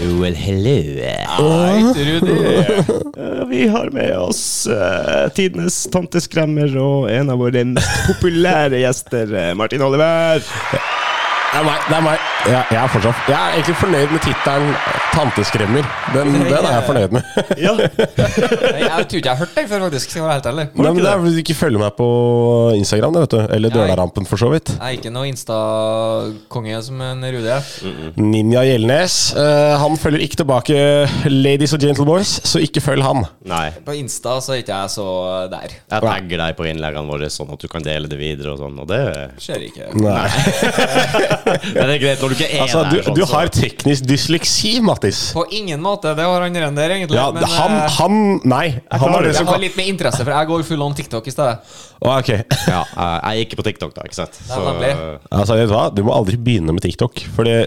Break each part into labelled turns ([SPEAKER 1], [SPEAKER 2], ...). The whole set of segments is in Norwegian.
[SPEAKER 1] Well, hello.
[SPEAKER 2] Hei, Rudi.
[SPEAKER 1] Eh, Vi har med oss eh, tidenes tanteskremmer og en av våre mest populære gjester, eh, Martin Oliver.
[SPEAKER 2] Det er meg. det er meg Jeg, jeg er fortsatt Jeg er egentlig fornøyd med tittelen 'Tanteskremmer'. Den, den er jeg fornøyd med.
[SPEAKER 1] Ja,
[SPEAKER 3] Nei, Jeg tror ikke jeg har hørt deg før, faktisk. Skal jeg være helt ærlig.
[SPEAKER 2] Nei, men det er fordi du ikke følger meg på Instagram, det, vet du. Eller Dølarampen, for så vidt.
[SPEAKER 3] Jeg er ikke noe Insta-konge som en Rudi er.
[SPEAKER 2] Mm. Ninja Gjelnes. eh, han følger ikke tilbake ladies og gentle boys, så ikke følg han.
[SPEAKER 1] Nei.
[SPEAKER 3] På Insta så er ikke jeg så der.
[SPEAKER 1] Jeg tagger deg på innleggene våre, sånn at du kan dele det videre. og sånn, og det,
[SPEAKER 3] Ser ikke.
[SPEAKER 2] Nei.
[SPEAKER 1] Men det er greit når du ikke er
[SPEAKER 2] Altså,
[SPEAKER 1] der.
[SPEAKER 2] du,
[SPEAKER 1] sånn,
[SPEAKER 2] du
[SPEAKER 1] så-
[SPEAKER 2] har teknisk dysleksi, Mattis.
[SPEAKER 3] På ingen måte. Det var han der, egentlig.
[SPEAKER 2] Ja,
[SPEAKER 3] men
[SPEAKER 2] han,
[SPEAKER 3] eh,
[SPEAKER 2] han Nei. Han
[SPEAKER 1] klarer
[SPEAKER 2] er
[SPEAKER 1] det.
[SPEAKER 2] det
[SPEAKER 3] jeg
[SPEAKER 2] som
[SPEAKER 3] har litt mer interesse, for jeg går full on TikTok i stedet.
[SPEAKER 2] Å, Ok.
[SPEAKER 1] ja, eh, Jeg er ikke på TikTok, da. ikke sant?
[SPEAKER 3] nemlig.
[SPEAKER 2] Altså, vet du hva? Du må aldri begynne med TikTok. For det,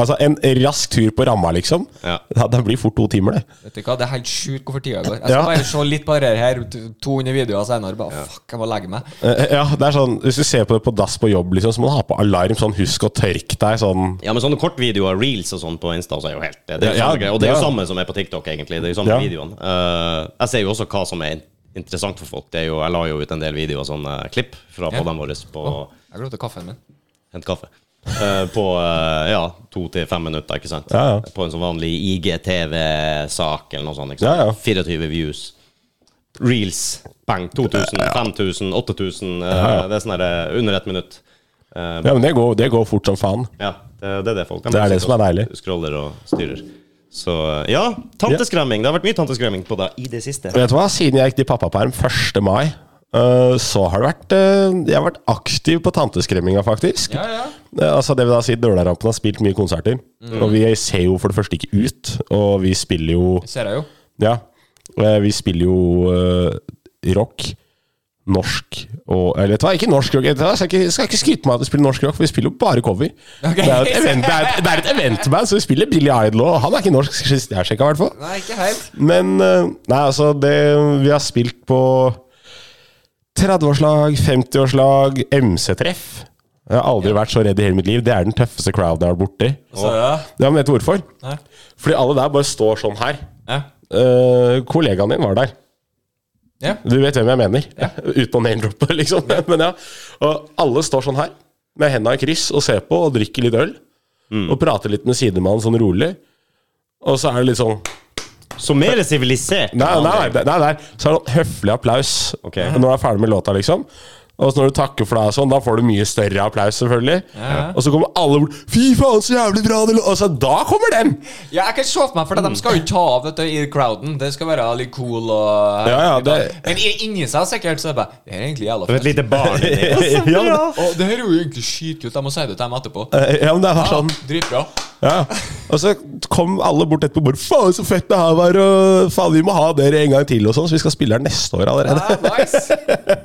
[SPEAKER 2] altså, en rask tur på ramma, liksom.
[SPEAKER 1] Ja.
[SPEAKER 2] Da, da blir fort to timer, det.
[SPEAKER 3] Vet du hva, Det er helt sjukt hvorfor tida går. Jeg skal
[SPEAKER 2] Ja.
[SPEAKER 3] bare se litt på det her, t- 200 videoer senere. Bare fuck, jeg må legge meg.
[SPEAKER 2] Eh, Ja, det er sånn, Hvis du ser på det på dass på jobb, liksom, så må du ha på alarm. sånn Husk å tørke deg. sånn
[SPEAKER 1] Ja, men sånne kortvideoer, reels og sånn på Insta, så er jo helt Det er jo
[SPEAKER 2] Ja,
[SPEAKER 1] samme greie. Og det er jo
[SPEAKER 2] ja.
[SPEAKER 1] samme som er på TikTok, egentlig. Det er jo samme
[SPEAKER 2] Ja.
[SPEAKER 1] videoene. Eh, jeg ser jo også hva som er in- interessant for folk. Det er jo, jeg la jo ut en del videoer og sånne klipp fra
[SPEAKER 3] Ja.
[SPEAKER 1] podene våre på
[SPEAKER 3] Jeg glemte kaffen min.
[SPEAKER 1] Hent kaffe. Eh, på eh, ja, to til fem minutter, ikke sant?
[SPEAKER 2] Ja, ja.
[SPEAKER 1] På en sånn vanlig IGTV-sak eller noe sånt. Ikke sant?
[SPEAKER 2] Ja, ja.
[SPEAKER 1] 24 views. Reels. Bang. 2000, 5000, 8000. eh, Det er sånn der, eh, under ett minutt. Eh,
[SPEAKER 2] Ja, men det går, det går fort som faen.
[SPEAKER 1] ja, det, det er det folk
[SPEAKER 2] Det er det som er deilig.
[SPEAKER 1] Scroller og styrer. Så ja, tanteskremming. Det har vært mye tanteskremming på deg i det siste.
[SPEAKER 2] Vet du hva? Siden jeg gikk til pappaperm 1. mai, eh, så har det vært eh, Jeg har vært aktiv på tanteskremminga, faktisk.
[SPEAKER 3] Ja, ja.
[SPEAKER 2] Eh, Altså det vil da si Dølarampen har spilt mye konserter. Og vi ser jo for det første ikke ut, og vi spiller jo
[SPEAKER 3] Ser jeg jo.
[SPEAKER 2] Ja. Eh, Vi spiller jo eh, rock. Norsk og Eller vet du hva, ikke norsk rock. Vet du hva, Jeg skal ikke, skal ikke skryte meg av at vi spiller norsk rock, for vi spiller jo bare cover.
[SPEAKER 3] Ok.
[SPEAKER 2] Det er jo et event- det er et- det er et eventband, så vi spiller Billy Idol og Han er ikke norsk, sist jeg sjekka, i hvert fall.
[SPEAKER 3] Nei, ikke helt.
[SPEAKER 2] Men eh, nei, altså det, Vi har spilt på 30-årslag, 50-årslag, MC-treff. Jeg har aldri vært så redd i hele mitt liv. Det er den tøffeste crowden jeg har vært borti.
[SPEAKER 3] Så, ja.
[SPEAKER 2] Ja, men vet du hvorfor?
[SPEAKER 3] Nei.
[SPEAKER 2] Fordi alle der bare står sånn her.
[SPEAKER 3] Ja.
[SPEAKER 2] Eh, kollegaen din var der.
[SPEAKER 3] Ja.
[SPEAKER 2] Du vet hvem jeg mener. Uten å name-droppe, liksom. Men ja. Og alle står sånn her, med henda i kryss, og ser på, og drikker litt øl. Og prater litt med sidemannen sånn rolig. Og så er det litt sånn
[SPEAKER 1] Så mer sivilisert.
[SPEAKER 2] Nei, nei, nei, nei, nei. Så er det sånn høflig applaus
[SPEAKER 1] Ok.
[SPEAKER 2] når du er ferdig med låta, liksom. Og så når du takker for deg, og sånn, da får du mye større applaus, selvfølgelig.
[SPEAKER 3] Ja.
[SPEAKER 2] Og så kommer alle bort 'Fy faen, så jævlig bra det lå-' Og så da kommer den!
[SPEAKER 3] Ja, jeg kan se for meg, for de skal jo
[SPEAKER 2] Mm.
[SPEAKER 3] ta av vet du, i crowden. Det skal være litt cool og
[SPEAKER 2] Ja, ja, det-
[SPEAKER 3] Men i- inni seg sikkert så er det bare Det her er egentlig jævla
[SPEAKER 1] Som et
[SPEAKER 3] fett.
[SPEAKER 1] lite barn. inni.
[SPEAKER 2] ja, men-
[SPEAKER 3] Å, det her er jo egentlig skitkult. Jeg må si det til dem etterpå.
[SPEAKER 2] ja, men det er sånn
[SPEAKER 3] Dritbra.
[SPEAKER 2] Ja. Og så kom alle bort etterpå og bare 'Faen, så fett det her var', og 'faen, vi må ha dere en gang til', og sånn. Så vi skal spille her neste år allerede.
[SPEAKER 3] Ja, nice.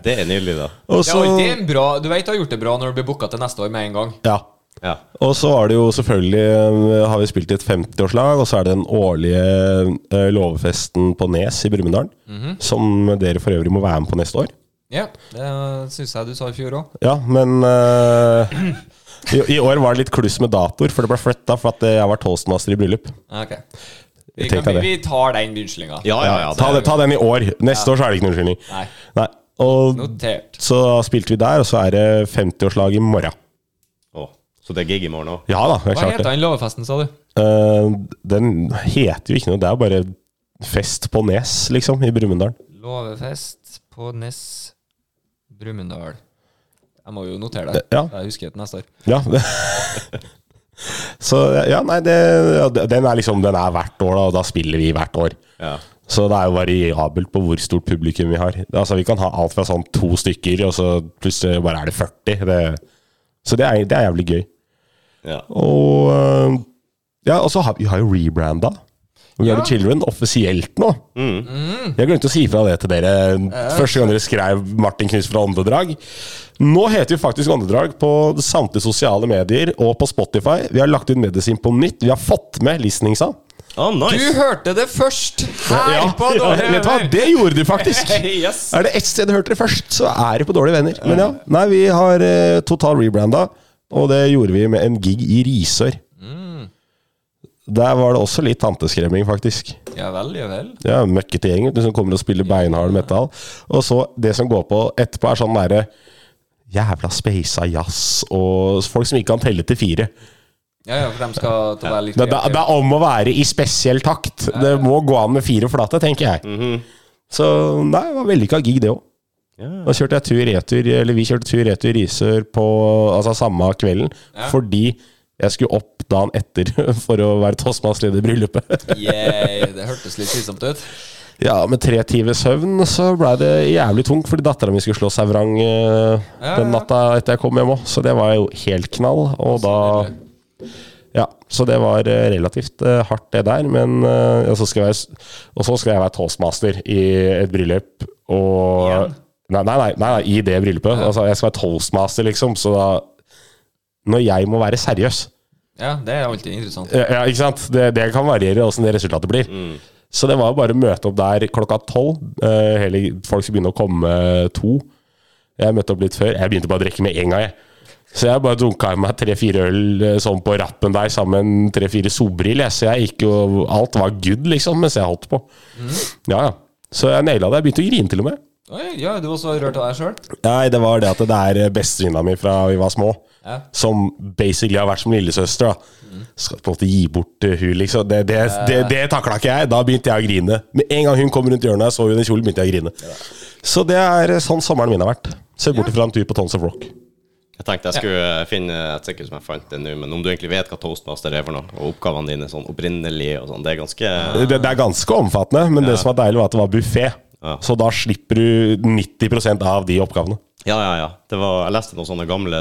[SPEAKER 1] Det er nydelig, da.
[SPEAKER 2] Og
[SPEAKER 3] Ja,
[SPEAKER 2] så,
[SPEAKER 3] det er en bra, du vet du har gjort det bra når du blir booka til neste år med en gang.
[SPEAKER 2] ja.
[SPEAKER 1] Ja.
[SPEAKER 2] og så var det jo selvfølgelig eh, Har vi spilt i et 50-årslag, og så er det den årlige eh, låvefesten på Nes i Brumunddal.
[SPEAKER 3] Mhm.
[SPEAKER 2] Som dere for øvrig må være med på neste år.
[SPEAKER 3] Ja, det syns jeg du sa i fjor òg.
[SPEAKER 2] Ja, men eh, i, I år var det litt kluss med datoer, for det ble flytta for at eh, jeg var toastmaster i bryllup.
[SPEAKER 3] Ok. Vi,
[SPEAKER 2] Tenk
[SPEAKER 3] kan,
[SPEAKER 2] deg det.
[SPEAKER 3] vi tar den unnskyldninga.
[SPEAKER 1] Ja, ja, ja.
[SPEAKER 2] ta, det, ta den i år. Neste år så er det ikke noen unnskyldning.
[SPEAKER 3] Nei.
[SPEAKER 2] Nei. Og
[SPEAKER 3] Notert.
[SPEAKER 2] Så da spilte vi der, og så er det 50-årslag i morgen.
[SPEAKER 1] Å, så det er gig i morgen òg?
[SPEAKER 2] Ja da, det er
[SPEAKER 3] Hva
[SPEAKER 2] klart
[SPEAKER 3] heter
[SPEAKER 2] det.
[SPEAKER 3] den låvefesten, sa du?
[SPEAKER 2] Eh, den heter jo ikke noe, det er bare fest på Nes, liksom, i Brumunddal.
[SPEAKER 3] Låvefest på Ness Brumunddal. Jeg må jo notere det.
[SPEAKER 2] Ja.
[SPEAKER 3] Jeg husker det til neste år.
[SPEAKER 2] Ja. så ja, nei, det, ja, den er liksom Den er hvert år, da, og da spiller vi hvert år.
[SPEAKER 1] Ja.
[SPEAKER 2] Så det er jo variabelt på hvor stort publikum vi har. Altså Vi kan ha alt fra sånn to stykker, og så plutselig bare er det 40. Det, så det er, det er jævlig gøy.
[SPEAKER 1] ja.
[SPEAKER 2] Og eh, Ja, og så har vi har jo rebranda. We Are
[SPEAKER 3] Ja.
[SPEAKER 2] The Children offisielt nå. Jeg glemte å si fra det til dere første gang dere skrev Martin Knus fra Åndedrag. Nå heter vi faktisk Åndedrag på samtlige sosiale medier og på Spotify. Vi har lagt ut medisin på nytt. Vi har fått med listeningsa.
[SPEAKER 1] Å,
[SPEAKER 3] Du
[SPEAKER 1] nice.
[SPEAKER 3] hørte det først her
[SPEAKER 2] Ja.
[SPEAKER 3] på Dårlige
[SPEAKER 2] Vet du hva, det gjorde de faktisk!
[SPEAKER 3] Yes.
[SPEAKER 2] Er det ett sted du hørte det først, så er det på Dårlige venner. Men ja, nei, vi har eh,
[SPEAKER 3] Mm.
[SPEAKER 2] total rebranda, og det gjorde vi med en gig i Risør. Der var det også litt tanteskremming, faktisk.
[SPEAKER 3] Ja vel, ja vel.
[SPEAKER 2] Ja, møkkete gjeng vet du, som kommer og spiller beinhard metal. Og så det som går på etterpå, er sånn derre jævla speisa jazz og folk som ikke kan telle til fire.
[SPEAKER 3] Ja, ja, for de skal til å være litt
[SPEAKER 2] Det, det, det er om å være i spesiell takt. Det må gå an med fire flate, tenker jeg. Så nei, det var vellykka gig, det òg. Da kjørte jeg tur-retur, eller vi kjørte tur-retur Risør på altså samme kvelden, fordi jeg skulle opp dagen etter for å være toastmannsleder i bryllupet.
[SPEAKER 3] Yeah, det hørtes litt slitsomt ut.
[SPEAKER 2] Ja, med tre timers søvn så ble det jævlig tungt, fordi dattera mi skulle slå seg vrang eh,
[SPEAKER 3] Ja,
[SPEAKER 2] den
[SPEAKER 3] ja.
[SPEAKER 2] natta etter jeg kom hjem òg. Så det var jo helt knall. Og da Ja, så det var eh, relativt eh, hardt, det der. Men eh, og så skal jeg, s- Og så skal jeg være toastmaster i et bryllup, og Nei, nei, nei, nei, nei, i det bryllupet. Altså, jeg skal være toastmaster, liksom, så da Når jeg må være seriøs
[SPEAKER 3] Ja, det er alltid interessant.
[SPEAKER 2] ja, ja, ikke sant? Det, det kan variere hvordan det resultatet blir. Så det var jo bare å møte opp der klokka tolv. Eh, hele- folk skulle begynne å komme to. Jeg møtte opp litt før. Jeg begynte bare å drikke med en gang, jeg. Så jeg bare dunka i meg tre-fire øl eh, sånn på rappen der sammen med tre-fire sobrill. jeg. Så jeg gikk jo Alt var good, liksom, mens jeg holdt på. Ja, ja. Så jeg naila det. Jeg begynte å grine, til og med.
[SPEAKER 3] Oi, ja, du også rørt av deg sjøl?
[SPEAKER 2] Nei, det var det at det er bestevenninna mi fra vi var små.
[SPEAKER 3] Ja.
[SPEAKER 2] Som basically har vært som lillesøster. da Skal på en måte gi bort eh, hun liksom. Det, det, det, det takla ikke jeg. Da begynte jeg å grine. Med en gang hun kom rundt hjørnet og jeg så henne i kjolen, begynte jeg å grine. Så det er sånn sommeren min har vært. Se bort fra en tur på Tons of Rock.
[SPEAKER 1] Jeg tenkte jeg skulle eh, finne et sikkert som jeg fant det nå, men om du egentlig vet hva toastmaster er for noe, og oppgavene dine sånn opprinnelig og sånn, det er ganske
[SPEAKER 2] Det, det er ganske omfattende, men det som var deilig, var at det var buffé.
[SPEAKER 1] Ja.
[SPEAKER 2] Så da slipper du 90 av de oppgavene.
[SPEAKER 1] Ja, ja, ja. Det var, jeg leste noen sånne gamle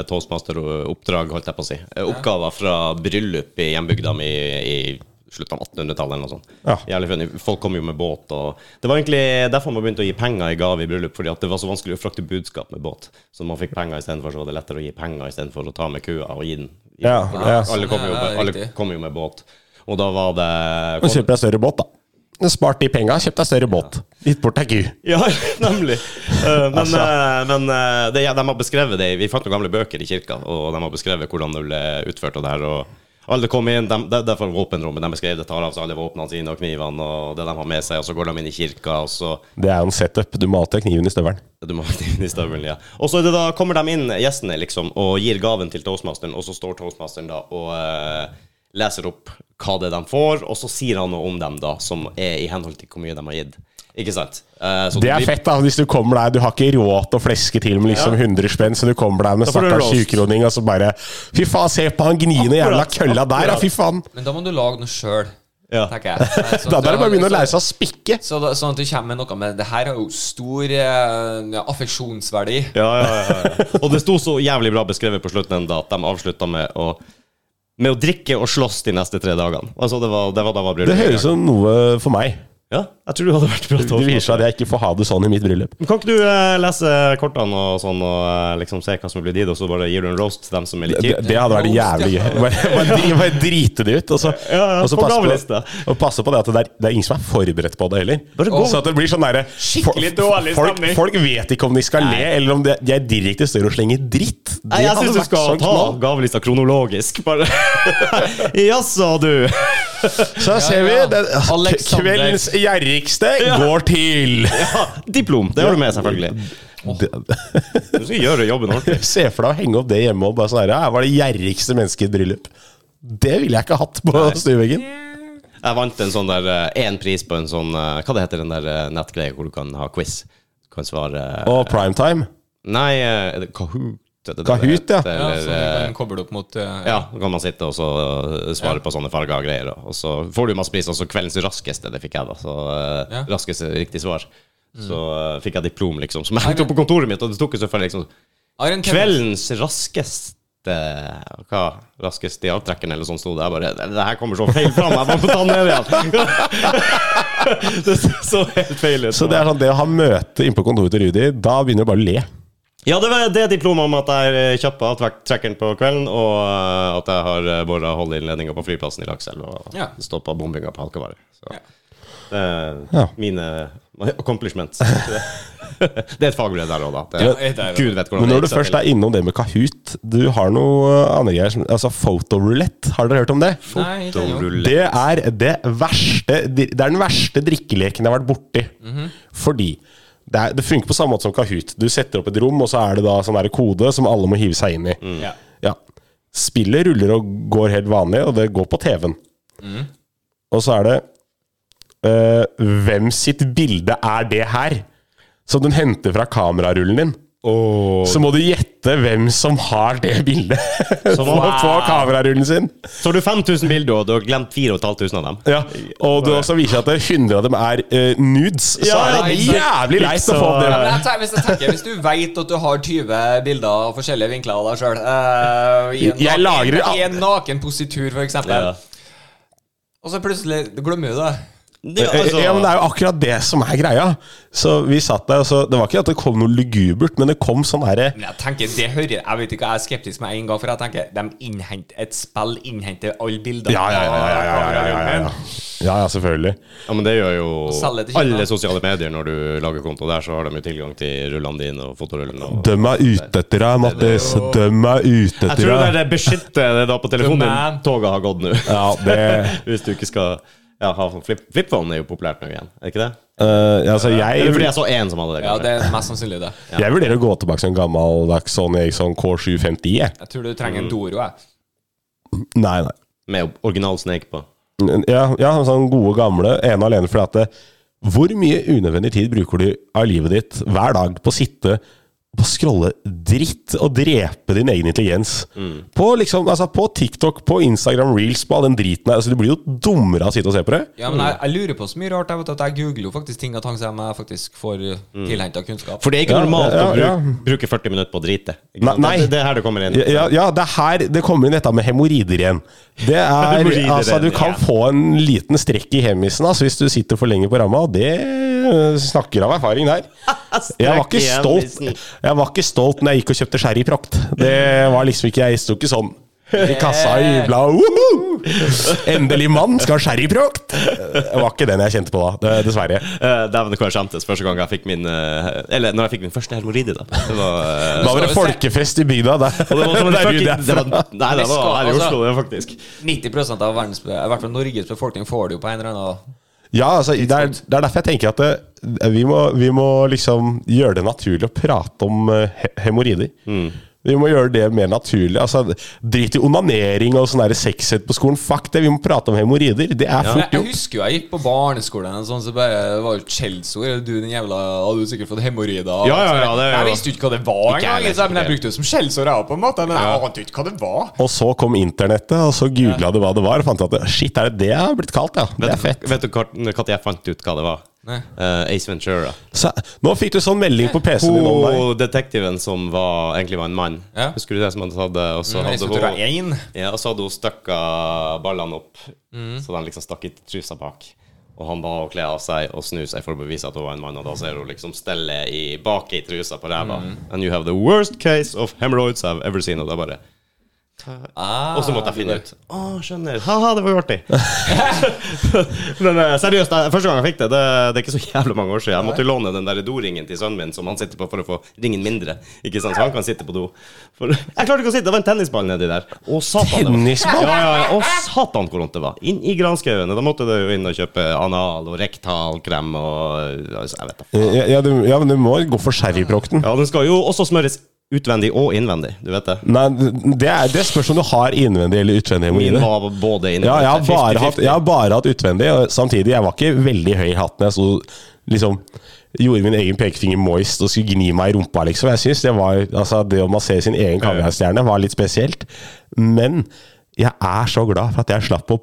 [SPEAKER 1] toastmaster-oppdrag, holdt jeg på å si. Eh, Oppgaver fra bryllup i hjembygda mi i slutten av 1800-tallet eller noe sånt.
[SPEAKER 2] Ja.
[SPEAKER 1] Jævlig funny. Folk kom jo med båt og Det var egentlig derfor man begynte å gi penger i gave i bryllup, fordi at det var så vanskelig å frakte budskap med båt. Så man fikk penger istedenfor, så var det lettere å gi penger istedenfor å ta med kua og gi den. Gi den.
[SPEAKER 2] Ja,
[SPEAKER 1] For
[SPEAKER 2] ja.
[SPEAKER 1] Alle kom jo
[SPEAKER 3] Ja, det
[SPEAKER 1] med,
[SPEAKER 3] er
[SPEAKER 1] alle
[SPEAKER 3] riktig.
[SPEAKER 1] kom jo med båt. Og da var det
[SPEAKER 2] Nå kjøper jeg større båt, da. Spart de penga, kjøpt deg større båt. Gitt bort ei ku.
[SPEAKER 1] Ja, nemlig. Eh, men
[SPEAKER 2] Altså.
[SPEAKER 1] eh, men eh, det, ja, de har beskrevet det. i- Vi fant noen gamle bøker i kirka, og de har beskrevet hvordan det ble utført. og det her, og alle kom inn, de, det, det er fra våpenrommet. De beskrev det, tar av seg alle våpnene sine og knivene og det de har med seg, og så går de inn i kirka, og så
[SPEAKER 2] Det er jo en setup. Du må alltid ha kniven i støvelen.
[SPEAKER 1] du må ha kniven i støvelen, ja. Og så er det da, kommer de inn, gjestene, liksom, og gir gaven til toastmasteren, og så står toastmasteren da og eh, leser opp hva det er de får, og så sier han noe om dem, da, som er i henhold til hvor mye de har gitt. Ikke sant? Eh, så
[SPEAKER 2] Det er
[SPEAKER 1] blir-
[SPEAKER 2] fett, da. Hvis du kommer der, du har ikke råd til å fleske til med liksom 100 spenn, så du kommer der med
[SPEAKER 1] Da får du
[SPEAKER 2] stakkars
[SPEAKER 1] roast.
[SPEAKER 2] 20-kroning, og så bare Fy faen, se på han gniende jævla
[SPEAKER 1] Akkurat,
[SPEAKER 2] kølla der, da!
[SPEAKER 1] akkurat.
[SPEAKER 2] Fy faen!
[SPEAKER 3] Men da må du lage noe sjøl,
[SPEAKER 1] Ja.
[SPEAKER 3] tenker jeg. Nei, sånn
[SPEAKER 2] Da
[SPEAKER 3] at
[SPEAKER 2] er det bare å
[SPEAKER 3] du-
[SPEAKER 2] begynne å
[SPEAKER 3] så-
[SPEAKER 2] lære seg å spikke.
[SPEAKER 3] Så da, sånn at du kommer med noe med Det her har jo stor eh, ja, affeksjonsverdi.
[SPEAKER 1] Ja, ja, ja, ja. Og det sto så jævlig bra beskrevet på slutten enda at de avslutta med å med å drikke og slåss de neste tre dagene. Altså, det var, det var, det var
[SPEAKER 2] Det høres ut som noe for meg.
[SPEAKER 1] Ja, jeg tror du hadde vært bra
[SPEAKER 2] Det viser seg at jeg ikke får ha det sånn i mitt bryllup.
[SPEAKER 1] Men Kan ikke du eh, lese kortene og sånn, og eh, liksom se hva som blir dit, og så bare gir du en roast til dem som er litt
[SPEAKER 2] Det,
[SPEAKER 1] kjipe?
[SPEAKER 2] det hadde vært jævlig gøy. Bare, bare, dri- bare drite det ut. Og så,
[SPEAKER 1] Ja, ja,
[SPEAKER 2] og så
[SPEAKER 1] på
[SPEAKER 2] passe, på,
[SPEAKER 1] gavelista.
[SPEAKER 2] og passe på det at det er, det er ingen som er forberedt på det heller.
[SPEAKER 1] Bare gå.
[SPEAKER 2] Så at det blir sånn derre
[SPEAKER 1] Skikkelig dårlig
[SPEAKER 2] folk,
[SPEAKER 1] stemning.
[SPEAKER 2] folk vet ikke om de skal le, eller om de, de er direkte større og slenger dritt. Det
[SPEAKER 1] Nei, jeg
[SPEAKER 2] hadde
[SPEAKER 1] syns du
[SPEAKER 2] vært
[SPEAKER 1] skal
[SPEAKER 2] sånn
[SPEAKER 1] ta
[SPEAKER 2] knall.
[SPEAKER 1] gavelista kronologisk, bare. Jaså, du.
[SPEAKER 2] Så her ser vi.
[SPEAKER 3] ja.
[SPEAKER 2] Den,
[SPEAKER 3] Alexander.
[SPEAKER 2] kveldens gjerrigste går til
[SPEAKER 1] Ja, diplom. Det har du med, selvfølgelig.
[SPEAKER 2] Det-
[SPEAKER 1] Du skal gjøre jobben ordentlig.
[SPEAKER 2] Se for deg å henge opp det hjemme og bare sånn her ja, Jeg var det gjerrigste mennesket i et bryllup. Det ville jeg ikke hatt på stueveggen.
[SPEAKER 1] Jeg vant en sånn der én pris på en sånn eh, Hva det heter den der eh, nettgreia hvor du kan ha quiz? Du kan svare eh,
[SPEAKER 2] Og primetime.
[SPEAKER 1] Nei, eh, er det Kahoot. er det det
[SPEAKER 2] Kahoot,
[SPEAKER 1] det
[SPEAKER 2] ja.
[SPEAKER 1] heter,
[SPEAKER 3] Ja, så
[SPEAKER 1] Eller,
[SPEAKER 3] du
[SPEAKER 1] eh,
[SPEAKER 3] kan koble det opp mot eh,
[SPEAKER 1] ja, så kan man sitte og så eh, svare på sånne farger og greier. Og og så får du masse priser. Og så kveldens raskeste, det fikk jeg, da. Så eh,
[SPEAKER 3] Ja. Mm.
[SPEAKER 1] raskeste riktig svar. Så eh, fikk jeg diplom, liksom, som jeg hengte opp på kontoret mitt. Og det tok jo selvfølgelig liksom
[SPEAKER 3] Jeg har en tendens-
[SPEAKER 1] Kveldens raskeste Hva? Raskest i avtrekkeren, eller sånn sto det. Jeg bare Det det her kommer så feil fram, jeg bare må ta den ned igjen. det så helt feil ut.
[SPEAKER 2] Så det er sånn, det å ha møte inne på kontoret til Rudi, da begynner du bare å le.
[SPEAKER 1] Ja, det var det diplomet om at jeg er kjapp på avtrekkeren på kvelden, og eh, at jeg har bora holdeinnledninga på flyplassen i Lakselv og
[SPEAKER 3] Ja.
[SPEAKER 1] stoppa bombinga på Halkevaret. Så
[SPEAKER 3] Ja.
[SPEAKER 1] det er
[SPEAKER 2] Ja.
[SPEAKER 1] mine accomplishments. det er et fagbrev der òg, da. Det,
[SPEAKER 3] Ja, det er det.
[SPEAKER 1] Gud vet hvordan
[SPEAKER 2] Men
[SPEAKER 1] det
[SPEAKER 2] når du
[SPEAKER 1] gikk seg
[SPEAKER 2] først
[SPEAKER 1] til.
[SPEAKER 2] er innom det med Kahoot Du har noe eh, andre greier som Altså photorulett, har dere hørt om det?
[SPEAKER 3] Nei, ikke ennå.
[SPEAKER 1] Fotorulett.
[SPEAKER 2] Det er det verste Det er den verste drikkeleken jeg har vært borti.
[SPEAKER 1] Mhm.
[SPEAKER 2] Fordi det, er, det funker på samme måte som Kahoot. Du setter opp et rom, og så er det da sånn der kode som alle må hive seg inn i.
[SPEAKER 3] Ja.
[SPEAKER 2] Ja. Spillet ruller og går helt vanlig, og det går på TV-en. Og så er det eh, Hvem sitt bilde er det her? Som den henter fra kamerarullen din. Så må du gjette hvem som har det bildet på, på kamerarullen sin.
[SPEAKER 1] Så har du 5000 bilder, og du har glemt 4500 av dem.
[SPEAKER 2] Ja, og det også viser seg at det er 100 av dem er eh, nudes, så
[SPEAKER 1] Ja,
[SPEAKER 2] er det
[SPEAKER 3] ikke sant.
[SPEAKER 2] jævlig leit å få opp det
[SPEAKER 3] Men
[SPEAKER 2] der.
[SPEAKER 3] jeg tenker, hvis, jeg tenker, hvis du vet at du har 20 bilder av forskjellige vinkler av deg sjøl I en
[SPEAKER 2] Jeg
[SPEAKER 3] naken,
[SPEAKER 2] lagrer-
[SPEAKER 3] i en naken positur, for eksempel
[SPEAKER 1] Ja.
[SPEAKER 3] og så plutselig du glemmer du det.
[SPEAKER 1] Det, er altså,
[SPEAKER 2] Ja, men det er jo akkurat det som er greia. Så vi satt der, og så Det var ikke at det kom noe lugubert, men det kom sånn herre
[SPEAKER 3] Men jeg tenker, det hører Jeg vet ikke, jeg er skeptisk med en gang, for jeg tenker de innhenter, et spill innhenter alle bilder.
[SPEAKER 2] ja ja ja, ja, ja, ja, ja, ja, ja. Ja, ja, selvfølgelig.
[SPEAKER 1] ja, men det gjør jo
[SPEAKER 3] selge til Kina.
[SPEAKER 1] alle sosiale medier. Når du lager konto der, så har de jo tilgang til rullene dine og fotorullen. Og
[SPEAKER 2] Døm meg ute etter deg, Mattis. Døm meg ute
[SPEAKER 1] jeg
[SPEAKER 2] etter
[SPEAKER 1] tror det er
[SPEAKER 2] deg.
[SPEAKER 1] det beskyttet det da på telefonen din.
[SPEAKER 3] Domain.
[SPEAKER 1] Toget har gått nå.
[SPEAKER 2] Ja, det
[SPEAKER 1] Hvis du ikke skal ja, ha sånn flip, flipphone er jo populært nå igjen, er ikke det?
[SPEAKER 2] eh, Altså,
[SPEAKER 1] Det er fordi
[SPEAKER 2] jeg
[SPEAKER 1] jeg så én som hadde det.
[SPEAKER 3] Ja,
[SPEAKER 1] kanskje.
[SPEAKER 3] det er mest sannsynlig det.
[SPEAKER 2] Jeg vurderer å gå tilbake til en gammeldags Sony Eriksson K750. jeg.
[SPEAKER 3] Jeg tror du
[SPEAKER 2] Mm.
[SPEAKER 3] trenger en Doro. Jeg.
[SPEAKER 2] Nei, nei.
[SPEAKER 1] Med original Snake på.
[SPEAKER 2] Ja, ja sånn gode gamle, ene og alene fordi at det, Hvor mye unødvendig tid bruker du av livet ditt hver dag på å sitte på å scrolle dritt og drepe din egen intelligens?
[SPEAKER 1] Mm.
[SPEAKER 2] På, liksom, altså, på TikTok, på Instagram Reels, på all den driten der. Altså, du blir jo dummere av å sitte og se på det.
[SPEAKER 3] Ja, men
[SPEAKER 2] Mm.
[SPEAKER 3] jeg, jeg lurer på så mye rart. Jeg vet at jeg googler jo faktisk ting og tang som jeg faktisk får mm. tilhenta kunnskap.
[SPEAKER 1] For det er ikke
[SPEAKER 2] Ja,
[SPEAKER 1] normalt
[SPEAKER 2] ja, ja.
[SPEAKER 1] å bruke, bruke 40 minutter på å drite. Ikke
[SPEAKER 2] Nei,
[SPEAKER 1] sant?
[SPEAKER 2] nei.
[SPEAKER 1] Det, det er her du kommer inn.
[SPEAKER 2] Ja, ja, ja, det er her det kommer inn dette med hemoroider igjen. Det er,
[SPEAKER 1] Hemoroider
[SPEAKER 2] altså, du kan
[SPEAKER 1] igjen.
[SPEAKER 2] få en liten strekk i hemisen altså, hvis du sitter for lenge på ramma, og det øh, snakker av erfaring der. Jeg var ikke
[SPEAKER 1] Strekk i hemisen.
[SPEAKER 2] stolt Jeg var ikke stolt når jeg gikk og kjøpte sherryprakt. Det var liksom ikke Jeg sto ikke sånn i kassa og jubla. «Woho! Endelig mann skal ha sherryprakt! Det var ikke den jeg kjente på da, det- dessverre.
[SPEAKER 1] Eh, Dæven, hvor jeg skjemtes første gang jeg fikk min eh, Eller når jeg fikk min første hemoroide. da. Det var, eh,
[SPEAKER 2] Da var det folkefest i bygda. Der.
[SPEAKER 1] og det var som en
[SPEAKER 2] Der du
[SPEAKER 1] fucking
[SPEAKER 2] er
[SPEAKER 1] det var,
[SPEAKER 2] fra.
[SPEAKER 1] Nei, det var her i
[SPEAKER 3] altså-
[SPEAKER 1] Oslo, det, faktisk.
[SPEAKER 3] 90 av verdens, i hvert fall Norges befolkning får det jo på en eller annen
[SPEAKER 2] Ja, altså, det er, det er derfor jeg tenker at det, vi, må, vi må liksom gjøre det naturlig å prate om eh, he- hemoroider.
[SPEAKER 1] Mm.
[SPEAKER 2] Vi må gjøre det mer naturlig. Altså, Drit i onanering og sånn der sexhet på skolen. Fuck det, vi må prate om hemoroider. Det
[SPEAKER 3] jeg,
[SPEAKER 2] er fort
[SPEAKER 3] jeg
[SPEAKER 2] gjort.
[SPEAKER 3] husker jo jeg gikk på barneskolen, og sånn, så bare, det var jo et skjellsord. Du den jævla Har du sikkert fått hemoroider?
[SPEAKER 1] Ja, ja, ja, det er jo-
[SPEAKER 3] Jeg visste jo ikke hva det var
[SPEAKER 1] Ikke jeg
[SPEAKER 3] engang,
[SPEAKER 1] heller,
[SPEAKER 3] liksom, men jeg
[SPEAKER 1] ikke.
[SPEAKER 3] brukte det som skjellsord, jeg òg, på en måte. Men jeg ante jo ikke hva det var.
[SPEAKER 2] Og så kom internettet, og så googla du hva det var, og fant ut at shit, er det det jeg har blitt kalt, ja? Det er fett.
[SPEAKER 1] Vet du når jeg fant ut hva det var?
[SPEAKER 3] Nei.
[SPEAKER 1] Eh, Ace Ventura.
[SPEAKER 2] Så, nå fikk du sånn melding på PC-en din om deg.
[SPEAKER 1] Hun detektiven som var, egentlig var en mann.
[SPEAKER 3] Ja. Mm,
[SPEAKER 1] Husker du det som han hadde? Og så
[SPEAKER 3] Jeg
[SPEAKER 1] hadde
[SPEAKER 3] skulle tro det
[SPEAKER 1] hun,
[SPEAKER 3] var én.
[SPEAKER 1] ja, og så hadde hun støkka ballene opp, så den liksom stakk i trusa bak. Og han ba henne kle av seg og snu seg for å bevise at hun var en mann. Og da ser hun liksom stellet i, bak i trusa på ræva. And you have the worst case of hemorrhoids I've ever seen. Og da bare
[SPEAKER 3] Ah,
[SPEAKER 1] og så måtte jeg finne ut. Å, Ah, skjønner. Ha-ha, det var jo artig. Men eh, seriøst, jeg- første gang jeg fikk det, det, det er ikke så jævlig mange år siden. Jeg måtte jo låne den der doringen til sønnen min, som han sitter på for å få ringen mindre. Ikke sant, Så han kan sitte på do. For, jeg klarte ikke å sitte, det var en tennisball nedi der. Å, satan. det var-
[SPEAKER 2] Tennisball?
[SPEAKER 1] Ja, ja, ja. Å, satan hvor vondt det var. Inn i granskauen. og Da måtte du jo inn og kjøpe anal og rektalkrem og altså, Jeg vet da.
[SPEAKER 2] Ja, ja, du, ja, men du må gå for sherryprokten.
[SPEAKER 1] Ja, den skal jo også smøres utvendig og innvendig, du vet det.
[SPEAKER 2] Nei, det, er, det spørs om du har innvendig eller utvendig
[SPEAKER 1] Min
[SPEAKER 2] hemoroide.
[SPEAKER 1] var både innvendig
[SPEAKER 2] Ja, jeg har, bare hatt,
[SPEAKER 1] 50-50.
[SPEAKER 2] jeg har bare hatt utvendig, og samtidig, jeg var ikke veldig høy i hatten. Jeg så, liksom, gjorde min egen pekefinger moist og skulle gni meg i rumpa, liksom. Jeg synes det var, altså, det å massere sin egen kaviarstjerne var litt spesielt. Men jeg er så glad for at jeg slapp å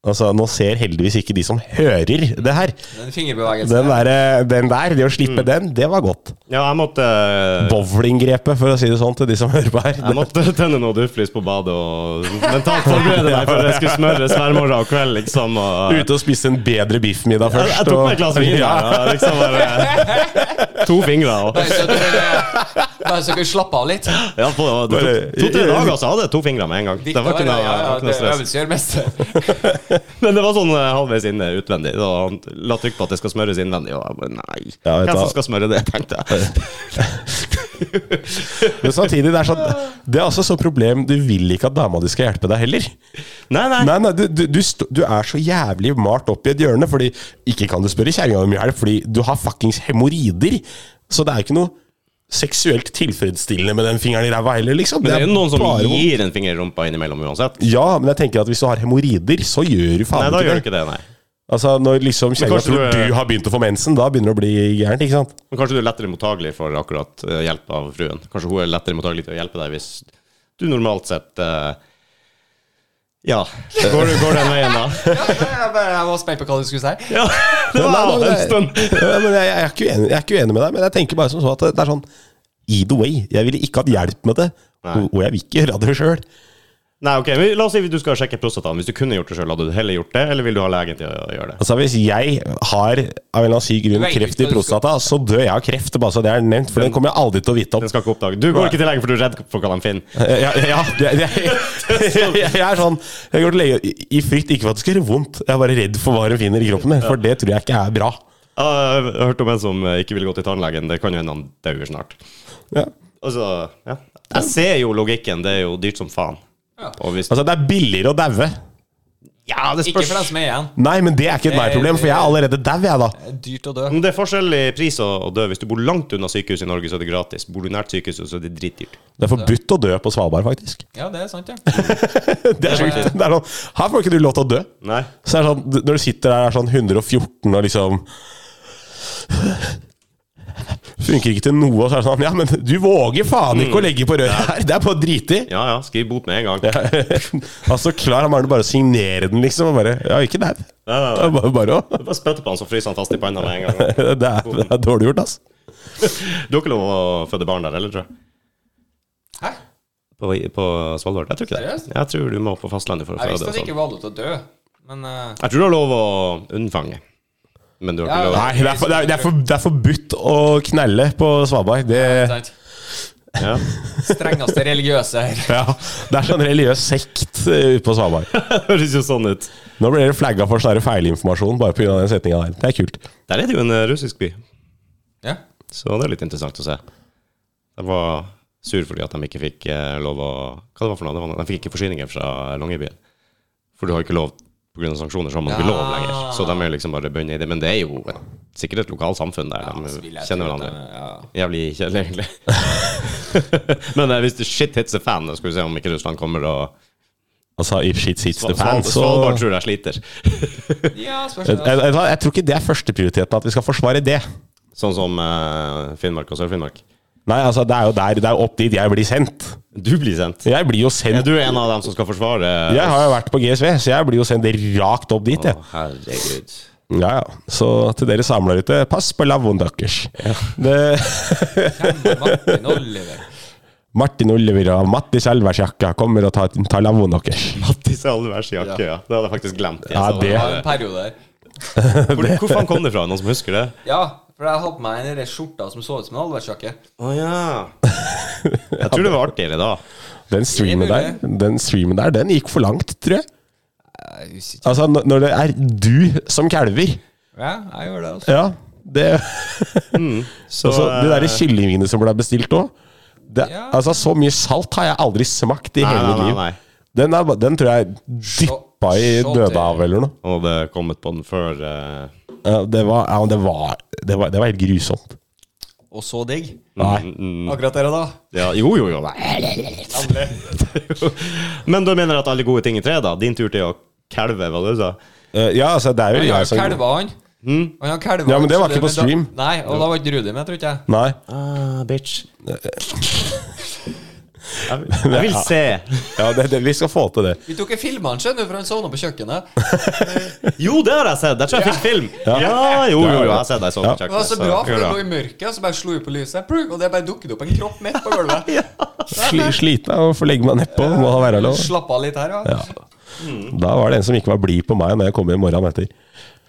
[SPEAKER 2] Altså, nå ser heldigvis ikke de som hører det her.
[SPEAKER 3] Ah, Den fingerbevegelsen.
[SPEAKER 2] Den der, den der det å
[SPEAKER 1] Mm.
[SPEAKER 2] slippe den, det var godt.
[SPEAKER 1] Ja, jeg måtte eh,
[SPEAKER 2] Bowlinggrepet, for å si det sånn, til de som hører på her.
[SPEAKER 1] Jeg måtte tenne noe duftlys på badet og mentalt forberede meg for jeg skulle smøres hver morgen og kveld, liksom. Og jeg,
[SPEAKER 2] Ute og spise en bedre biffmiddag først.
[SPEAKER 1] jeg tok
[SPEAKER 2] og-
[SPEAKER 1] meg et glass vin,
[SPEAKER 2] Ja.
[SPEAKER 1] ja. Liksom bare To fingre og
[SPEAKER 3] Nei, så det- Bare så dere slapper av litt.
[SPEAKER 1] Ja, på, det tok to-tre dager, så hadde jeg to fingre med en gang. Det var ikke noe,
[SPEAKER 3] ja, ja,
[SPEAKER 1] ikke noe
[SPEAKER 3] det er
[SPEAKER 1] stress.
[SPEAKER 3] øvelse gjør mest.
[SPEAKER 1] Men det var sånn eh, halvveis inne utvendig. Da han la trykk på at det skal smøres innvendig, og jeg bare nei.
[SPEAKER 2] Ja, vet
[SPEAKER 1] Hvem
[SPEAKER 2] du hva?
[SPEAKER 1] som skal smøre det, tenkte jeg.
[SPEAKER 2] Men samtidig, det er sånn Det er altså sånn problem Du vil ikke at dama di skal hjelpe deg heller.
[SPEAKER 1] Nei, nei.
[SPEAKER 2] Nei, nei, du, du, du, st- du er så jævlig malt opp i et hjørne, fordi ikke kan du spørre kjerringa om hjelp, fordi du har fuckings hemoroider. Så det er ikke noe seksuelt tilfredsstillende med den fingeren i ræva heller, liksom.
[SPEAKER 1] Men det er jo noen som
[SPEAKER 2] bare vondt.
[SPEAKER 1] gir en finger i rumpa innimellom uansett.
[SPEAKER 2] Ja, men jeg tenker at hvis du har hemoroider, så gjør du faen
[SPEAKER 1] Nei, da
[SPEAKER 2] ikke
[SPEAKER 1] gjør du
[SPEAKER 2] det.
[SPEAKER 1] ikke det, nei.
[SPEAKER 2] Altså, når liksom kjerringa
[SPEAKER 1] kanskje
[SPEAKER 2] tror
[SPEAKER 1] du
[SPEAKER 2] du,
[SPEAKER 1] er-
[SPEAKER 2] har begynt å få mensen, da begynner det å bli gærent, ikke sant?
[SPEAKER 1] Men kanskje du er lettere mottagelig for akkurat eh, hjelp av fruen. Kanskje hun er lettere mottagelig til å hjelpe deg hvis du normalt sett eh, Ja. Går, du- går den veien, da?
[SPEAKER 3] Jeg bare- jeg var spent på hva du skulle si.
[SPEAKER 1] Ja, det
[SPEAKER 2] Nei,
[SPEAKER 1] var
[SPEAKER 2] nei, sånn.
[SPEAKER 1] en
[SPEAKER 2] nei.
[SPEAKER 1] stund.
[SPEAKER 2] Ja, men jeg, jeg, er ikke uenig, jeg er ikke uenig med deg, men jeg tenker bare som så at det, det er sånn Either way. Jeg ville ikke hatt hjelp med det, og, og jeg vil ikke gjøre det sjøl.
[SPEAKER 1] Nei, ok, men La oss si du skal sjekke prostataen. Hvis du kunne gjort det sjøl, hadde du heller gjort det? Eller vil du ha legen til å gjøre det?
[SPEAKER 2] Altså Hvis jeg har av en eller annen syk grunn
[SPEAKER 3] Du vet
[SPEAKER 2] kreft
[SPEAKER 3] ikke hva
[SPEAKER 2] i
[SPEAKER 3] du skal-
[SPEAKER 2] prostata, så dør jeg av kreft. Bare så det er nevnt, for den kommer jeg aldri til å vite om.
[SPEAKER 1] Den skal ikke oppdage. Du går ikke til legen, for du er redd for hva de finner.
[SPEAKER 2] Eh, Ja, ja det, det, jeg, jeg er sånn Jeg går til lege i- i frykt ikke for at det skal gjøre vondt. Jeg er bare redd for hva hun finner i kroppen min, for det tror jeg ikke er bra.
[SPEAKER 1] Ja, Jeg har hørt om en som eh, ikke vil gå til tannlegen. Det kan jo hende han dauer snart.
[SPEAKER 2] Ja.
[SPEAKER 1] Altså, ja. Jeg ser jo logikken. Det er jo dyrt som faen.
[SPEAKER 3] Ja.
[SPEAKER 1] Og hvis,
[SPEAKER 2] Altså, det er billigere å daue.
[SPEAKER 1] ja, det
[SPEAKER 3] Ikke
[SPEAKER 1] spørs.
[SPEAKER 3] for dem som er igjen.
[SPEAKER 2] Nei, men det er ikke et meg-problem, for jeg er allerede dau, jeg, da.
[SPEAKER 3] Det er Dyrt å dø.
[SPEAKER 1] Men det er forskjell i pris å, å dø. Hvis du bor langt unna sykehus i Norge, så er det gratis. Bor du nært sykehuset, så er det dritdyrt.
[SPEAKER 2] Det er forbudt å dø på Svalbard, faktisk.
[SPEAKER 3] Ja, det er sant, ja.
[SPEAKER 2] Det er sjukt. Det er sånn, her får ikke du lov til å dø.
[SPEAKER 1] Nei.
[SPEAKER 2] Så er det sånn, du- når du sitter der er sånn 114 og liksom Funker ikke til noe, og så er det sånn Ja, men du våger faen ikke å legge på røret her! Det er bare å drite i!
[SPEAKER 1] Ja ja, skriv bot med en gang.
[SPEAKER 2] altså, klar han er det bare å signere den, liksom. Og bare Ja, ikke der. Det
[SPEAKER 1] Ja, ja, ja.
[SPEAKER 2] er bare, bare å
[SPEAKER 1] Bare spytte på han, så fryser han fast i panna med en gang.
[SPEAKER 2] det er, det er dårlig gjort, ass.
[SPEAKER 1] Du har ikke lov å føde barn der heller, tror jeg?
[SPEAKER 3] Hæ?
[SPEAKER 1] På, på Svalbard? Jeg tror ikke det.
[SPEAKER 3] Seriøst?
[SPEAKER 1] Jeg tror du må på fastlandet for å
[SPEAKER 3] Jeg
[SPEAKER 1] føde.
[SPEAKER 3] visste
[SPEAKER 1] og
[SPEAKER 3] at det
[SPEAKER 1] sånn.
[SPEAKER 3] ikke var lov til å dø, men eh,
[SPEAKER 1] Jeg tror du har lov å unnfange. Men du har ikke
[SPEAKER 3] Ja,
[SPEAKER 1] lov
[SPEAKER 2] Nei, det er, for, det, er, det, er for, det er forbudt å knelle på Svalbard. Det,
[SPEAKER 3] sant.
[SPEAKER 1] ja.
[SPEAKER 3] Strengeste religiøse her.
[SPEAKER 2] ja, det er sånn religiøs sekt eh, ute på Svalbard.
[SPEAKER 1] Det høres jo sånn ut.
[SPEAKER 2] Nå blir dere flagga for sånn her feilinformasjon bare pga. den setninga der. Det er kult.
[SPEAKER 1] Der er det jo en eh, russisk by,
[SPEAKER 3] Ja.
[SPEAKER 1] så det er litt interessant å se. Jeg var sur fordi at de ikke fikk eh, lov å Hva det var for noe? Det var noe. De fikk ikke forsyninger fra Longyearbyen. For du har ikke lov pga. sanksjoner, så har man ikke
[SPEAKER 3] Ja.
[SPEAKER 1] lov lenger. Så de er liksom bare bundet i det. Men det er jo et, sikkert et lokalt samfunn der
[SPEAKER 3] så
[SPEAKER 1] de
[SPEAKER 3] vil jeg
[SPEAKER 1] kjenner
[SPEAKER 3] tro at
[SPEAKER 1] hverandre.
[SPEAKER 3] de- ja.
[SPEAKER 1] Jævlig kjedelig, egentlig. Men eh, hvis det shit hits a fan, da skal vi se om ikke Russland kommer og
[SPEAKER 2] Altså, if shit hits the fan,
[SPEAKER 1] Sval-
[SPEAKER 2] så
[SPEAKER 1] Svalbard tror jeg sliter.
[SPEAKER 3] Ja,
[SPEAKER 2] jeg,
[SPEAKER 3] spørsmålet.
[SPEAKER 2] jeg, jeg, jeg tror ikke det er førsteprioriteten, at vi skal forsvare det.
[SPEAKER 1] Sånn som eh, Finnmark og Sør-Finnmark.
[SPEAKER 2] Nei, altså, det er jo der, det er jo opp dit jeg blir sendt.
[SPEAKER 1] Du blir sendt.
[SPEAKER 2] Jeg blir jo
[SPEAKER 1] Er
[SPEAKER 2] sendt
[SPEAKER 1] du en av dem som skal forsvare
[SPEAKER 2] Jeg har jo vært på GSV, så jeg blir jo sendt rakt opp dit, jeg.
[SPEAKER 1] Å, herregud.
[SPEAKER 2] Ja, ja. Så til dere samler ute, pass på lavvoen deres. Det-
[SPEAKER 3] Martin Oliver.
[SPEAKER 2] Martin Oliver og Mattis Elversjakka kommer og tar, tar lavvoen deres.
[SPEAKER 1] Mattis Alvers jakke, ja. Det hadde jeg faktisk glemt. Jeg
[SPEAKER 2] Ja,
[SPEAKER 1] sa
[SPEAKER 3] Det
[SPEAKER 2] det-
[SPEAKER 3] var en periode der.
[SPEAKER 1] Hvor, hvor faen kom det fra? Noen som husker det?
[SPEAKER 3] Ja, for jeg hadde på meg den der skjorta som så ut som en alverskjakke.
[SPEAKER 1] Å ja. Jeg tror det var artigere da.
[SPEAKER 2] Den streamen der, den streamen der, den gikk for langt, tror jeg.
[SPEAKER 3] Jeg er usikker.
[SPEAKER 2] Altså, når når det er du som kalver
[SPEAKER 3] Ja, jeg gjør det, altså.
[SPEAKER 2] Ja, det
[SPEAKER 1] Mm. Så,
[SPEAKER 2] altså, De der
[SPEAKER 1] eh,
[SPEAKER 2] kyllingene som ble bestilt òg
[SPEAKER 3] Ja.
[SPEAKER 2] Altså, så mye salt har jeg aldri smakt i
[SPEAKER 1] Nei,
[SPEAKER 2] hele mitt
[SPEAKER 1] nei, nei,
[SPEAKER 2] liv.
[SPEAKER 1] nei.
[SPEAKER 2] Den, er, ba- den tror jeg dyppa i
[SPEAKER 3] så
[SPEAKER 2] Dødehavet eller noe.
[SPEAKER 1] Han hadde kommet på den før eh,
[SPEAKER 2] Ja, Det var, ja, det var, det var, det var helt grusomt.
[SPEAKER 3] Og så digg. Mm.
[SPEAKER 2] Nei.
[SPEAKER 3] Akkurat der og da.
[SPEAKER 1] ja, Jo, jo, jo. Nei. Men du mener at alle gode ting er tre, da? Din tur til å kalve, hva du sa?
[SPEAKER 2] Eh, Ja, altså, det er jo
[SPEAKER 3] Han har
[SPEAKER 2] jeg
[SPEAKER 3] jo
[SPEAKER 2] som
[SPEAKER 3] kalva, han. Han har kalva,
[SPEAKER 2] Ja, men det var
[SPEAKER 3] så
[SPEAKER 2] ikke på
[SPEAKER 3] da-
[SPEAKER 2] stream.
[SPEAKER 3] Nei, og da var ikke Rudi med, tror ikke jeg.
[SPEAKER 2] Nei.
[SPEAKER 1] Ah, bitch. Jeg vil, jeg vil se.
[SPEAKER 2] Ja, det, det, vi skal få til det.
[SPEAKER 3] Vi tok en film han, skjønner du, for han sovna på kjøkkenet.
[SPEAKER 1] Jo, det har jeg sett! Jeg tror jeg fikk film. Ja, jo, jo, jo, jeg har sett deg sånn.
[SPEAKER 2] Ja.
[SPEAKER 1] kjekt,
[SPEAKER 3] Det var så
[SPEAKER 1] så
[SPEAKER 3] bra, for det
[SPEAKER 1] hurra.
[SPEAKER 3] lå i mørket, og så bare slo vi på lyset, plug, og det bare dukket opp en kropp midt på gulvet.
[SPEAKER 2] Sli, sliten av å få legge meg nedpå, må da være lov.
[SPEAKER 3] Slapp av litt her, ja.
[SPEAKER 2] Da var det en som ikke var blid på meg når jeg kom hjem morgenen etter.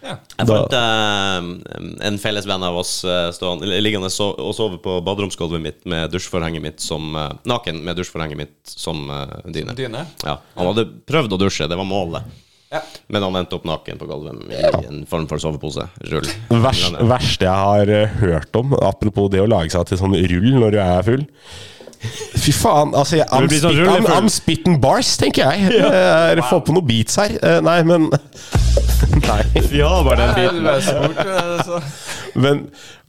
[SPEAKER 3] Ja.
[SPEAKER 1] Jeg
[SPEAKER 2] Da-
[SPEAKER 1] fant eh, en felles venn av oss eh, stående, eller liggende so og sove på baderomsgulvet mitt med dusjforhenget mitt som eh, Naken med dusjforhenget mitt som eh, dyne.
[SPEAKER 3] Dyne.
[SPEAKER 1] Ja. Han hadde prøvd å dusje, det var målet.
[SPEAKER 3] Ja.
[SPEAKER 1] Men han endte opp naken på gulvet i en form for sovepose. Rull.
[SPEAKER 2] Vers, verste jeg har eh, hørt om, apropos det å lage seg til sånn rull når du er full. Fy faen, altså jeg, I'm,
[SPEAKER 1] Du blir sånn
[SPEAKER 2] spit,
[SPEAKER 1] rull i
[SPEAKER 2] I'm,
[SPEAKER 1] full.
[SPEAKER 2] I'm spitting bars, tenker jeg. Eh, Få på noen beats her. Eh, Nei, men Nei.
[SPEAKER 1] Vi har bare den
[SPEAKER 3] Jeg
[SPEAKER 1] biten.
[SPEAKER 3] løser bort, eh, så.
[SPEAKER 2] Men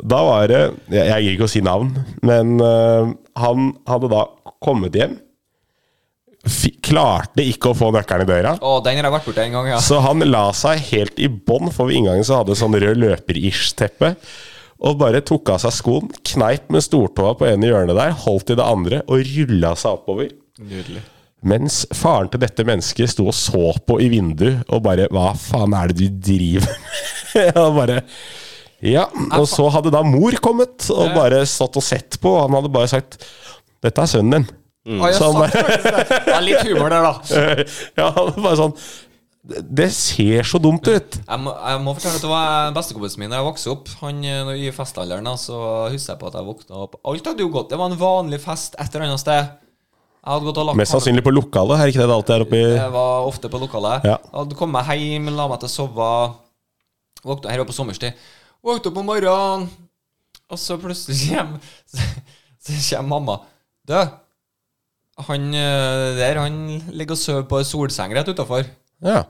[SPEAKER 2] da var det Jeg, jeg gir ikke å si navn, men eh, han hadde da kommet hjem. Fi- klarte ikke å få nøkkelen i døra.
[SPEAKER 3] Å, den har jeg vært borti en gang, ja.
[SPEAKER 2] Så han la seg helt i bånn, for ved inngangen så hadde sånn rød løper-ish-teppe. Og bare tok av seg skoen, kneip med stortåa på ene hjørnet der, holdt i det andre og rulla seg oppover.
[SPEAKER 3] Nydelig.
[SPEAKER 2] Mens faren til dette mennesket sto og så på i vinduet og bare Hva faen er det du driver med? og bare Ja. Og så hadde da mor kommet og bare stått og sett på, og han hadde bare sagt Dette er sønnen din.
[SPEAKER 3] Å, Ah, jeg
[SPEAKER 2] Så han
[SPEAKER 3] sa faktisk det. Det er litt humor der, da.
[SPEAKER 2] ja, han var bare sånn "Det- Det ser så dumt ut.
[SPEAKER 3] Jeg må, jeg må fortelle at det var bestekompisen min da jeg vokste opp. Han, eh, når- I festalderen da, så husker jeg på at jeg våkna opp Alt hadde jo gått. Det var en vanlig fest et eller annet sted. Jeg hadde gått og lagt
[SPEAKER 2] Mest sannsynlig på lokalet, er ikke det det alltid er oppi
[SPEAKER 3] Jeg var ofte på lokalet.
[SPEAKER 2] Ja.
[SPEAKER 3] Hadde kommet hjem, la meg til å sove. Våkna her var på sommerstid. Våkna opp om morgenen, og så plutselig kommer Så kommer mamma. Du, han eh, der, han ligger og sover på ei solseng rett utafor.
[SPEAKER 2] Ja.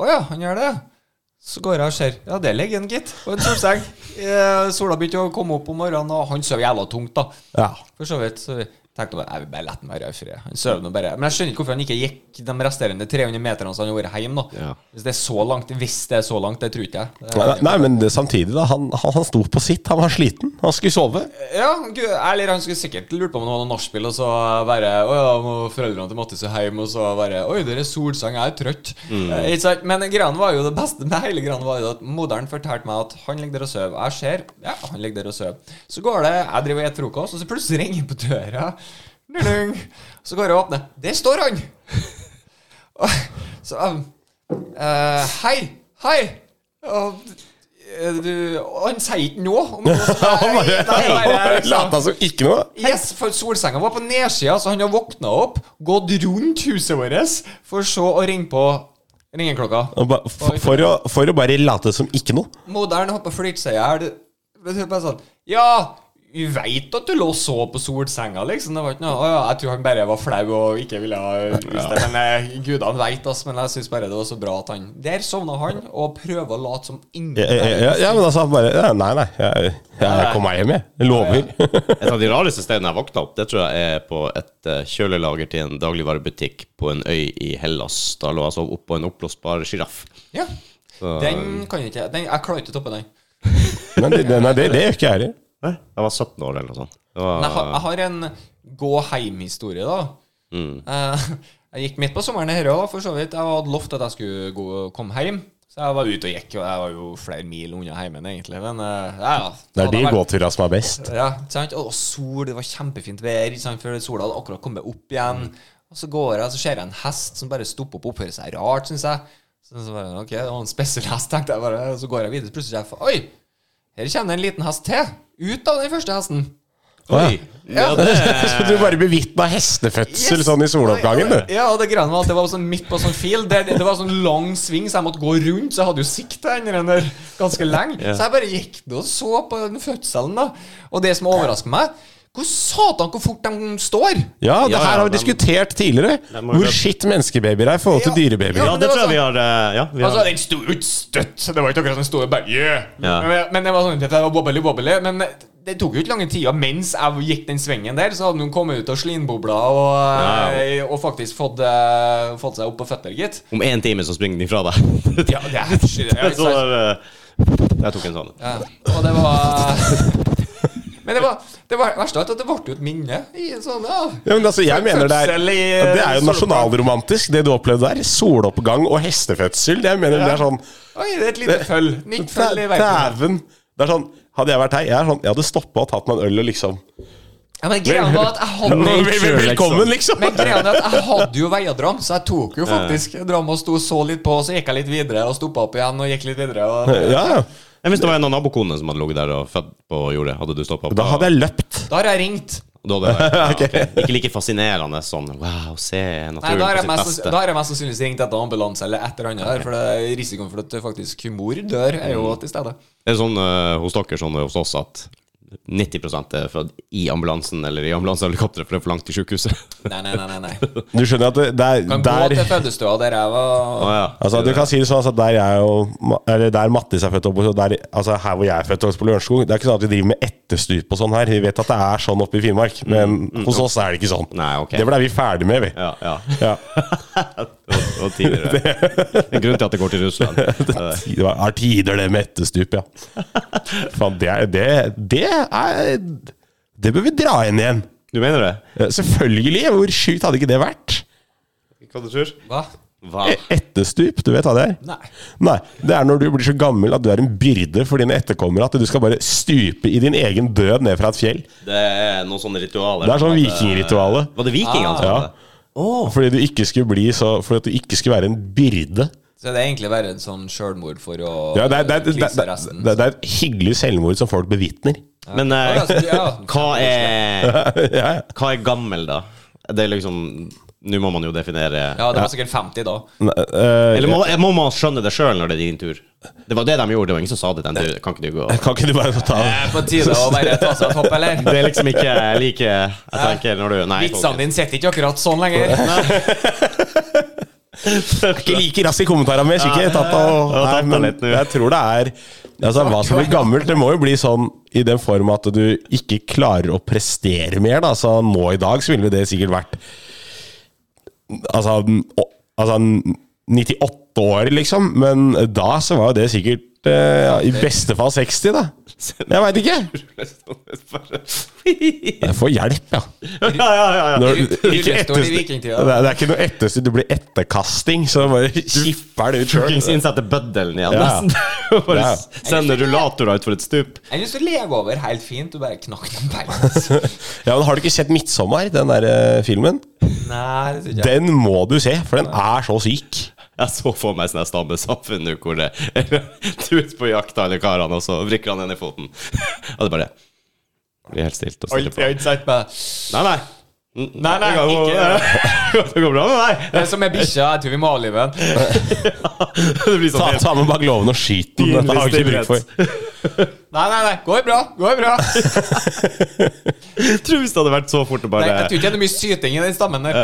[SPEAKER 3] Å ja, han gjør det? ja. Så går jeg og ser. Ja, der ligger han, gitt. På en solseng. Eh, Sola begynte å komme opp om morgenen, og han sover jævla tungt, da.
[SPEAKER 2] ja.
[SPEAKER 3] For så vidt. Så tenkte jeg bare, jeg vil bare la den være i fred. Han sover nå bare. Men jeg skjønner ikke hvorfor han ikke gikk de resterende 300 meterne som han har vært hjemme, da.
[SPEAKER 1] Ja.
[SPEAKER 3] Hvis det er så langt. Hvis det er så langt, det tror ikke jeg. Det
[SPEAKER 2] Nei, nei, men det, samtidig, da. Han, han, han sto på sitt. Han var sliten. Han skulle sove.
[SPEAKER 3] Ja, gud, eller han skulle sikkert lurt på om det var noe nachspiel, og så bare Å ja, må foreldrene til Mattis er hjemme, og så bare Oi, det er solsang, jeg er trøtt. Eh, Ikke sant? Men greia var jo det beste med hele greia var jo at moderen fortalte meg at han ligger der og sover. Jeg ser, ja, han ligger der og sover. Så går det, jeg driver og spiser frokost, og så plutselig ringer på døra. Ding-ding. Så går jeg og åpner. Der står han! Og- så um, eh, Hei! Hei! Og, eh, du, og han sier ikke noe. Om noe som-
[SPEAKER 2] Han
[SPEAKER 3] Nei,
[SPEAKER 2] bare,
[SPEAKER 3] nei, nei, nei, liksom.
[SPEAKER 2] lata som ikke noe.
[SPEAKER 3] Yes, for solsenga var på nedsida, så han har våkna opp, gått rundt huset vårt, for så å ringe på ringeklokka.
[SPEAKER 2] Han ba- For, for, å, for å bare late som ikke noe.
[SPEAKER 3] Moderen holdt på å flirte seg i hjel. Men hun bare sånn Ja, vi veit at du lå og så på solsenga, liksom. Det var ikke noe Å ja, jeg tror han bare var flau og ikke ville vise det. Men eh, gudene veit, ass. Men jeg syns bare det var så bra at han Der sovna han, og prøver å late som
[SPEAKER 2] Ja,
[SPEAKER 3] ingen
[SPEAKER 2] ja, ja, ja, men altså, han bare ja, Nei, nei. Jeg, jeg kom meg hjem, jeg. Jeg lover.
[SPEAKER 1] eh, Et av de rareste stedene jeg våkna opp, det tror jeg er på et eh, kjølelager til en dagligvarebutikk på en øy i Hellas. Da lå jeg og sov oppå en oppblåsbar sjiraff.
[SPEAKER 3] Ja. Den kan jeg ikke den, Jeg klarer ikke å toppe den.
[SPEAKER 2] Men det, det, nei, det, det gjør ikke jeg heller.
[SPEAKER 1] Hæ? Jeg var 17 år eller noe sånt. Det var,
[SPEAKER 3] Men jeg, har- jeg har en gå-heim-historie, da.
[SPEAKER 2] Mm.
[SPEAKER 3] Eh, jeg gikk midt på sommeren her òg, for så vidt. Jeg hadde lovt at jeg skulle gå, komme hjem. Så jeg var ute og gikk, og jeg var jo flere mil unna heimen, egentlig. Men eh, ja, ja.
[SPEAKER 2] Det er de
[SPEAKER 3] Hadde vært-
[SPEAKER 2] gåturene som er best.
[SPEAKER 3] ja, ikke sant? Og sol, det var kjempefint vær, ikke sant? for sola hadde akkurat kommet opp igjen. Og så går jeg, så ser jeg en hest som bare stopper opp og oppfører seg rart, syns jeg. Så, så bare, ok, det var en spesiell hest, tenkte jeg bare. Og så går jeg videre, plutselig ser jeg fa- Oi! Her kommer det en liten hest til! Ut av den første hesten.
[SPEAKER 1] Oi! Ja,
[SPEAKER 3] Ja.
[SPEAKER 1] det
[SPEAKER 2] Så du bare bevitna hestefødsel
[SPEAKER 3] Yes!
[SPEAKER 2] sånn i soloppgangen, du.
[SPEAKER 3] Ja, og det greia var at det var sånn midt på sånn field. Det, det var sånn lang sving, så jeg måtte gå rundt. Så jeg hadde jo sikt til den der ganske lenge. Så jeg bare gikk nå og så på den fødselen, da. Og det som overrasker meg, hvor satan hvor fort de står!
[SPEAKER 2] Ja, det
[SPEAKER 1] Ja, ja,
[SPEAKER 2] her har vi
[SPEAKER 1] dem-
[SPEAKER 2] diskutert tidligere.
[SPEAKER 1] Dem må jo
[SPEAKER 2] Hvor
[SPEAKER 1] løpe.
[SPEAKER 2] skitt menneskebabyer er i forhold til
[SPEAKER 3] Ja.
[SPEAKER 2] dyrebabyer.
[SPEAKER 1] ja, det tror jeg vi har eh, Ja, vi
[SPEAKER 3] Altså,
[SPEAKER 1] har
[SPEAKER 3] den sto ut støtt. så Det var ikke akkurat den store bare yeah.
[SPEAKER 1] Ja.
[SPEAKER 3] men, men det var sånn at det var wobbly, wobbly. Men det tok jo ikke lange tida mens jeg gikk den svingen der, så hadde noen kommet ut av slinbobla og,
[SPEAKER 1] Ja.
[SPEAKER 3] og faktisk fått, eh, fått seg opp på føtter, gitt.
[SPEAKER 1] Om én time så springer de fra deg.
[SPEAKER 3] Ja, det er
[SPEAKER 1] Det er sånn der, eh, Jeg tok en sånn.
[SPEAKER 3] Ja. Og det var Men det var det var verste av alt at det ble jo et minne i en sånn ja.
[SPEAKER 2] Ja, men altså, jeg mener det er,
[SPEAKER 3] Fødsel i, eh,
[SPEAKER 2] det er jo
[SPEAKER 3] soloppgang.
[SPEAKER 2] nasjonalromantisk, det du opplevde der. Soloppgang og hestefødsel. Det jeg mener det er sånn
[SPEAKER 3] Oi, det er et lite føll. Nytt føll i verden.
[SPEAKER 2] Dæven. Det er sånn, hadde jeg vært her, jeg, er sånn, jeg hadde stoppa og tatt meg en øl og liksom
[SPEAKER 3] Ja, men greia var at jeg hadde
[SPEAKER 2] Vel-
[SPEAKER 1] nature,
[SPEAKER 2] vel- Velkommen,
[SPEAKER 1] liksom.
[SPEAKER 2] liksom!
[SPEAKER 3] Men greia er at jeg hadde jo veiadram, så jeg tok jo faktisk dram og sto så litt på, og så gikk jeg litt videre, og stoppa opp igjen og gikk litt videre. Og
[SPEAKER 2] Ja, ja.
[SPEAKER 1] Hvis det var en av nabokonene som hadde ligget der og født på jordet, hadde du stoppa?
[SPEAKER 2] Da hadde jeg løpt.
[SPEAKER 3] da har jeg ringt.
[SPEAKER 1] Da hadde jeg, ja, ok. Ikke like fascinerende sånn Wow, se
[SPEAKER 3] Nei,
[SPEAKER 1] naturen
[SPEAKER 3] da har jeg
[SPEAKER 1] på
[SPEAKER 3] mest,
[SPEAKER 1] sitt beste.
[SPEAKER 3] da har jeg mest sannsynligvis ringt etter ambulanse eller et eller annet der, for det, risikoen for at faktisk mor dør, er
[SPEAKER 1] Mm.
[SPEAKER 3] jo til stede.
[SPEAKER 1] Det er sånn eh, hos dere sånn hos oss at 90 er født i ambulansen eller i ambulansehelikopteret, for det er for langt til sykehuset.
[SPEAKER 3] Nei, nei, nei. nei, nei.
[SPEAKER 2] Du skjønner at det, det
[SPEAKER 3] Kan
[SPEAKER 2] er
[SPEAKER 3] gå til
[SPEAKER 2] der
[SPEAKER 3] fødestua der
[SPEAKER 1] Å,
[SPEAKER 3] jeg var
[SPEAKER 1] ja.
[SPEAKER 2] Altså, du kan si det sånn altså, der jeg og, Ma- eller der Mattis er født opp, og der, altså, her hvor jeg er født opp på Lørenskog Det er ikke sånn at vi driver med etterstup og sånn her. Vi vet at det er sånn oppe i Finnmark, men
[SPEAKER 3] Mm,
[SPEAKER 2] hos oss er det ikke sånn.
[SPEAKER 1] Nei, ok.
[SPEAKER 2] Det blei vi ferdig med, vi.
[SPEAKER 1] Ja, ja.
[SPEAKER 2] Ja.
[SPEAKER 1] Og, og tidligere. Det er en grunn til at det går til Russland. Det er det.
[SPEAKER 2] Det var- er tider, det med etterstup, ja. Faen, det er Det, det er Det bør vi dra inn igjen.
[SPEAKER 1] Du mener det?
[SPEAKER 2] Eh, Selvfølgelig! Hvor sjukt hadde ikke det vært?
[SPEAKER 1] Hva du tror?
[SPEAKER 3] Hva?
[SPEAKER 1] Hva?
[SPEAKER 2] E- Etterstup, du vet hva det er?
[SPEAKER 3] Nei.
[SPEAKER 2] Nei, det er når du blir så gammel at du er en byrde for dine etterkommere. At du skal bare stupe i din egen død ned fra et fjell.
[SPEAKER 1] Det er noen sånne ritualer.
[SPEAKER 2] Det er sånn
[SPEAKER 1] At, eh,
[SPEAKER 2] vikingritualet.
[SPEAKER 1] Var det altså? vikingene som
[SPEAKER 2] Ja.
[SPEAKER 1] hadde det?
[SPEAKER 2] Fordi du ikke skulle bli så Fordi at du ikke skulle være en byrde.
[SPEAKER 3] Så det er egentlig bare en sånn sjølmord for å
[SPEAKER 2] Ja, det, er, det, er, det,
[SPEAKER 3] please
[SPEAKER 2] er,
[SPEAKER 3] resten.
[SPEAKER 2] det, er, det er et hyggelig selvmord som folk bevitner.
[SPEAKER 1] Men eh,
[SPEAKER 3] Ja, altså, ja.
[SPEAKER 1] hva, er,
[SPEAKER 2] ja, ja.
[SPEAKER 1] hva er gammel, da? Det er liksom Nå må man jo definere
[SPEAKER 3] Ja, det var sikkert 50 da.
[SPEAKER 2] Nei, eh,
[SPEAKER 1] Eller må, må man skjønne det sjøl når det er din tur? Det var det de gjorde. Det var ingen som sa det til dem. Du, Kan ikke du gå?
[SPEAKER 2] Kan ikke du bare få ta
[SPEAKER 3] Det er på tide å bare ta seg et hopp, eller?
[SPEAKER 1] Det er liksom ikke like Jeg tenker når du Nei.
[SPEAKER 3] Vitsene dine sitter ikke akkurat sånn lenger. Nei.
[SPEAKER 2] Ikke like rask i kommentarene mine, så ikke tatt av
[SPEAKER 1] Ja,
[SPEAKER 2] Nei,
[SPEAKER 1] tatt av
[SPEAKER 2] men
[SPEAKER 1] litt nå.
[SPEAKER 2] jeg tror det er Altså, hva som blir gammelt, det må jo bli sånn i den form at du ikke klarer å prestere mer, da. Så nå i dag så ville det sikkert vært Altså, n- å- altså n- 98 år, liksom. Men da så var jo det sikkert eh, ja, I beste fall 60, da. Jeg veit ikke.
[SPEAKER 1] folk-
[SPEAKER 2] Jeg får hjelp, ja.
[SPEAKER 1] ja, ja, ja, ja.
[SPEAKER 2] Når,
[SPEAKER 3] Ru-
[SPEAKER 2] ikke
[SPEAKER 3] rullestolen i
[SPEAKER 2] etterst- det,
[SPEAKER 3] vikingtida.
[SPEAKER 2] er, det er ikke noe etterstyr, du blir etterkasting, så bare kipper det ut sjøl.
[SPEAKER 1] Fuckings innsette bøddelen igjen,
[SPEAKER 2] Ja.
[SPEAKER 1] nesten. Bare
[SPEAKER 2] Ja.
[SPEAKER 1] sende rullatorer utfor et stup.
[SPEAKER 3] Jeg syns du lever over helt fint. Du bare knakk den beina.
[SPEAKER 2] Ja, men Har du ikke sett 'Midtsommer', den der eh, filmen?
[SPEAKER 3] Nei, det syns jeg.
[SPEAKER 2] Den må du se, for den er så syk.
[SPEAKER 1] Jeg så for meg sånn stammesamfunn nå, hvor det Du er ute på jakt etter karene, og så vrikker han en i foten. Og det bare Blir helt stilt og stille
[SPEAKER 3] Alt jeg har
[SPEAKER 1] på.
[SPEAKER 3] ikke sagt meg.
[SPEAKER 1] Nei, nei.
[SPEAKER 3] Nei, nei,
[SPEAKER 1] det går, det går bra med meg.
[SPEAKER 3] Det er som er bikkja. Jeg tror vi må avlive den.
[SPEAKER 1] Det blir sånn
[SPEAKER 2] Ta,
[SPEAKER 1] helt
[SPEAKER 2] ta med bak låven og skyt den. Den har du ikke bruk for.
[SPEAKER 3] Nei, nei, nei. Går bra. Går bra. Jeg,
[SPEAKER 1] Jeg tror hvis det hadde vært så fort å bare
[SPEAKER 3] jeg tror ikke det er mye syting i den stammen der.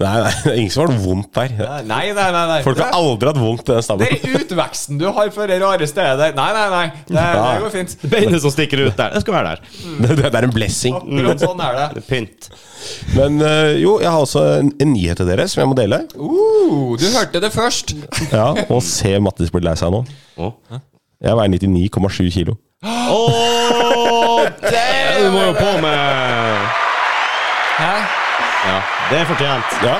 [SPEAKER 2] Nei, nei, det er ingen som har det vondt der.
[SPEAKER 3] Nei, nei, nei. nei.
[SPEAKER 2] Folk har aldri hatt vondt i den
[SPEAKER 3] Det
[SPEAKER 2] stammen.
[SPEAKER 3] er utveksten du har for det rare stedet der. Nei, nei, nei. Det, det går fint.
[SPEAKER 1] Beinet som stikker ut der. Det skal være der.
[SPEAKER 2] Det, det er en blessing.
[SPEAKER 3] Akkurat sånn er det.
[SPEAKER 1] Det er pynt.
[SPEAKER 2] Men eh, jo, jeg har også en, en nyhet til dere som jeg må dele.
[SPEAKER 3] Uh, du hørte det først.
[SPEAKER 2] Ja, Og se Mattis blir lei seg nå.
[SPEAKER 1] Å,
[SPEAKER 2] Jeg veier 99,7 kilo.
[SPEAKER 1] Åh, damn! Du må jo på med
[SPEAKER 3] Hæ?
[SPEAKER 1] Ja, det er fortjent.
[SPEAKER 2] Ja,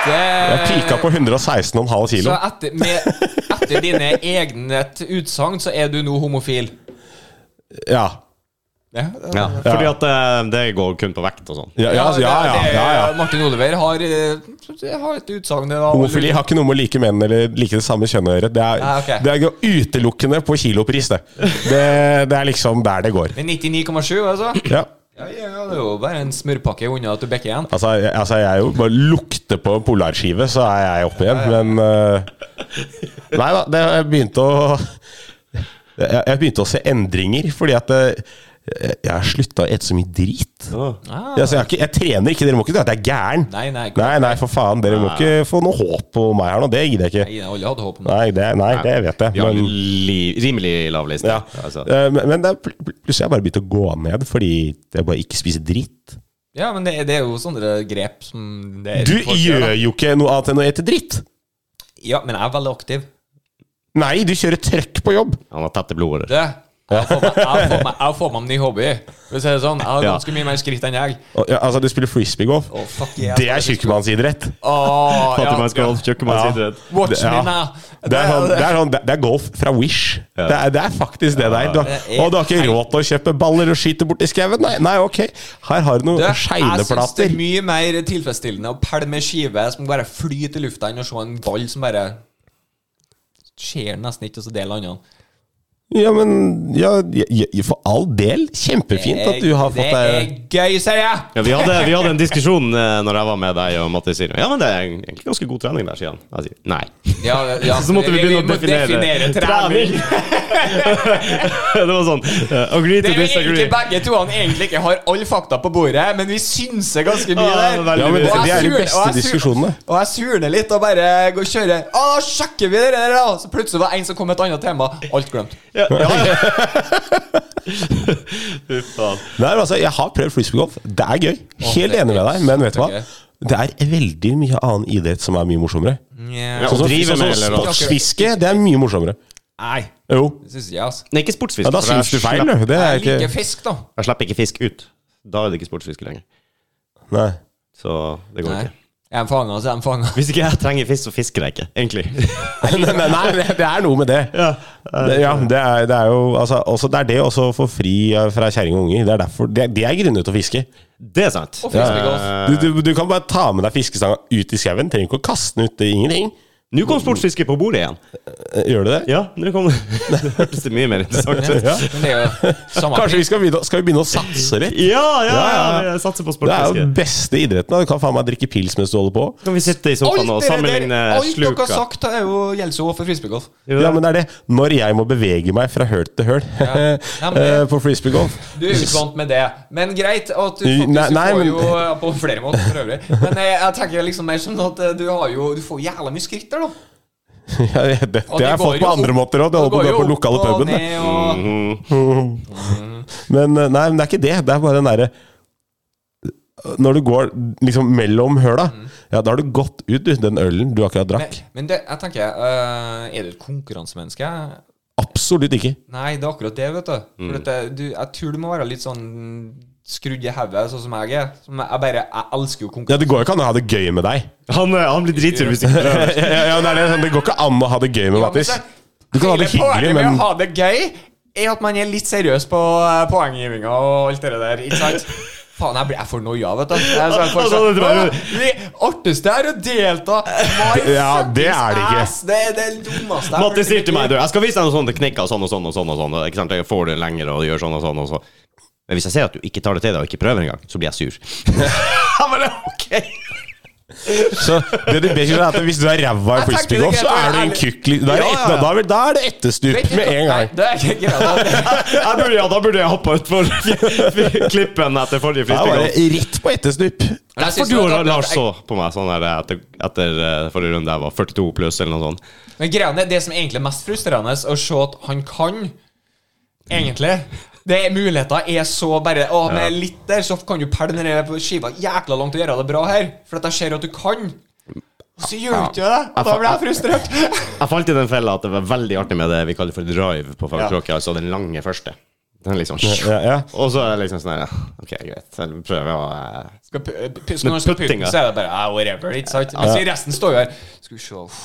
[SPEAKER 3] Det
[SPEAKER 2] Jeg pika på 116,5
[SPEAKER 3] Eh. Så
[SPEAKER 2] kilo.
[SPEAKER 3] etter, med, etter dine egne t- utsagn, så er du nå homofil?
[SPEAKER 2] Ja.
[SPEAKER 3] Ja,
[SPEAKER 1] Ja, fordi at eh, det går kun på vekt og sånn.
[SPEAKER 2] Ja, ja, ja. ja,
[SPEAKER 3] det-
[SPEAKER 2] ja, ja.
[SPEAKER 3] Martin Oliver har, eh, har et utsagn der. da.
[SPEAKER 2] Homofili har ikke noe med å like menn eller like det samme kjønn å gjøre. Det
[SPEAKER 3] Nei,
[SPEAKER 2] er,
[SPEAKER 3] Ah, ok.
[SPEAKER 2] det er jo utelukkende på kilopris, det. det. Det er liksom der det går.
[SPEAKER 3] Men 99,7, altså?
[SPEAKER 2] Ja.
[SPEAKER 3] Ja, ja, ja, det er jo bare en smørpakke unna at du bekker igjen.
[SPEAKER 2] Altså, jeg, altså, jeg er jo bare lukter på en polarskive, så er jeg oppe igjen, men eh, Nei da, det, jeg begynte å jeg, jeg begynte å se endringer, fordi at eh, jeg, jeg har slutta å ete så mye drit.
[SPEAKER 3] Ah.
[SPEAKER 2] Altså, jeg, har ikke, jeg trener ikke, dere må ikke tro at jeg er gæren.
[SPEAKER 3] Nei, nei,
[SPEAKER 2] nei, nei, for faen. Dere
[SPEAKER 3] Ah.
[SPEAKER 2] må ikke få noe håp på meg her nå. Det gidder jeg ikke.
[SPEAKER 3] Nei, jeg alle hadde håp om det.
[SPEAKER 2] Nei, det, nei, det vet jeg.
[SPEAKER 1] Vi har
[SPEAKER 2] men-
[SPEAKER 1] en li, rimelig lav liste.
[SPEAKER 2] Ja.
[SPEAKER 1] Altså.
[SPEAKER 2] Eh, Men, men det er pl- pl- plutselig har jeg bare begynt å gå ned fordi jeg bare ikke spiser dritt.
[SPEAKER 3] Ja, men det, det er jo sånne grep som det er
[SPEAKER 2] Du
[SPEAKER 3] folk
[SPEAKER 2] gjør
[SPEAKER 3] da.
[SPEAKER 2] jo ikke noe annet enn å ete dritt!
[SPEAKER 3] Ja, men jeg er veldig aktiv.
[SPEAKER 2] Nei, du kjører trøkk på jobb!
[SPEAKER 1] Han har tette blodårer.
[SPEAKER 3] Du, jeg Jeg får meg- jeg får meg- jeg får meg en ny hobby. Hvis jeg, er sånn, jeg har
[SPEAKER 1] Ja.
[SPEAKER 3] ganske mye mer skritt enn jeg.
[SPEAKER 2] Og, ja, altså, du spiller frisbeegolf.
[SPEAKER 3] Å, fuck yeah.
[SPEAKER 2] Det er tjukkmannsidrett.
[SPEAKER 3] Åh, ja.
[SPEAKER 1] Fattigmannsgolf, tjukkmannsidrett.
[SPEAKER 3] Watch
[SPEAKER 2] Det- ja.
[SPEAKER 3] me now.
[SPEAKER 2] Det er, sånn, det, er sånn, det er golf fra Wish. Det, er, det er faktisk det der. Du,
[SPEAKER 3] Det er-
[SPEAKER 2] og du har ikke råd til å kjøpe baller og skyte borti skauen? Nei, nei, ok. Her har du
[SPEAKER 3] Du,
[SPEAKER 2] noen
[SPEAKER 3] Jeg syns det
[SPEAKER 2] skeineplater.
[SPEAKER 3] er mye mer tilfredsstillende å pælme ei skive som bare flyter i lufta, enn å se en ball som bare skjer nesten ikke, og så deler andre.
[SPEAKER 2] Ja, men ja, ja, ja, For all del, kjempefint at du har fått deg
[SPEAKER 3] Det er gøy, sier jeg!
[SPEAKER 1] Ja, vi, hadde, vi hadde en diskusjon eh, når jeg var med deg og Mattis. sier, Ja, men det er egentlig ganske god trening der, sier han. Jeg sier nei.
[SPEAKER 3] Ja, ja,
[SPEAKER 1] Så måtte vi begynne å
[SPEAKER 3] må
[SPEAKER 1] definere,
[SPEAKER 3] trening.
[SPEAKER 1] det var sånn eh, Agree
[SPEAKER 3] Det
[SPEAKER 1] to
[SPEAKER 3] er jo egentlig
[SPEAKER 1] disagree.
[SPEAKER 3] begge to han egentlig ikke har alle fakta på bordet, men vi synser ganske mye
[SPEAKER 1] Ja,
[SPEAKER 3] der.
[SPEAKER 1] det er veldig
[SPEAKER 2] Ja, men
[SPEAKER 1] mye.
[SPEAKER 2] det,
[SPEAKER 1] Og
[SPEAKER 2] det er de
[SPEAKER 3] surner-
[SPEAKER 2] beste
[SPEAKER 3] og jeg surner-
[SPEAKER 2] diskusjonene.
[SPEAKER 3] Og jeg surner litt og bare går og kjører. Å, da sjekker vi det der, da! Så plutselig var det en som kom med et annet tema. Alt glemt.
[SPEAKER 1] Ja, ja. Fy faen.
[SPEAKER 2] Nei, men altså, Jeg har prøvd frisbeegolf. Det er gøy. Helt
[SPEAKER 3] det er
[SPEAKER 2] enig med deg, men vet du hva?
[SPEAKER 3] kjempegøy.
[SPEAKER 2] Det er veldig mye annen idrett som er mye morsommere.
[SPEAKER 1] Ja, å
[SPEAKER 3] Nja.
[SPEAKER 2] Sånn som
[SPEAKER 1] drive
[SPEAKER 2] sånn
[SPEAKER 1] med,
[SPEAKER 2] som
[SPEAKER 1] eller hva?
[SPEAKER 2] sportsfiske, det er mye morsommere.
[SPEAKER 3] Nei,
[SPEAKER 2] Jo.
[SPEAKER 3] det syns jeg, altså.
[SPEAKER 1] Nei, ikke sportsfisk.
[SPEAKER 2] Ja, da
[SPEAKER 1] for jeg
[SPEAKER 2] syns du feil,
[SPEAKER 1] slapp-
[SPEAKER 2] du. Det er
[SPEAKER 3] Jeg liker
[SPEAKER 2] ikke
[SPEAKER 3] fisk, da.
[SPEAKER 1] Jeg slipper ikke fisk ut. Da er det ikke sportsfiske lenger.
[SPEAKER 2] Nei.
[SPEAKER 1] Så det går
[SPEAKER 3] Nei.
[SPEAKER 1] ikke.
[SPEAKER 3] Er de fanga, så er de fanga.
[SPEAKER 1] Hvis ikke jeg trenger fisk, så fisker jeg ikke, egentlig.
[SPEAKER 2] Nei, nei, nei, det- det er noe med det.
[SPEAKER 1] ja.
[SPEAKER 2] Det, ja, det er, det er jo altså, også, Det er det også å få fri eh, fra kjerring og unger. Det er, derfor, det, det er grunner til å fiske.
[SPEAKER 1] Det er sant.
[SPEAKER 3] Og fiskegolf.
[SPEAKER 2] Du, du, du kan bare ta med deg fiskestanga ut i skauen. Trenger ikke å kaste den ut. Det er ingenting.
[SPEAKER 1] Nå kom sportsfiske på bordet igjen.
[SPEAKER 2] Eh, Gjør du det?
[SPEAKER 1] Ja, nå kom det. hørtes det mye mer interessant ut.
[SPEAKER 2] Ja.
[SPEAKER 3] Men det er jo samme
[SPEAKER 2] Kanskje vi skal begynne, skal vi begynne å satse litt?
[SPEAKER 1] Ja, ja, ja.
[SPEAKER 2] Ja, ja.
[SPEAKER 1] Jeg satser på
[SPEAKER 2] Det er jo
[SPEAKER 1] sportsfiske.
[SPEAKER 2] den beste idretten. da. Du kan faen meg drikke pils mens du holder på.
[SPEAKER 1] Kan vi sitte i sofaen og
[SPEAKER 3] Alt dere
[SPEAKER 1] sammenligne
[SPEAKER 3] der, alt dere
[SPEAKER 1] sluka?
[SPEAKER 3] har sagt, er jo gjelder jo for frisbeegolf.
[SPEAKER 1] Jo,
[SPEAKER 2] Ja, men det er det. Når jeg må bevege meg fra høl til høl
[SPEAKER 3] Ja, men det-
[SPEAKER 2] eh, på frisbeegolf
[SPEAKER 3] Du er jo ikke vant med det, men greit. At du
[SPEAKER 2] Nei,
[SPEAKER 3] faktisk
[SPEAKER 2] nei,
[SPEAKER 3] får
[SPEAKER 2] men-
[SPEAKER 3] jo eh, På flere måter, for øvrig. Men jeg, jeg tenker liksom mer sånn at eh, du har jo Du får jævla mye skritt der, da.
[SPEAKER 2] ja, det- Det
[SPEAKER 3] Og
[SPEAKER 2] har
[SPEAKER 3] det
[SPEAKER 2] jeg
[SPEAKER 3] går
[SPEAKER 2] fått
[SPEAKER 3] jo
[SPEAKER 2] på andre
[SPEAKER 3] opp-
[SPEAKER 2] måter òg. Det holder på å gå på den lokale puben. Mm, det.
[SPEAKER 3] ned og
[SPEAKER 1] Mm.
[SPEAKER 2] Men eh, nei, men det er ikke det. Det er bare den derre eh, Når du går liksom mellom høla,
[SPEAKER 3] Mm.
[SPEAKER 2] ja, da har du gått ut du, den ølen du akkurat drakk.
[SPEAKER 3] Men, men det, jeg tenker eh, Er du et konkurransemenneske?
[SPEAKER 2] Absolutt ikke.
[SPEAKER 3] Nei, det er akkurat det, vet du.
[SPEAKER 2] Mm.
[SPEAKER 3] For at det- du jeg tror du må være litt sånn skrudd i hodet, sånn som jeg er. Som jeg bare Jeg elsker jo
[SPEAKER 2] Ja,
[SPEAKER 3] konkurranse.
[SPEAKER 2] Det går jo ikke an å ha det gøy med deg.
[SPEAKER 1] Han, eh, han blir dritsur hvis ikke
[SPEAKER 2] ja, ja, det, er det, sånn, det går ikke an å ha det gøy med Mattis. Du kan ha det hyggelig,
[SPEAKER 3] men Hele poenget med
[SPEAKER 2] men
[SPEAKER 3] å ha det gøy er at man er litt seriøs på eh, poenggivinga og alt det der, ikke sant? Faen, jeg blir jeg får noia, vet du. Jeg, så jeg får
[SPEAKER 1] Altså,
[SPEAKER 3] sånn,
[SPEAKER 1] det tror jeg-
[SPEAKER 3] «Åh, det artigste er å delta! My
[SPEAKER 2] Ja, det er det ikke.
[SPEAKER 3] fuckings ass, Det er det dummeste jeg
[SPEAKER 1] Mattis
[SPEAKER 3] har hørt i
[SPEAKER 1] sier til
[SPEAKER 3] mitt
[SPEAKER 1] meg
[SPEAKER 3] liv.
[SPEAKER 1] du, jeg skal vise deg noe sånt, det knekker og sånn og sånn og sånn. og sånn og ikke sant? Jeg får det lenger og gjør sånn og sånn. og sånn. Men hvis jeg ser at du ikke tar det til deg og ikke prøver engang, så blir jeg sur. Jeg bare, ok
[SPEAKER 2] så, det du ber om er at hvis du er ræva i
[SPEAKER 3] Jeg tenker det er
[SPEAKER 2] frisbeegolf,
[SPEAKER 3] greit
[SPEAKER 2] så
[SPEAKER 3] å være
[SPEAKER 2] er du en
[SPEAKER 3] ærlig.
[SPEAKER 2] kukk. Da er
[SPEAKER 3] Ja,
[SPEAKER 2] det,
[SPEAKER 3] ja.
[SPEAKER 2] et, da, er det- da er det etterstup med en
[SPEAKER 3] Nei,
[SPEAKER 2] gang.
[SPEAKER 3] Det er ikke greit.
[SPEAKER 1] jeg burde, ja, da burde jeg hoppa utfor klippen etter forrige
[SPEAKER 2] Da er
[SPEAKER 1] frisbeegolf.
[SPEAKER 2] det rett på etterstup.
[SPEAKER 3] Jeg
[SPEAKER 1] Derfor
[SPEAKER 3] synes
[SPEAKER 1] du
[SPEAKER 3] det
[SPEAKER 1] og
[SPEAKER 3] var at-
[SPEAKER 1] Lars så på meg sånn her etter, etter eh, forrige runde jeg var 42 pluss eller noe sånt.
[SPEAKER 3] Men greiene, det som egentlig er mest frustrerende, er å se at han kan, egentlig det er Muligheter er så bare Å, med litt der, så kan du pælme den der på skiva jækla langt og gjøre det bra her. For at jeg ser at du kan. Og så gjør du ikke det. Og da blir jeg frustrert.
[SPEAKER 1] Jeg falt i den fella at det var veldig artig med det vi kaller for drive på fagspråket, altså den lange første. Den liksom
[SPEAKER 2] Ja, ja.
[SPEAKER 1] Og så er det liksom sånn her, ja, OK, greit. Jeg prøver å eh,
[SPEAKER 3] Skal pu- pu- skal man
[SPEAKER 1] Men
[SPEAKER 3] skal putte,
[SPEAKER 1] puttinga.
[SPEAKER 3] så er det bare ah, whatever. Ikke sant? Men så resten står jo her. Skal vi se uff.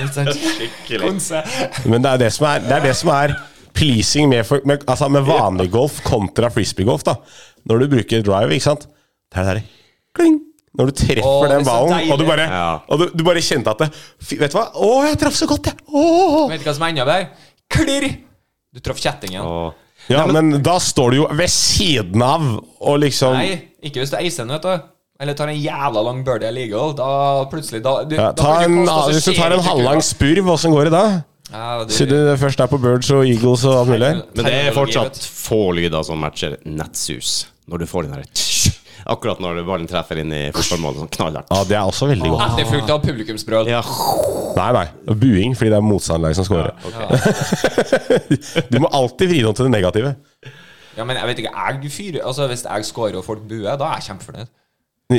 [SPEAKER 3] Ikke sant? Konse.
[SPEAKER 2] Men det er det som er, det er, det som er pleasing med, for- med, altså med vanlig golf kontra frisbeegolf. da Når du bruker drive, ikke sant. Det er det der, kling Når du treffer
[SPEAKER 3] Åh, det er
[SPEAKER 2] den
[SPEAKER 3] så
[SPEAKER 2] ballen,
[SPEAKER 3] deilig.
[SPEAKER 2] og du bare,
[SPEAKER 1] Ja.
[SPEAKER 2] og du, du bare kjente at det, fy, Vet du hva? Å, jeg traff så godt, jeg! Åh.
[SPEAKER 3] Vet du hva som er enda bedre? Klirr! Du traff kjettingen.
[SPEAKER 1] og-
[SPEAKER 2] Ja, men da står du jo ved siden av og liksom
[SPEAKER 3] Nei, ikke hvis du eiser den, vet du. Eller tar en jævla lang birdie legal. Da plutselig da, du,
[SPEAKER 2] ja,
[SPEAKER 3] da
[SPEAKER 2] ta
[SPEAKER 3] kan du
[SPEAKER 2] en,
[SPEAKER 3] kaste, så
[SPEAKER 2] Hvis du
[SPEAKER 3] altså, skjer
[SPEAKER 2] tar en
[SPEAKER 3] ikke kula.
[SPEAKER 2] halvlang spurv, åssen går det da?
[SPEAKER 3] Ja, du-
[SPEAKER 2] Siden du først er på birds og eagles og alt mulig?
[SPEAKER 1] Men det er
[SPEAKER 3] Terminologi,
[SPEAKER 1] fortsatt
[SPEAKER 3] vet
[SPEAKER 1] få lyder som matcher nettsus, når du får den derre Akkurat når ballen treffer inn i fotballmålet, sånn knallhardt.
[SPEAKER 2] Ja, det er også veldig
[SPEAKER 3] du.
[SPEAKER 2] godt.
[SPEAKER 3] Etterfulgt av publikumsbrøl.
[SPEAKER 1] Ja.
[SPEAKER 2] Nei, nei. Buing, fordi det er motstanderlaget som scorer. du må alltid vri noe til det negative.
[SPEAKER 3] Ja, men jeg vet ikke, jeg fyrer Altså, Hvis jeg scorer og folk buer, da er jeg kjempefornøyd.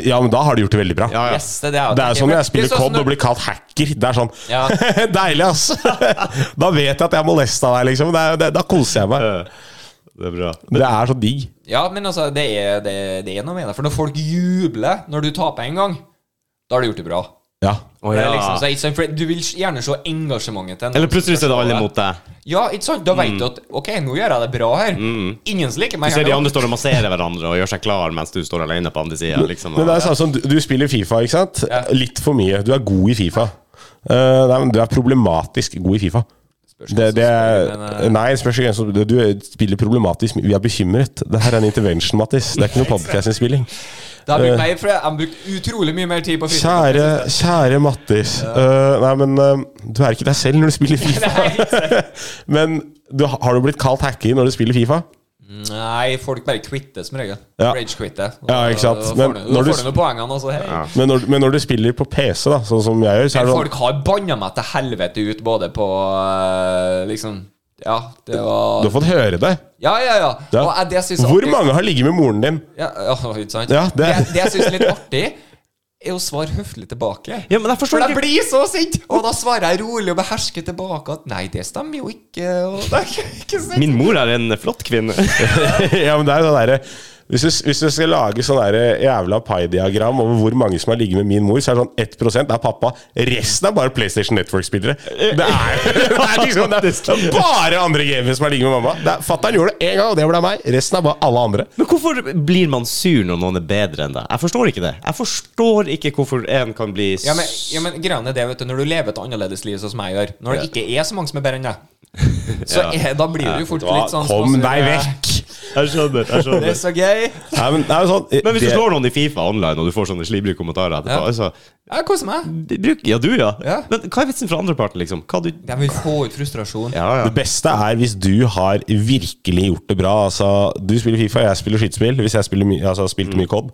[SPEAKER 2] Ja, men da har du gjort det veldig bra.
[SPEAKER 1] Ja, ja.
[SPEAKER 3] Yes, det, er det, jeg har
[SPEAKER 2] Det er
[SPEAKER 3] tenkt.
[SPEAKER 2] jo som når jeg
[SPEAKER 3] Det
[SPEAKER 2] spiller
[SPEAKER 3] er sånn
[SPEAKER 2] COD
[SPEAKER 3] når-
[SPEAKER 2] og blir kalt hacker. Det er sånn
[SPEAKER 3] Ja.
[SPEAKER 2] Deilig, ass! da vet jeg at jeg har molesta deg, liksom. Det er, det, da koser jeg meg.
[SPEAKER 1] Det er bra.
[SPEAKER 2] Det er så digg.
[SPEAKER 3] Ja, men altså, det er, det, det er noe med det. For når folk jubler når du taper en gang, da har du gjort det bra.
[SPEAKER 2] Ja.
[SPEAKER 1] Å,
[SPEAKER 3] Det
[SPEAKER 1] ja.
[SPEAKER 3] er liksom, så, ikke sant, for du vil gjerne se engasjementet til en
[SPEAKER 1] Eller plutselig så er det alle mot deg.
[SPEAKER 3] Ja, ikke sant? Da vet du at OK, nå gjør jeg det bra her. Ingen som liker meg
[SPEAKER 1] Du ser de
[SPEAKER 3] her nå.
[SPEAKER 1] andre står og masserer hverandre og gjør seg klar mens du står alene på andre sida. Liksom.
[SPEAKER 2] Men det er sånn som du, du spiller Fifa, ikke sant?
[SPEAKER 3] Ja.
[SPEAKER 2] Litt for mye. Du er god i Fifa. Eh, nei, men du er problematisk god i Fifa.
[SPEAKER 3] Spørs
[SPEAKER 2] Det,
[SPEAKER 3] hvem som
[SPEAKER 2] det er,
[SPEAKER 3] spiller, men, eh,
[SPEAKER 2] nei, spørs ikke hvem som Du spiller problematisk. Vi er bekymret. Det her er en intervention, Mattis. Det er ikke noe podcastinnspilling
[SPEAKER 3] Det har brukt meg, for jeg har brukt utrolig mye mer tid på fritiden.
[SPEAKER 2] Kjære, kjære Mattis. Eh, nei, men eh, du er ikke deg selv når du spiller Fifa. men du, har du blitt kalt hacker når du spiller Fifa?
[SPEAKER 3] Nei, folk bare quitter som regel.
[SPEAKER 2] Ja.
[SPEAKER 3] Rage-quitter.
[SPEAKER 2] Ja, ikke sant. Men
[SPEAKER 3] Men
[SPEAKER 2] når
[SPEAKER 3] når
[SPEAKER 2] du-
[SPEAKER 3] får du noen poengene, altså. Hei.
[SPEAKER 2] Men når, men når du spiller på PC, da, sånn som jeg gjør, så er det sånn
[SPEAKER 3] Folk har banna meg til helvete ut, både på eh, liksom Ja, det var
[SPEAKER 2] Du har fått høre det.
[SPEAKER 3] Ja, ja, ja.
[SPEAKER 2] Ja.
[SPEAKER 3] Og jeg- det synes jeg
[SPEAKER 2] Hvor
[SPEAKER 3] alltid-
[SPEAKER 2] mange har ligget med moren din?
[SPEAKER 3] Ja, ja ikke sant?
[SPEAKER 2] Ja,
[SPEAKER 3] det.
[SPEAKER 2] det-
[SPEAKER 3] Det, jeg syns er litt artig, er å svare høflig tilbake.
[SPEAKER 1] Ja, men jeg forstår
[SPEAKER 3] For jeg
[SPEAKER 1] ikke-
[SPEAKER 3] blir så sint! Og da svarer jeg rolig og behersker tilbake at nei, det stemmer jo ikke. Og det er ikke sant.
[SPEAKER 1] Min mor er en flott kvinne.
[SPEAKER 2] ja, men det er jo sånn derre hvis, du- hvis du skal lage sånn derre jævla pai-diagram over hvor mange som har ligget med min mor, så er det sånn 1 er pappa. Resten er bare PlayStation Network-spillere. Det, er- det er liksom det er bare andre gamere som har ligget med mamma. Det er- Fattern gjorde det én gang, og det ble meg. Resten er bare alle andre.
[SPEAKER 1] Men hvorfor blir man sur når noen er bedre enn deg? Jeg forstår ikke det. Jeg forstår ikke hvorfor en kan bli s-
[SPEAKER 3] Ja, men, ja, men greia er det, vet du, når du lever et annerledes liv sånn som jeg gjør, når det ikke er så mange som er bedre enn deg, så er, da blir du jo fort litt sånn
[SPEAKER 2] Kom
[SPEAKER 3] småsur.
[SPEAKER 2] deg vekk!
[SPEAKER 1] Jeg skjønner. jeg
[SPEAKER 3] Det er
[SPEAKER 1] skjønner
[SPEAKER 3] så gøy.
[SPEAKER 2] Nei, men, det er jo sånn,
[SPEAKER 1] Men hvis
[SPEAKER 2] det-
[SPEAKER 1] du slår noen i Fifa online, og du får sånne slibrige kommentarer etterpå
[SPEAKER 3] Ja.
[SPEAKER 1] altså,
[SPEAKER 3] Jeg koser meg.
[SPEAKER 1] de bruk, Ja, du, ja.
[SPEAKER 3] Ja.
[SPEAKER 1] Men hva er vitsen fra andreparten, liksom? Hva du
[SPEAKER 3] De vil få ut frustrasjon.
[SPEAKER 1] Ja, ja.
[SPEAKER 2] Det beste er hvis du har virkelig gjort det bra. Altså, du spiller Fifa, jeg spiller skytespill. Hvis jeg spiller my altså,
[SPEAKER 3] Mm.
[SPEAKER 2] spilte mye COD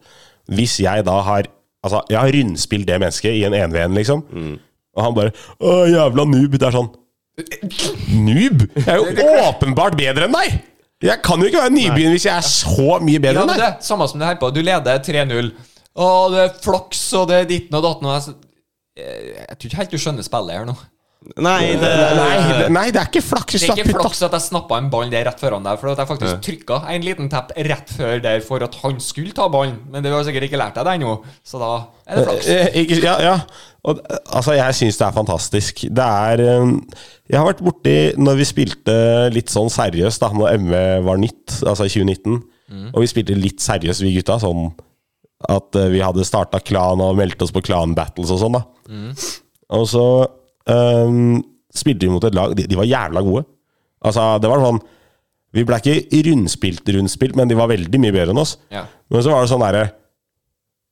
[SPEAKER 2] Hvis jeg da har Altså, jeg har rundspilt det mennesket i en 1v1, liksom.
[SPEAKER 3] Mm.
[SPEAKER 2] Og han bare 'Å, jævla noob'. Det er sånn Noob? Jeg er jo åpenbart bedre enn deg! Jeg kan jo ikke være nybegynner hvis jeg er så mye bedre
[SPEAKER 3] Ja,
[SPEAKER 2] enn
[SPEAKER 3] men
[SPEAKER 2] deg.
[SPEAKER 3] det, samme som det her på. Du leder 3-0. Å, det er flaks, og det er ditten og datten. Og jeg, så- Eh, jeg tror ikke helt du skjønner spillet her nå.
[SPEAKER 1] Nei, det
[SPEAKER 2] Nei, det- nei, det er ikke flaks. Hvis
[SPEAKER 3] Det
[SPEAKER 2] du
[SPEAKER 3] er
[SPEAKER 2] har
[SPEAKER 3] ikke
[SPEAKER 2] putta
[SPEAKER 3] flaks at jeg snappa en ball der rett foran deg, for at jeg faktisk trykka en liten tepp rett før der for at han skulle ta ballen. Men det har jeg sikkert ikke lært deg det ennå, så da er det flaks.
[SPEAKER 2] Eh, Ikke, ja, ja. Og, eh, altså, jeg syns det er fantastisk. Det er eh, Jeg har vært borti når vi spilte litt sånn seriøst, da når ME var nytt, altså i 2019,
[SPEAKER 3] Mm.
[SPEAKER 2] og vi spilte litt seriøst, vi gutta, sånn at eh, vi hadde starta klan og meldt oss på klan battles og sånn, da.
[SPEAKER 3] Mm.
[SPEAKER 2] Og så eh, spilte vi mot et lag. De, de var jævla gode. Altså, det var sånn Vi ble ikke rundspilt, rundspilt, men de var veldig mye bedre enn oss.
[SPEAKER 3] Ja.
[SPEAKER 2] Men så var det sånn derre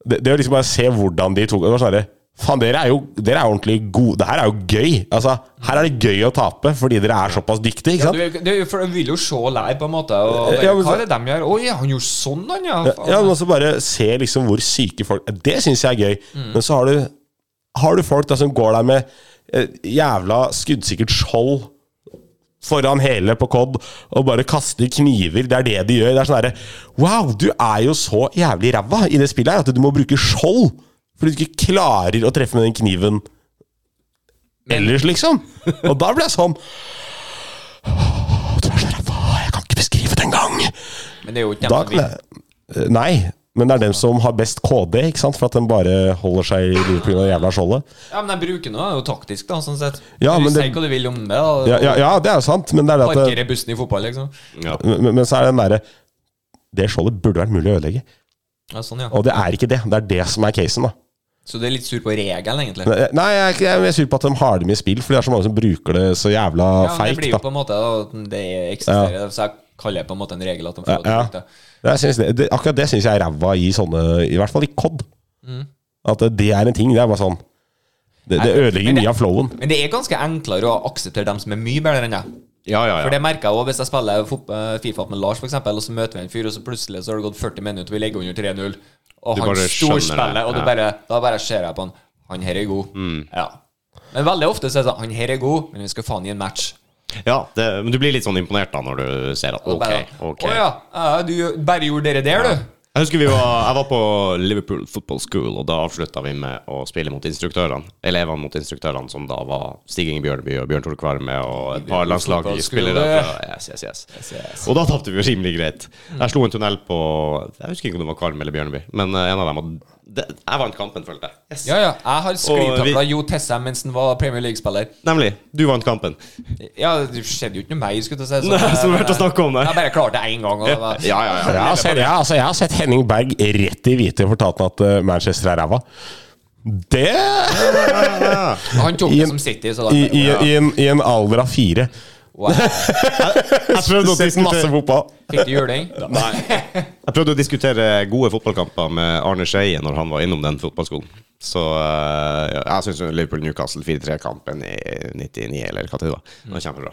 [SPEAKER 2] det, det å liksom bare se hvordan de tok Det var sånn derre Faen, dere er jo dere er ordentlig gode. Det her er jo gøy. Altså, her er det gøy å tape fordi dere er såpass dyktige, ikke
[SPEAKER 3] Ja,
[SPEAKER 2] sant?
[SPEAKER 3] du, du, for du vil jo se og lære, på en måte. Og bare,
[SPEAKER 2] Ja,
[SPEAKER 3] hva
[SPEAKER 2] men så-
[SPEAKER 3] er det de gjør? Å ja, han gjorde sånn, han, ja. faen.
[SPEAKER 2] Ja, men også bare se liksom hvor syke folk Det syns jeg er gøy.
[SPEAKER 3] Mm.
[SPEAKER 2] Men så har du, har du folk da som går der med eh, jævla skuddsikkert skjold foran hele på COD og bare kaster kniver. Det er det de gjør. Det er sånn herre Wow, du er jo så jævlig ræva i det spillet her at du må bruke skjold fordi du ikke klarer å treffe med den kniven ellers, liksom. Og da ble jeg sånn «Åh, Du er så ræva, jeg kan ikke beskrive det engang.
[SPEAKER 3] Men det er jo ikke
[SPEAKER 2] Da
[SPEAKER 3] dem som
[SPEAKER 2] kan
[SPEAKER 3] vinner.
[SPEAKER 2] jeg Eh, Nei, men det er dem som har best KD, ikke sant? For at den bare holder seg i live pga. det jævla skjoldet.
[SPEAKER 3] Ja, men de bruker noe, det er jo taktisk, da, sånn sett.
[SPEAKER 2] Ja,
[SPEAKER 3] du
[SPEAKER 2] men
[SPEAKER 3] sier
[SPEAKER 2] det-
[SPEAKER 3] hva du vil om det. Da.
[SPEAKER 2] Ja, ja, ja, det er jo sant, men det er det at eh, det,
[SPEAKER 3] Parkere bussen i fotball, liksom.
[SPEAKER 1] ja.
[SPEAKER 2] men, men så er det den derre Det skjoldet burde vært mulig å ødelegge.
[SPEAKER 3] Ja, sånn, ja.
[SPEAKER 2] Og det er ikke det. Det er det som er casen, da.
[SPEAKER 3] Så du er litt sur på regelen, egentlig?
[SPEAKER 2] Nei, Nei, jeg er, ikke- jeg er sur på at de har det med i spill, for det er så mange som bruker det så jævla
[SPEAKER 3] Ja, men det
[SPEAKER 2] feigt.
[SPEAKER 3] blir jo på
[SPEAKER 2] da.
[SPEAKER 3] en måte at det eksisterer, så jeg kaller det på en måte en regel at de får
[SPEAKER 2] Ja,
[SPEAKER 3] lov
[SPEAKER 2] ja.
[SPEAKER 3] til å bruke det.
[SPEAKER 2] Jeg synes det, det, akkurat det syns jeg er ræva i sånne I hvert fall i COD.
[SPEAKER 3] Mm.
[SPEAKER 2] At det er en ting. Det er bare sånn Det, det ødelegger
[SPEAKER 3] men det-
[SPEAKER 2] mye av flowen.
[SPEAKER 3] Men det er ganske enklere å akseptere dem som er mye bedre enn deg.
[SPEAKER 1] ja, ja,
[SPEAKER 3] For
[SPEAKER 1] ja.
[SPEAKER 3] det merker jeg òg hvis jeg spiller fot- eh, Fifa med Lars, for eksempel og så møter vi en fyr, og så plutselig så har det gått 40 minutter, og vi ligger under 3-0, og
[SPEAKER 1] Du
[SPEAKER 3] han
[SPEAKER 1] bare skjønner det,
[SPEAKER 3] storspiller, og du
[SPEAKER 1] ja. Mm.
[SPEAKER 3] bare, da bare ser jeg på han. Han her er god. Ja. Men veldig ofte så er det sånn Han her er god, men vi skal faen gi en match.
[SPEAKER 1] ja det, men du blir litt sånn imponert da når du ser at
[SPEAKER 3] Og
[SPEAKER 1] OK,
[SPEAKER 3] bare,
[SPEAKER 1] OK.
[SPEAKER 3] Å ja, ja, du bare gjorde dere der, du.
[SPEAKER 1] Jeg husker vi var, jeg var på Liverpool Football School, og da avslutta vi med å spille mot instruktørene. Elevene mot instruktørene, som da var Stig Inge Bjørneby og Bjørn Tore Kvarme og et par landslagsspillere. fra- Yes, yes, yes.
[SPEAKER 3] yes.
[SPEAKER 1] Og da tapte vi jo rimelig greit. Jeg slo en tunnel på Jeg husker ikke om det var Kvarme eller Bjørneby, men eh, en av dem hadde det- Jeg vant kampen, følte jeg. Yes.
[SPEAKER 3] Ja, ja. Jeg har sklitavla
[SPEAKER 1] vi-
[SPEAKER 3] Jo Tessem mens han var Premier League-spiller.
[SPEAKER 1] Nemlig. Du vant kampen.
[SPEAKER 3] Ja, Det skjedde jo ikke noe mer, skulle jeg til å si. så-
[SPEAKER 1] Nei, så det er verdt å snakke om det.
[SPEAKER 3] Jeg bare klarte det én gang. Og det var,
[SPEAKER 1] Ja, ja, ja.
[SPEAKER 2] Jeg har, sett, jeg, altså, jeg har sett Henning Berg rett i hvite og fortalt han at eh, Manchester er ræva. Det
[SPEAKER 3] Han tok
[SPEAKER 2] I
[SPEAKER 3] det
[SPEAKER 2] en-
[SPEAKER 3] som City, så da
[SPEAKER 2] I, i, i, en, I en alder av fire.
[SPEAKER 3] wow.
[SPEAKER 1] Jeg prøvde å
[SPEAKER 2] Sett masse
[SPEAKER 1] diskutere
[SPEAKER 2] fotball.
[SPEAKER 3] Fikk du juling?
[SPEAKER 1] Nei. Jeg prøvde å diskutere gode fotballkamper med Arne Skeie når han var innom den fotballskolen. Så eh, ja, jeg syns Liverpool-Newcastle 4-3-kampen i 99, eller hva tid det var, var kjempebra.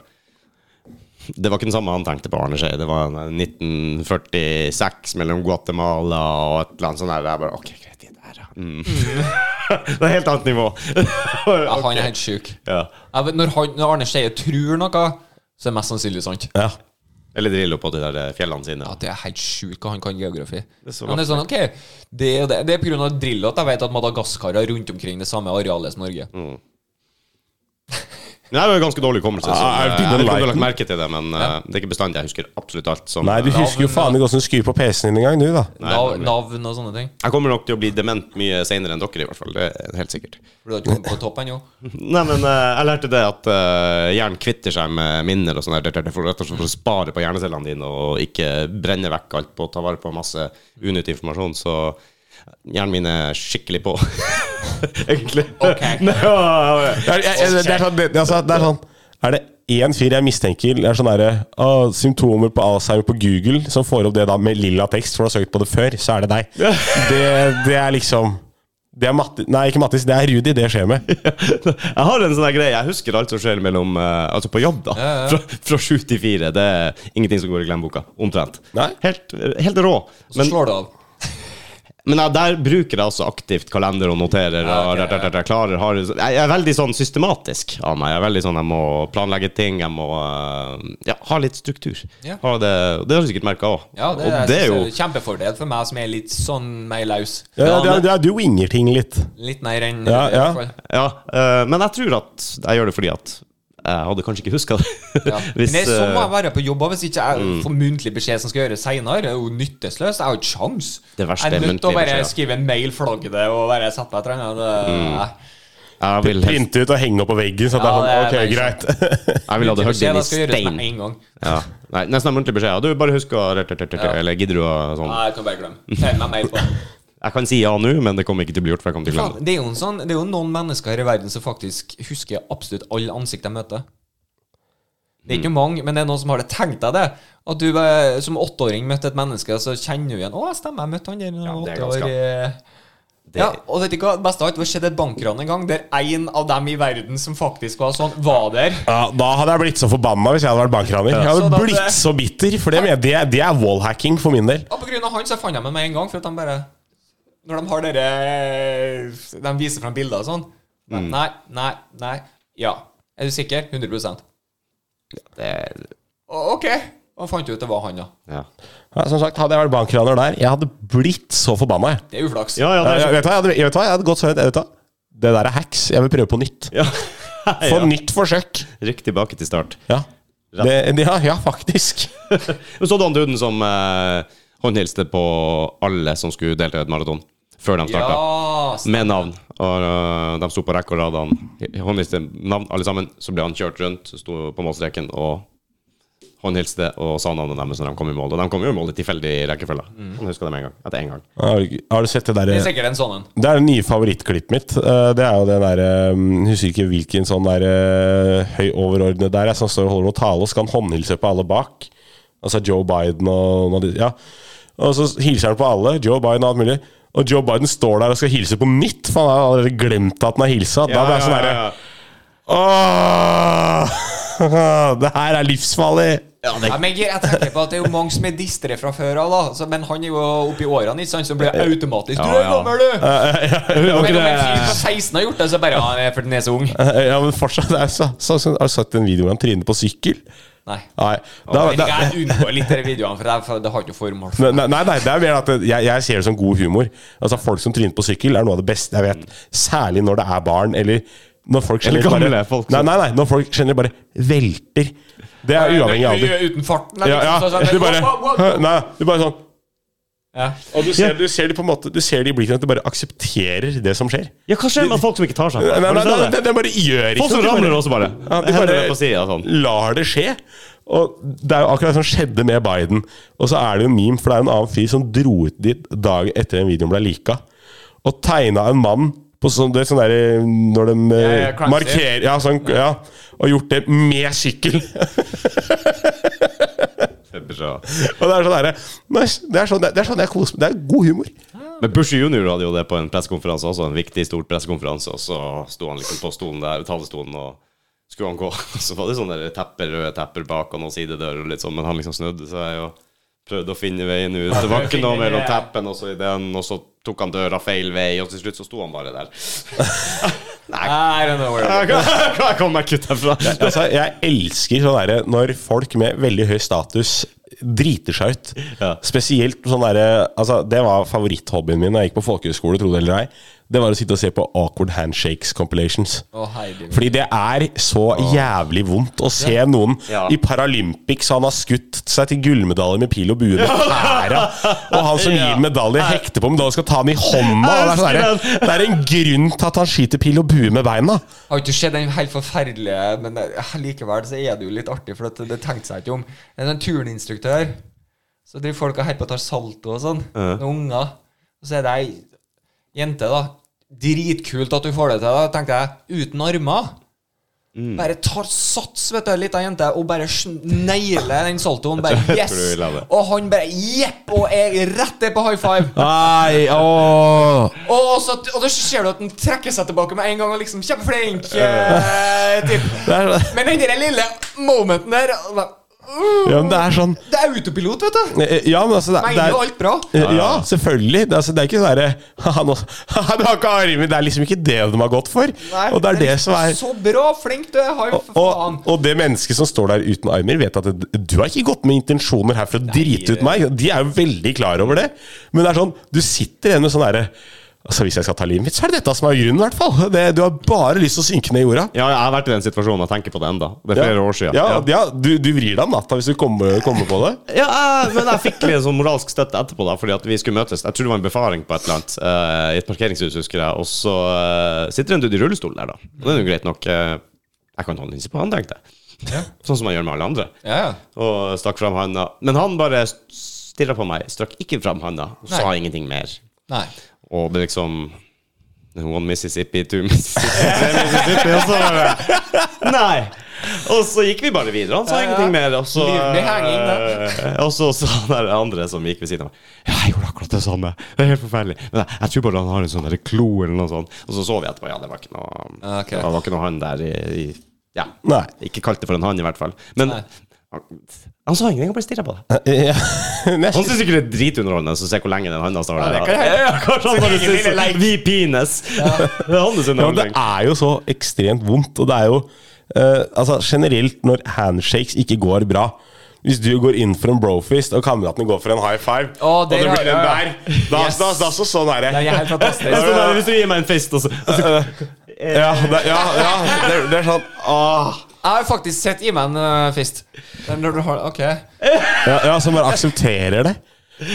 [SPEAKER 1] Det var ikke den samme han tenkte på, Arne Skeie. Det var en 1946 mellom Guatemala og et eller annet sånt der. Jeg bare OK, greit, vi er der, ja. Mm. det er et helt annet nivå.
[SPEAKER 3] Ja, han er helt sjuk.
[SPEAKER 1] ja.
[SPEAKER 3] Jeg vet, Når, han, når Arne Skeie tror noe, så er det mest sannsynlig sant.
[SPEAKER 2] Ja.
[SPEAKER 1] Eller Drillo på de der eh, fjellene sine.
[SPEAKER 3] At det er helt sjukt hva han kan geografi.
[SPEAKER 1] er så
[SPEAKER 3] Men det er sånn, ok Det er, jo det. Det er på grunn av Drillo at jeg vet at Madagaskar er rundt omkring det samme arealet som Norge.
[SPEAKER 1] Nei, det var jo ganske dårlig hukommelse. så,
[SPEAKER 2] Ah,
[SPEAKER 1] eh,
[SPEAKER 2] er
[SPEAKER 1] jeg
[SPEAKER 2] det
[SPEAKER 1] vet ikke om du har lagt
[SPEAKER 2] den?
[SPEAKER 1] merke til det, men eh, det er ikke bestandig jeg husker absolutt alt. Som,
[SPEAKER 2] Nei, du
[SPEAKER 1] eh,
[SPEAKER 2] husker jo faen ikke åssen du skrur på PC-en din engang, du, da.
[SPEAKER 3] Nav, navn og sånne ting.
[SPEAKER 1] Jeg kommer nok til å bli dement mye seinere enn dere, i hvert fall. Det er helt sikkert.
[SPEAKER 3] For du har ikke kommet på topp ennå.
[SPEAKER 1] Nei, men eh, jeg lærte det at eh, hjernen kvitter seg med minner og sånn der, det- det- det for rett og slett for å spare på hjernecellene dine og ikke brenne vekk alt på å ta vare på masse unyttig informasjon. Så eh, hjernen min er skikkelig på, egentlig.
[SPEAKER 3] Ok.
[SPEAKER 1] Nei, ja, ja, ja.
[SPEAKER 2] Det er, jeg, jeg, det er sånn, det, altså, det er sånn Er det én fyr jeg mistenker Det er sånn derre «Å, Symptomer på Alzheimer på Google, som får opp det da med lilla tekst, for du har søkt på det før, så er det deg. Det, det er liksom Det er Matti, Nei, ikke Mattis. Det er Rudi det skjer med.
[SPEAKER 1] Jeg har en sånn der greie. Jeg husker alt som skjer mellom eh, Altså på jobb, da. Fra, fra sju til fire. Det er ingenting som går i glemmeboka. Omtrent.
[SPEAKER 2] Nei.
[SPEAKER 1] Helt, helt rå.
[SPEAKER 3] Så slår det av.
[SPEAKER 1] Men ja, der bruker jeg altså aktivt kalender og noterer. og
[SPEAKER 3] Ja, ok,
[SPEAKER 1] rett, rett, rett, jeg, klarer, har, jeg er veldig sånn systematisk av meg. Jeg er veldig sånn, jeg må planlegge ting, jeg må øh, ja, ha litt struktur.
[SPEAKER 3] Ja.
[SPEAKER 1] Ha det, det har du sikkert merka òg.
[SPEAKER 3] Ja, det,
[SPEAKER 1] og
[SPEAKER 3] er,
[SPEAKER 1] det er jo
[SPEAKER 3] synes jeg er kjempefordel for meg som er litt sånn mer løs.
[SPEAKER 2] Ja, det er, det er, du winger ting litt.
[SPEAKER 3] Litt mer enn
[SPEAKER 2] Ja,
[SPEAKER 3] i
[SPEAKER 2] ja.
[SPEAKER 3] hvert fall.
[SPEAKER 1] ja, øh, Men jeg tror at jeg gjør det fordi at jeg hadde kanskje ikke huska det.
[SPEAKER 3] Ja.
[SPEAKER 1] Hvis, Mm.
[SPEAKER 3] Men det er sånn må jeg
[SPEAKER 1] øh,
[SPEAKER 3] være på jobb. og Hvis ikke jeg får muntlig beskjed som skal gjøres seinere, er jo nytteløst. Jeg har jo ikke sjans
[SPEAKER 1] Det verste
[SPEAKER 3] Jeg
[SPEAKER 1] er
[SPEAKER 3] er nødt til å
[SPEAKER 1] muntlige
[SPEAKER 3] bare
[SPEAKER 1] beskjeder.
[SPEAKER 3] skrive en mail, flagge det, og bare sette meg et eller
[SPEAKER 1] Mm.
[SPEAKER 3] annet. Det-
[SPEAKER 1] jeg vil helst
[SPEAKER 2] Printe ut og henge opp på veggen. Så det
[SPEAKER 3] Ja,
[SPEAKER 2] er sånn, ok,
[SPEAKER 3] det er
[SPEAKER 2] greit
[SPEAKER 1] Jeg ville hatt det
[SPEAKER 3] Muntlig
[SPEAKER 1] hogd
[SPEAKER 3] beskjed,
[SPEAKER 1] inn
[SPEAKER 3] da
[SPEAKER 1] i
[SPEAKER 3] skal gjøres
[SPEAKER 1] stein. Mm.
[SPEAKER 3] med en gang.
[SPEAKER 1] Ja. Nei, nesten en muntlig beskjed. Ja, Du, bare husk å rett, rett, rett, rett, Eller gidder du å sånn
[SPEAKER 3] Nei, jeg kan bare glemme. Tegn meg mer på det.
[SPEAKER 1] Jeg kan si ja nå, men det kommer ikke til å bli gjort, for jeg kommer til å glemme det.
[SPEAKER 3] Faen, Det er jo en sånn, det er jo noen mennesker her i verden som faktisk husker absolutt alle ansikt de møter. Det er
[SPEAKER 1] Mm.
[SPEAKER 3] ikke mange, men det er noen som har det. Tenk deg det! At du eh, som åtteåring møtte et menneske, så kjenner du igjen 'Å, stemmer, jeg møtte han der da jeg var
[SPEAKER 1] det er
[SPEAKER 3] åtte år'. eh».
[SPEAKER 1] Det-
[SPEAKER 3] Ja, og vet du hva, det beste av alt, det skjedde et bankran en gang der én av dem i verden som faktisk var sånn, var der.
[SPEAKER 2] ja, Da hadde jeg blitt så forbanna hvis jeg hadde vært bankraner. Jeg
[SPEAKER 3] Så
[SPEAKER 2] hadde
[SPEAKER 3] da-
[SPEAKER 2] blitt så bitter, for det, mener jeg- det, er- det er wallhacking for min del.
[SPEAKER 3] Og på grunn av han så fant jeg meg med en gang, for at de bare Når de har dere De viser fram bilder og sånn.
[SPEAKER 1] Mm.
[SPEAKER 3] Nei, nei, nei. Ja. Er du sikker? 100
[SPEAKER 1] det
[SPEAKER 3] Å, OK. Og fant ut det var han, da.
[SPEAKER 1] ja.
[SPEAKER 2] Ja, som sagt, Hadde jeg vært bankraner der, jeg hadde blitt så forbanna. jeg.
[SPEAKER 3] Det er uflaks.
[SPEAKER 1] ja, ja,
[SPEAKER 2] Ja,
[SPEAKER 1] det er
[SPEAKER 2] jeg, vet du hva, jeg, hadde, jeg vet hva, jeg hadde gått så høyt. jeg Vet du hva? Det der er hacks. Jeg vil prøve på nytt.
[SPEAKER 1] Ja.
[SPEAKER 2] Få nytt forsøk.
[SPEAKER 1] Rykk tilbake til start.
[SPEAKER 2] Ja. Det, ja, ja, faktisk.
[SPEAKER 1] Men så du han duden som eh, håndhilste på alle som skulle delta i et maraton, før de starta?
[SPEAKER 3] Ja, s-
[SPEAKER 1] Med navn. Og eh, de sto på rekke og rad. Han håndhilste navn, alle sammen. Så ble han kjørt rundt, sto på målstreken og håndhilste og sa navnet deres når de kom i mål. Og de kom jo i mål i tilfeldig rekkefølge. Han huska det med en gang. Etter en gang.
[SPEAKER 2] Har, du- har du sett det eh,
[SPEAKER 3] det er
[SPEAKER 2] derre
[SPEAKER 3] sikkert en sånn en.
[SPEAKER 2] Det er det nye favorittklippet mitt. Eh, Det er jo det derre Husker ikke hvilken sånn derre høy overordnet der er, som står og holder noe tale og skal han håndhilse på alle bak. Altså Joe Biden og noe av de- Ja. Og så hilser han på alle. Joe Biden og alt mulig. Og Joe Biden står der og skal hilse på nytt, for han har allerede glemt at han har hilsa. Da blir jeg sånn derre
[SPEAKER 1] ja, ja.
[SPEAKER 2] Åh, det her er livsfarlig!
[SPEAKER 1] Ja, det-
[SPEAKER 3] Ja, men jeg jeg tenker på at det er jo mange som er distre fra før av, da. Så, men han er jo oppi årene, ikke sant, så blir det automatisk
[SPEAKER 1] Ja,
[SPEAKER 3] Du er
[SPEAKER 1] ja.
[SPEAKER 3] gammel, du!
[SPEAKER 2] Eh, Ja,
[SPEAKER 3] Men
[SPEAKER 2] men,
[SPEAKER 3] om en fyr på 16 har gjort det, så bare Ja, det er fordi den er så ung.
[SPEAKER 2] ja, men fortsatt det er så, så, så, Har du sett den videoen hvor han tryner på sykkel?
[SPEAKER 3] Nei.
[SPEAKER 2] Nei. Da,
[SPEAKER 3] Men
[SPEAKER 2] da,
[SPEAKER 3] Jeg unngår litt de videoene, for det, er- det har ikke formål.
[SPEAKER 2] Nei, nei, nei, det er mer at jeg, jeg ser det som god humor. Altså Folk som tryner på sykkel, er noe av det beste jeg vet. Særlig når det er barn, eller når folk
[SPEAKER 1] Eller
[SPEAKER 2] generelt
[SPEAKER 1] gamle
[SPEAKER 2] bare,
[SPEAKER 1] folk, så.
[SPEAKER 2] Nei, nei, nei, når folk generelt bare velter. Det er uavhengig av alder.
[SPEAKER 3] Uten farten, da,
[SPEAKER 2] Ja,
[SPEAKER 3] liksom, så-
[SPEAKER 2] ja.
[SPEAKER 3] så-
[SPEAKER 2] Du bare
[SPEAKER 3] Wow, wow, wow.
[SPEAKER 2] Nei, du bare sånn
[SPEAKER 3] Ja.
[SPEAKER 2] Og du ser, du ser de på en måte Du ser de i blikkene at de bare aksepterer det som skjer.
[SPEAKER 1] Ja, hva skjer med folk som ikke tar seg?
[SPEAKER 2] Nei, nei, nei, nei,
[SPEAKER 1] det?
[SPEAKER 2] de bare gjør ikke
[SPEAKER 1] Folk som
[SPEAKER 2] noe, de
[SPEAKER 1] ramler også bare.
[SPEAKER 2] Ja, de
[SPEAKER 1] Hender
[SPEAKER 2] bare
[SPEAKER 1] det på siden, sånn.
[SPEAKER 2] lar det skje. Og Det er jo akkurat det som skjedde med Biden. Og så er det jo meme, for det er jo en annen fyr som dro ut dit dagen etter den videoen ble lika, og tegna en mann på sånn, det er sånn der, når de eh,
[SPEAKER 3] Ja, ja, clancy.
[SPEAKER 2] markerer ja, sånn, ja, Og gjort det med sykkel. og
[SPEAKER 1] Bra.
[SPEAKER 2] Det er sånn derre nice, Det er sånn, det er sånn jeg koser meg. Det er god humor.
[SPEAKER 1] Men Bush junior hadde jo det på en pressekonferanse også, en viktig, stor pressekonferanse, og så sto han liksom på stolen der, talestolen, og skulle han gå, så var det sånne der tepper, røde tepper bak og noen sidedører og litt sånn, men han liksom snudde seg og prøvde å finne veien ut. Det var ikke noe mellom teppen og så i den, og så tok han døra feil vei, og til slutt så sto han bare der.
[SPEAKER 3] I don't know where it is.
[SPEAKER 1] Hva kom meg kutt herfra?
[SPEAKER 2] Altså, jeg elsker sånn derre når folk med veldig høy status driter seg ut.
[SPEAKER 1] Ja.
[SPEAKER 2] Spesielt sånn derre altså, Det var favoritthobbyen min da jeg gikk på folkehøyskole, tro det eller ei. Det var å sitte og se på awkward handshakes compilations.
[SPEAKER 3] Å, Heidi.
[SPEAKER 2] Fordi det er så jævlig vondt å se noen
[SPEAKER 1] Ja.
[SPEAKER 2] i Paralympics Han har skutt seg til gullmedalje med pil og bue med tæra. Og han som
[SPEAKER 1] Ja.
[SPEAKER 2] gir medalje, hekter på medaljen og skal ta den i hånda. Og det, er sånn derre- det er en grunn til at han skyter pil og bue med beina.
[SPEAKER 3] Har ikke sett den helt forferdelige, men det- ja, likevel så er det jo litt artig, for at det tenkte seg ikke om. Det er en turninstruktør. Så driver folk og holder på og tar salto og sånn. Noen unger. Og så er det ei jente, da. Dritkult at du får det til, da, tenkte jeg. Uten armer.
[SPEAKER 1] Mm.
[SPEAKER 3] Bare tar sats, vet du, lita jente, og bare sn- nailer den saltoen. Bare
[SPEAKER 1] tror
[SPEAKER 3] yes!
[SPEAKER 1] vi la det.
[SPEAKER 3] Og han bare jepp, og er rett ned på high five.
[SPEAKER 2] Nei, åh.
[SPEAKER 3] Og, så, og da ser du at den trekker seg tilbake med en gang og liksom Kjempeflink! Eh, typ. Men den der lille momenten der og da- uh,
[SPEAKER 2] Ja, men det er sånn
[SPEAKER 3] Det er autopilot, vet du!
[SPEAKER 2] Eh, Ja, men altså det, det
[SPEAKER 3] Mener jo alt
[SPEAKER 2] er,
[SPEAKER 3] bra.
[SPEAKER 2] Eh, Ja, selvfølgelig. Det, er- altså, det er ikke sånn derre «Haha, nå- haha, Du har ikke armer! Det er liksom ikke det de har gått for. og det er det som er
[SPEAKER 3] Så bra! Flink du er! Har jo for faen.
[SPEAKER 2] og, og det mennesket som står der uten armer, vet at det- du har ikke gått med intensjoner her for å drite ut meg. De er jo veldig klar over det. Men det er sånn, du sitter igjen med sånn derre Altså Hvis jeg skal ta livet mitt, så er det dette som er grunnen, i hvert fall. Det, du har bare lyst til å synke ned i jorda.
[SPEAKER 1] Ja, jeg har vært i den situasjonen og tenker på det enda. Det er flere år siden.
[SPEAKER 2] Ja, ja, du, du vrir deg om natta hvis du kommer, kommer på det.
[SPEAKER 1] Ja, eh, men jeg fikk litt sånn moralsk støtte etterpå, da, fordi at vi skulle møtes. Jeg tror det var en befaring på et eller annet, eh, i et parkeringshus, husker jeg. Og så eh, sitter en dude i rullestol der, da. Og det er jo greit nok. eh, jeg kan ta en linse på han, tenkte jeg. Sånn som man gjør med alle andre.
[SPEAKER 3] Ja, ja.
[SPEAKER 1] Og stakk fram handa. Men han bare stirra på meg, strakk ikke fram handa, og sa
[SPEAKER 3] Nei.
[SPEAKER 1] ingenting mer.
[SPEAKER 3] Nei.
[SPEAKER 1] Og det liksom One Mississippi, two Mississippi, three Mississippi, og så bare Nei! Og så gikk vi bare videre. Han sa
[SPEAKER 3] Ja, ja.
[SPEAKER 1] ingenting mer. Og så, Eh,
[SPEAKER 3] Liv blir henging,
[SPEAKER 1] og så sa den andre som gikk ved siden av meg Ja, jeg gjorde akkurat det samme. Det er helt forferdelig. Men jeg, jeg tror bare han har en sånn der klo eller noe sånt. Og så så vi etterpå. Ja, det var ikke noe,
[SPEAKER 3] Ah, Ok.
[SPEAKER 1] det var ikke noe han der i, i Ja.
[SPEAKER 2] Nei.
[SPEAKER 1] Ikke kalt det for en han, i hvert fall. Men
[SPEAKER 3] Nei.
[SPEAKER 1] han, han sa ingenting, han bare stirra på det.
[SPEAKER 2] Ja. Nesten.
[SPEAKER 1] Han syns ikke det er dritunderholdende å se hvor lenge den handa står der.
[SPEAKER 3] det kan jeg.
[SPEAKER 1] Ja, ja, kanskje han bare
[SPEAKER 3] Ingen
[SPEAKER 1] synes
[SPEAKER 3] ville lekt.
[SPEAKER 1] vi pines. Det er hans
[SPEAKER 2] Ja, men det
[SPEAKER 1] underholdning.
[SPEAKER 2] er jo så ekstremt vondt, og det er jo eh, Altså generelt når handshakes ikke går bra hvis du går inn for en brofist, og kameratene går for en high five
[SPEAKER 3] Å,
[SPEAKER 2] Og
[SPEAKER 3] det
[SPEAKER 2] det
[SPEAKER 3] er-
[SPEAKER 2] blir den der Da,
[SPEAKER 3] Yes.
[SPEAKER 2] da, da så sånn er det.
[SPEAKER 3] Det er helt
[SPEAKER 1] Det er
[SPEAKER 3] fantastisk.
[SPEAKER 1] sånn der, Hvis du gir meg en fist, og så og så-
[SPEAKER 2] Ja, det, ja, ja det, det er sånn ah.
[SPEAKER 3] Jeg har faktisk sett i meg en eh, fist. Men når du har Ok.
[SPEAKER 2] ja, ja, som bare aksepterer det.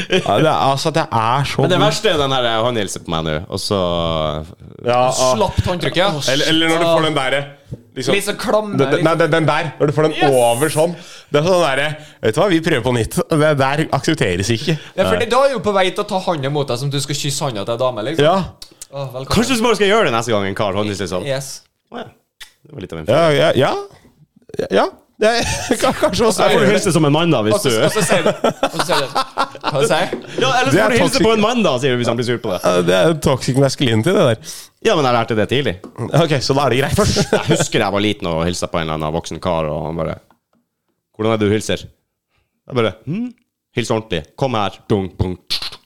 [SPEAKER 2] Ja, det er, altså, det er så
[SPEAKER 1] Men det
[SPEAKER 2] vondt.
[SPEAKER 1] verste er den her Han hilser på meg nå, og så
[SPEAKER 2] Ja, ah.
[SPEAKER 3] Slapp håndtrykket.
[SPEAKER 2] eller, eller når du får den derre liksom.
[SPEAKER 3] Litt sånn klamme.
[SPEAKER 2] Den, den- nei,
[SPEAKER 3] litt-
[SPEAKER 2] den, den der. Når du får den over sånn. Det er sånn derre Vet du hva, vi prøver på nytt. Det der aksepteres ikke.
[SPEAKER 3] Ja, for det- Da er du på vei til å ta hånda mot deg som du skal kysse hånda til ei dame. liksom
[SPEAKER 2] Ja.
[SPEAKER 3] Å, velkommen.
[SPEAKER 1] Kanskje du bare skal gjøre det neste gang en kar håndhilser sånn?
[SPEAKER 3] Yes.
[SPEAKER 1] Å, ja. Det var litt av en
[SPEAKER 2] Ja. Ja. ja. ja. Jeg- jeg kan kanskje også
[SPEAKER 1] Da får du
[SPEAKER 2] gjøre det.
[SPEAKER 1] hilse som en mann, da, hvis
[SPEAKER 3] Og så
[SPEAKER 1] du
[SPEAKER 3] og så sier du og så sier du- Hva sier jeg?
[SPEAKER 1] Ja, Eller så
[SPEAKER 2] Det
[SPEAKER 1] får
[SPEAKER 2] er
[SPEAKER 1] du hilse
[SPEAKER 2] toxic.
[SPEAKER 1] på en mann, da, sier du hvis han blir sur på deg.
[SPEAKER 2] Ja, Det er toxic masculinity, det der.
[SPEAKER 1] Ja, men jeg lærte det tidlig.
[SPEAKER 2] Ok, Så da er det greit.
[SPEAKER 1] Jeg husker jeg var liten og hilsa på en eller annen voksen kar, og han bare 'Hvordan er det du hilser?' Jeg bare hm? Hils ordentlig. Kom her. Dung, bung,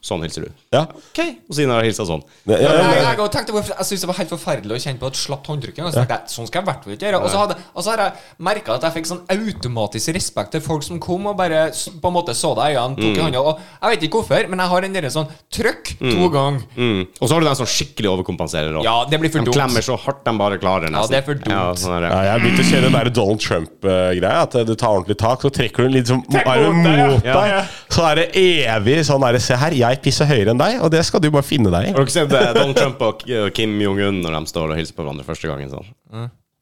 [SPEAKER 1] sånn hilser du.
[SPEAKER 2] Ja.
[SPEAKER 1] OK. Og siden har jeg hilsa sånn.
[SPEAKER 2] Ja, ja,
[SPEAKER 3] Jeg,
[SPEAKER 2] ja.
[SPEAKER 3] jeg, jeg, tenkte, på- jeg synes det var helt forferdelig å kjenne på et slapt håndtrykk. Og så tenkte jeg, sånn skal jeg i hvert fall ikke gjøre. Og så, hadde, og så har jeg merka at jeg fikk sånn automatisk respekt til folk som kom og bare s- på en måte så deg i øynene, tok
[SPEAKER 2] Mm.
[SPEAKER 3] i hånda. Og jeg vet ikke hvorfor, men jeg har den der sånn trykk to ganger.
[SPEAKER 1] Mm. Og så har du den som skikkelig overkompenserer. også.
[SPEAKER 3] Ja, det blir for
[SPEAKER 1] de klemmer så
[SPEAKER 3] dumt.
[SPEAKER 1] hardt de bare klarer. Nesten.
[SPEAKER 3] Ja, det er for dumt.
[SPEAKER 1] Ja, sånn
[SPEAKER 2] Ja,
[SPEAKER 1] der.
[SPEAKER 2] jeg har begynt å kjøre den der Donald Trump-greia. At du tar ordentlig tak, så trekker du litt som
[SPEAKER 3] Trekk
[SPEAKER 2] armen
[SPEAKER 3] mot deg, ja.
[SPEAKER 2] mot
[SPEAKER 1] Ja,
[SPEAKER 2] deg.
[SPEAKER 1] ja.
[SPEAKER 2] Så er det evig sånn derre Se her, jeg pisser høyere enn deg, og det skal du bare finne deg i.
[SPEAKER 1] Har dere sett eh, Donald Trump og K- og Kim Jong-un når de står og hilser på hverandre første gangen? sånn?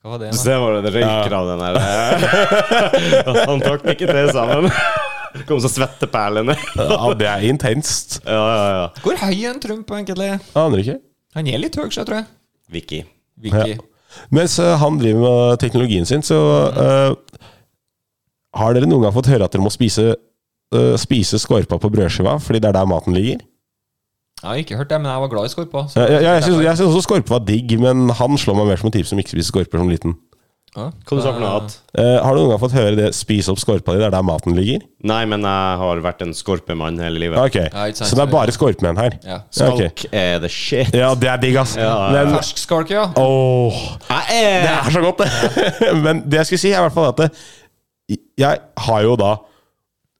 [SPEAKER 3] Hva var det?
[SPEAKER 1] Så det var det, det røyker av den der. eh. Han trakk ikke til sammen. Kom så svetteperlene.
[SPEAKER 2] Ja, det er intenst.
[SPEAKER 1] Ja, ja, ja.
[SPEAKER 3] Hvor høy er en Trump egentlig?
[SPEAKER 2] Aner ikke.
[SPEAKER 3] Han er litt høy, så jeg tror jeg.
[SPEAKER 1] Vicky.
[SPEAKER 3] Vicky.
[SPEAKER 2] Mens eh, han driver med teknologien sin, så eh, Har dere noen gang fått høre at dere må spise, eh, spise skorpa på brødskiva fordi det er der maten ligger?
[SPEAKER 3] Jeg har ikke hørt det, men jeg var glad i skorpa. så-
[SPEAKER 2] Ja, ja, jeg syns jeg syns også skorpe var digg, men han slår meg mer som en type som ikke spiser skorper som liten.
[SPEAKER 3] Ja.
[SPEAKER 1] Hva du sa for noe annet?
[SPEAKER 2] Eh, har du noen gang fått høre det 'spis opp skorpa di', det er der maten ligger?
[SPEAKER 1] Nei, men jeg har vært en skorpemann hele livet.
[SPEAKER 2] Ok,
[SPEAKER 3] Ja, ikke sant,
[SPEAKER 2] Så det
[SPEAKER 3] så-
[SPEAKER 2] er bare skorpemenn her?
[SPEAKER 3] Ja.
[SPEAKER 2] Ja, ok.
[SPEAKER 1] Skalk er the shit.
[SPEAKER 2] Ja, det er digg, ass. Men
[SPEAKER 3] Fersk skalk, ja.
[SPEAKER 2] åh,
[SPEAKER 1] Jeg er
[SPEAKER 2] Det er så godt, det! Men det jeg skulle si, er i hvert fall at det, jeg har jo da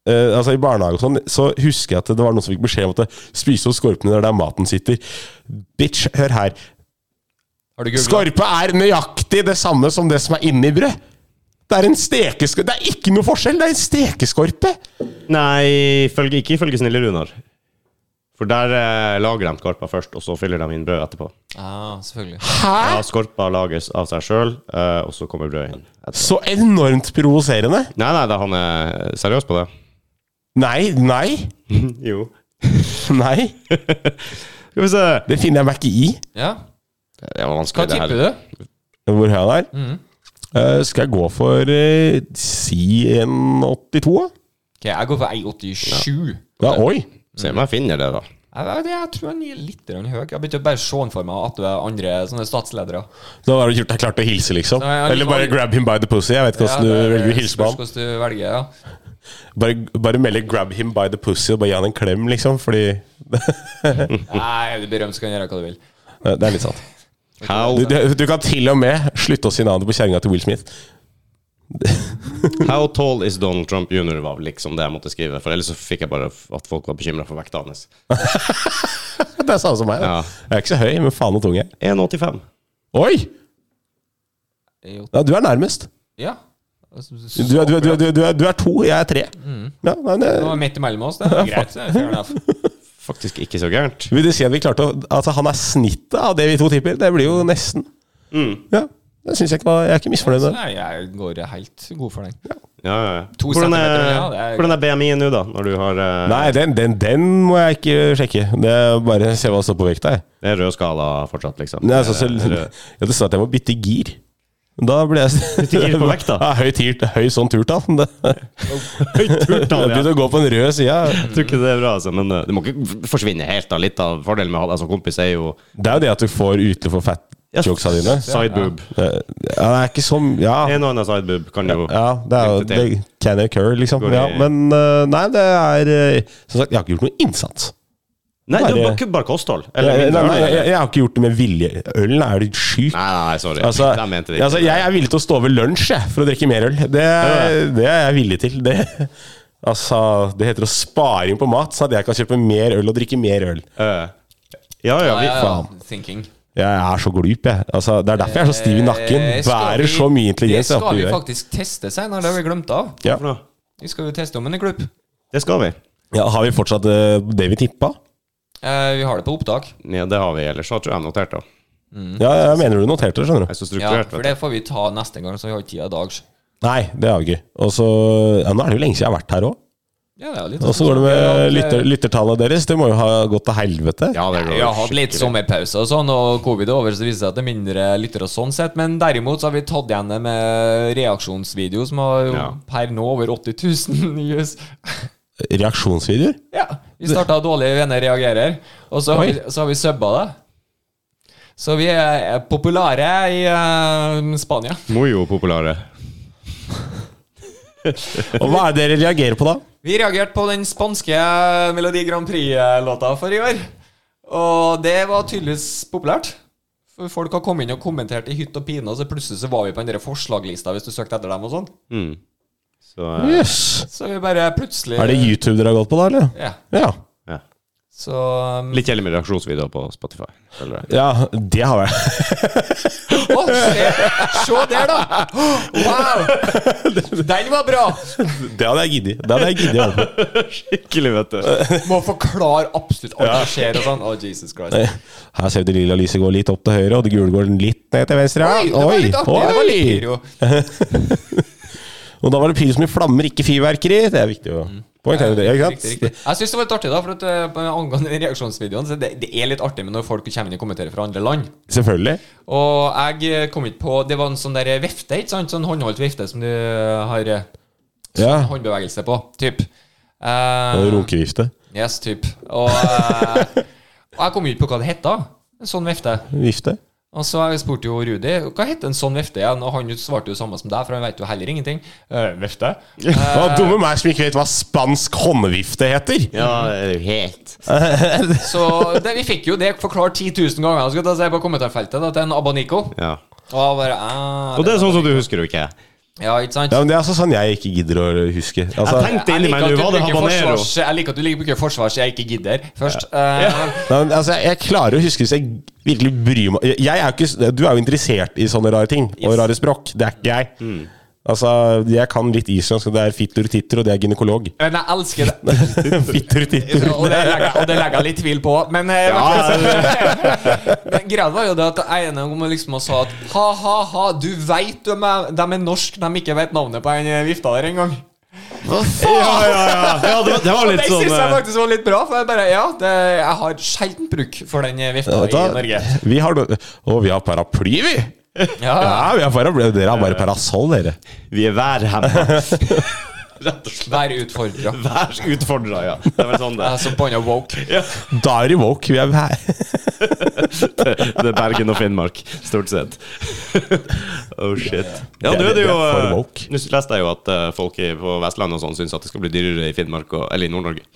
[SPEAKER 2] eh, altså I barnehage og sånn Så husker jeg at det var noen som fikk beskjed om at det, spise opp skorpene der, der maten sitter. Bitch, hør her.
[SPEAKER 3] Har du googlet?
[SPEAKER 2] Skorpe er nøyaktig det samme som det som er inni brød. Det er en stekeskorpe Det er ikke noe forskjell! Det er en stekeskorpe!
[SPEAKER 1] Nei, følge, ikke ifølge Snille Runar. For der eh, lager de skorpa først, og så fyller de inn brød etterpå.
[SPEAKER 3] Ja, selvfølgelig.
[SPEAKER 2] Hæ?!
[SPEAKER 1] Ja, Skorpa lages av seg sjøl, eh, og så kommer brødet inn. etterpå.
[SPEAKER 2] Så enormt provoserende!
[SPEAKER 1] Nei, nei, da, han er seriøs på det.
[SPEAKER 2] Nei, nei,
[SPEAKER 1] jo.
[SPEAKER 2] nei.
[SPEAKER 1] Skal vi se.
[SPEAKER 2] Det finner jeg meg ikke i.
[SPEAKER 3] Ja.
[SPEAKER 1] Det var
[SPEAKER 3] Hva
[SPEAKER 1] vanskelig, det
[SPEAKER 3] tipper
[SPEAKER 1] her.
[SPEAKER 3] du?
[SPEAKER 2] Hvor høy han er. Eh, skal jeg gå for eh, si 1,82? da?
[SPEAKER 3] Ok, Jeg går for E 1,87.
[SPEAKER 2] Ja, oi!
[SPEAKER 1] Se om jeg finner det, da.
[SPEAKER 3] Jeg, vet det, jeg tror han er litt grann høy. Jeg begynte å bare se han for meg at du er andre sånne statsledere.
[SPEAKER 2] Da var det gjort jeg klarte å hilse, liksom.
[SPEAKER 3] Nei, jeg-
[SPEAKER 2] Eller bare grab him by the pussy. Jeg vet ikke hvordan
[SPEAKER 3] det
[SPEAKER 2] du
[SPEAKER 3] er-
[SPEAKER 2] velger å hilse på han.
[SPEAKER 3] spørs hvordan du velger, ja.
[SPEAKER 2] Bare, bare melde 'grab him by the pussy' og bare gi han en klem, liksom. Fordi
[SPEAKER 3] Nei, du blir berømt, så kan du gjøre hva du vil.
[SPEAKER 2] Nei, Det er litt sant.
[SPEAKER 1] How,
[SPEAKER 2] Du, du, du kan til og med slutte å si navnet på kjerringa til Will Smith.
[SPEAKER 1] how tall is Donald Trump jr. var liksom det jeg måtte skrive, for ellers så fikk jeg bare f- at folk var bekymra for vekta hans.
[SPEAKER 2] Det er samme som meg.
[SPEAKER 1] Ja.
[SPEAKER 2] da. Jeg er ikke så høy, men faen og tung jeg er.
[SPEAKER 1] 1,85.
[SPEAKER 2] Oi!
[SPEAKER 3] Jo,
[SPEAKER 2] Ja, du er nærmest.
[SPEAKER 3] Ja. Altså,
[SPEAKER 2] Du er, du, er, du, er, du, er, du, er, du er to, jeg er tre.
[SPEAKER 3] Mm.
[SPEAKER 2] Ja, nei, det,
[SPEAKER 3] Det var midt imellom oss, det. er Greit. det er fair enough.
[SPEAKER 1] Faktisk ikke så gærent.
[SPEAKER 2] vil det si at vi klarte å Altså, han er snittet av det vi to tipper. Det blir jo nesten. Ja, det synes jeg ikke var Jeg er ikke misfornøyd med det.
[SPEAKER 3] Nei, jeg går helt god for den.
[SPEAKER 1] Ja, ja, ja.
[SPEAKER 3] To
[SPEAKER 1] Hvordan er,
[SPEAKER 3] centimeter, ja, det er-
[SPEAKER 1] hvordan er BMI-en nå, da? Når du har eh,
[SPEAKER 2] Nei, den, den, den må jeg ikke sjekke. Det er bare se hva det står på vekta, jeg.
[SPEAKER 1] Det er rød skala fortsatt, liksom.
[SPEAKER 2] Nei, altså, så,
[SPEAKER 1] Det er-
[SPEAKER 2] ja, det står at jeg må bytte gir. Da ble jeg Bytte
[SPEAKER 1] gir på vekta?
[SPEAKER 2] Ja, høy, tirt, høy sånn turtall. Jeg begynte å gå på den røde sida.
[SPEAKER 1] Jeg tror ikke det er bra, altså, men eh, det må ikke forsvinne helt. da Litt av fordelen med å ha deg som kompis er jo
[SPEAKER 2] Det er jo det at du får utløp for fat jokesa dine.
[SPEAKER 1] sideboob.
[SPEAKER 2] Eh, Ja, det er ikke som Ja,
[SPEAKER 1] En og annen sideboob kan jo
[SPEAKER 2] ja det er jo
[SPEAKER 1] Lykke
[SPEAKER 2] det
[SPEAKER 1] til.
[SPEAKER 2] Can occur, liksom.
[SPEAKER 1] Går i-
[SPEAKER 2] Ja, men eh, nei, det er eh, Som sagt, jeg har ikke gjort noe innsats.
[SPEAKER 1] Nei, det er
[SPEAKER 2] bare-
[SPEAKER 1] bare, bare kosthold.
[SPEAKER 2] Jeg,
[SPEAKER 1] Eller
[SPEAKER 2] jeg,
[SPEAKER 1] mindre
[SPEAKER 2] nei,
[SPEAKER 1] øl.
[SPEAKER 2] jeg,
[SPEAKER 1] eller-
[SPEAKER 2] jeg har ikke gjort det med vilje. Ølen er du sjuk.
[SPEAKER 1] Nei, nei, nei, sorry.
[SPEAKER 2] Altså,
[SPEAKER 1] jeg mente det ikke.
[SPEAKER 2] altså, jeg er villig til å stå over lunsj jeg, for å drikke mer øl. Det, er- det er jeg villig til. Det, altså, det heter å spare inn på mat, sånn at jeg kan kjøpe mer øl og drikke mer øl.
[SPEAKER 1] Eh, ja, ja, vi,
[SPEAKER 2] faen.
[SPEAKER 3] Thinking.
[SPEAKER 2] Jeg er så glup, jeg. Altså, det er derfor jeg er så stiv i nakken.
[SPEAKER 3] Eh, skal vi-
[SPEAKER 2] Bærer så mye
[SPEAKER 3] Det
[SPEAKER 2] intelligens. jeg
[SPEAKER 3] skal
[SPEAKER 2] alltid
[SPEAKER 3] vi
[SPEAKER 2] gjør.
[SPEAKER 3] faktisk teste senere, det har vi glemt av.
[SPEAKER 2] Ja.
[SPEAKER 1] for noe?
[SPEAKER 3] Vi skal jo teste om en klubb.
[SPEAKER 1] Det skal vi.
[SPEAKER 2] Ja, har vi fortsatt eh, det vi tippa?
[SPEAKER 3] Eh, vi har det på opptak.
[SPEAKER 1] Ja, det har vi ellers. Så tror jeg jeg noterte det.
[SPEAKER 3] Mm.
[SPEAKER 2] Ja, jeg mener du noterte,
[SPEAKER 1] Jeg
[SPEAKER 2] skjønner du.
[SPEAKER 1] er så
[SPEAKER 3] Ja,
[SPEAKER 1] strukturert.
[SPEAKER 3] for
[SPEAKER 1] vet du.
[SPEAKER 3] det får vi ta neste gang, så vi har tida i dag.
[SPEAKER 2] Nei, det har vi ikke. Og så ja, Nå er det jo lenge siden jeg har vært her òg.
[SPEAKER 3] Ja, det er litt sånn
[SPEAKER 2] Og så går det med lytter, lyttertallene deres. Det må jo ha gått til helvete.
[SPEAKER 1] Ja, det går
[SPEAKER 3] Vi har hatt litt
[SPEAKER 1] skikkelig.
[SPEAKER 3] sommerpause og sånn, og covid er over, så det viser seg at det er mindre lyttere sånn sett. Men derimot så har vi tatt igjen det med reaksjonsvideo, som har jo
[SPEAKER 1] Ja.
[SPEAKER 3] per nå over 80 000 views.
[SPEAKER 2] Reaksjonsvideoer?
[SPEAKER 3] Ja, vi starta dårlig, venner reagerer, og så har
[SPEAKER 2] Oi.
[SPEAKER 3] vi, så har vi subba det. Så vi er populære i eh, Spania.
[SPEAKER 1] Mojo populære.
[SPEAKER 2] Og hva er det dere reagerer på da?
[SPEAKER 3] Vi reagerte på den spanske Melodi Grand Prix-låta for i år. Og det var tydeligvis populært. For Folk har kommet inn og kommentert i hytt og pine, og så plutselig så var vi på den der forslaglista hvis du søkte etter dem og sånn.
[SPEAKER 1] Så,
[SPEAKER 3] Mm.
[SPEAKER 1] eh,
[SPEAKER 2] Yes.
[SPEAKER 3] Så vi bare plutselig
[SPEAKER 2] Er det YouTube dere har gått på da, eller?
[SPEAKER 3] Ja.
[SPEAKER 2] Ja.
[SPEAKER 1] ja.
[SPEAKER 3] Så um,
[SPEAKER 1] Litt kjedelig med reaksjonsvideoer på Spotify. føler jeg.
[SPEAKER 2] Ja, det har jeg.
[SPEAKER 3] Å, se, se der, da! Wow! Den var bra!
[SPEAKER 2] Det hadde jeg giddet. Det hadde jeg giddet å holde på.
[SPEAKER 1] Skikkelig, vet du.
[SPEAKER 3] Må forklare absolutt alt som skjer og sånn. Å, Jesus Christ.
[SPEAKER 2] Her ser vi det lilla lyset går litt opp til høyre, og det gule går litt ned til venstre. Ja.
[SPEAKER 3] Oi, det var litt artig. Det var litt
[SPEAKER 2] oi.
[SPEAKER 3] pyro.
[SPEAKER 2] Og da var det pyro som i flammer, ikke fyrverkeri. Det er viktig å poengtere det. Ikke sant?
[SPEAKER 3] Riktig, riktig. Jeg syns det var litt artig, da. For at eh, på- Angående den reaksjonsvideoen så det, det er litt artig med når folk kommer inn og kommenterer fra andre land.
[SPEAKER 2] Selvfølgelig.
[SPEAKER 3] Og jeg eh, kom ikke på Det var en sånn der vifte, ikke sant? Sånn håndholdt vifte som du har eh,
[SPEAKER 2] Ja.
[SPEAKER 3] håndbevegelse på. Typ. Eh,
[SPEAKER 2] Og Runkevifte.
[SPEAKER 3] yes, typ. Og, eh, og jeg kom jo ikke på hva det het da. En sånn vifte.
[SPEAKER 2] Vifte.
[SPEAKER 3] Og så jeg spurte jo Rudi hva heter en sånn vifte igjen, og han svarte jo samme som deg, for han vet jo heller ingenting. Eh, vifte?
[SPEAKER 2] Hva dumme meg som ikke vet hva spansk håndvifte heter!
[SPEAKER 1] Ja, helt.
[SPEAKER 3] Så det, vi fikk jo det forklart 10 000 ganger skal jeg ta og si, på kommentarfeltet da, til en abanico.
[SPEAKER 1] Ja.
[SPEAKER 3] Og jeg bare, eh,
[SPEAKER 1] Og det er sånn som du husker jo ikke.
[SPEAKER 3] Ja, ikke sant?
[SPEAKER 2] Ja, men Det er altså sånn jeg ikke gidder å huske. Altså,
[SPEAKER 1] Jeg tenkte inni meg nå,
[SPEAKER 3] liker at
[SPEAKER 1] var
[SPEAKER 3] du
[SPEAKER 1] det
[SPEAKER 3] bruker
[SPEAKER 1] habanero?
[SPEAKER 3] forsvars- Jeg liker at du liker å bruke forsvar så jeg ikke gidder, først. Eh,
[SPEAKER 2] Nei, men, altså, jeg, jeg klarer å huske hvis jeg virkelig bryr meg jeg, jeg er jo ikke, Du er jo interessert i sånne rare ting og rare språk. Det er ikke jeg. Altså, Jeg kan litt islandsk, og det er fittur titter, og det er gynekolog.
[SPEAKER 3] Men jeg elsker det.
[SPEAKER 2] fittur titter.
[SPEAKER 3] Og det legger, og det legger jeg litt tvil på, men eh, Men Greia var jo det at jeg ene gang liksom og sa at ha-ha-ha, du veit de, er- de er norsk, de ikke vet navnet på den eh, vifta der engang.
[SPEAKER 1] Hva faen? Ja, ja, ja. ja det, var, det var
[SPEAKER 3] Og
[SPEAKER 1] litt
[SPEAKER 3] det
[SPEAKER 1] sånn
[SPEAKER 3] syns jeg
[SPEAKER 1] eh,
[SPEAKER 3] faktisk var litt bra, for jeg bare Ja, det, jeg har sjelden bruk for den eh, vifta i
[SPEAKER 2] Vet du hva?
[SPEAKER 3] Norge.
[SPEAKER 2] Vi har, no- å, vi har paraply, vi!
[SPEAKER 3] Ja,
[SPEAKER 2] Ah. Ja, vi har paraply. Dere har bare parasoll, dere.
[SPEAKER 1] eh, Vi er værhemma. Rett og slett
[SPEAKER 3] Vær utfordra.
[SPEAKER 1] værutfordra, ja. Det er vel sånn det
[SPEAKER 3] Jeg er så banna woke.
[SPEAKER 2] Da er de woke. Vi er
[SPEAKER 1] Det er Bergen og Finnmark, stort sett. Oh shit. Ja, nå er det jo eh,
[SPEAKER 2] Det er for woke.
[SPEAKER 1] Nå leste jeg jo at eh, folk i- på Vestlandet og sånn syns at det skal bli dyrere i Finnmark og, eller i Nord-Norge.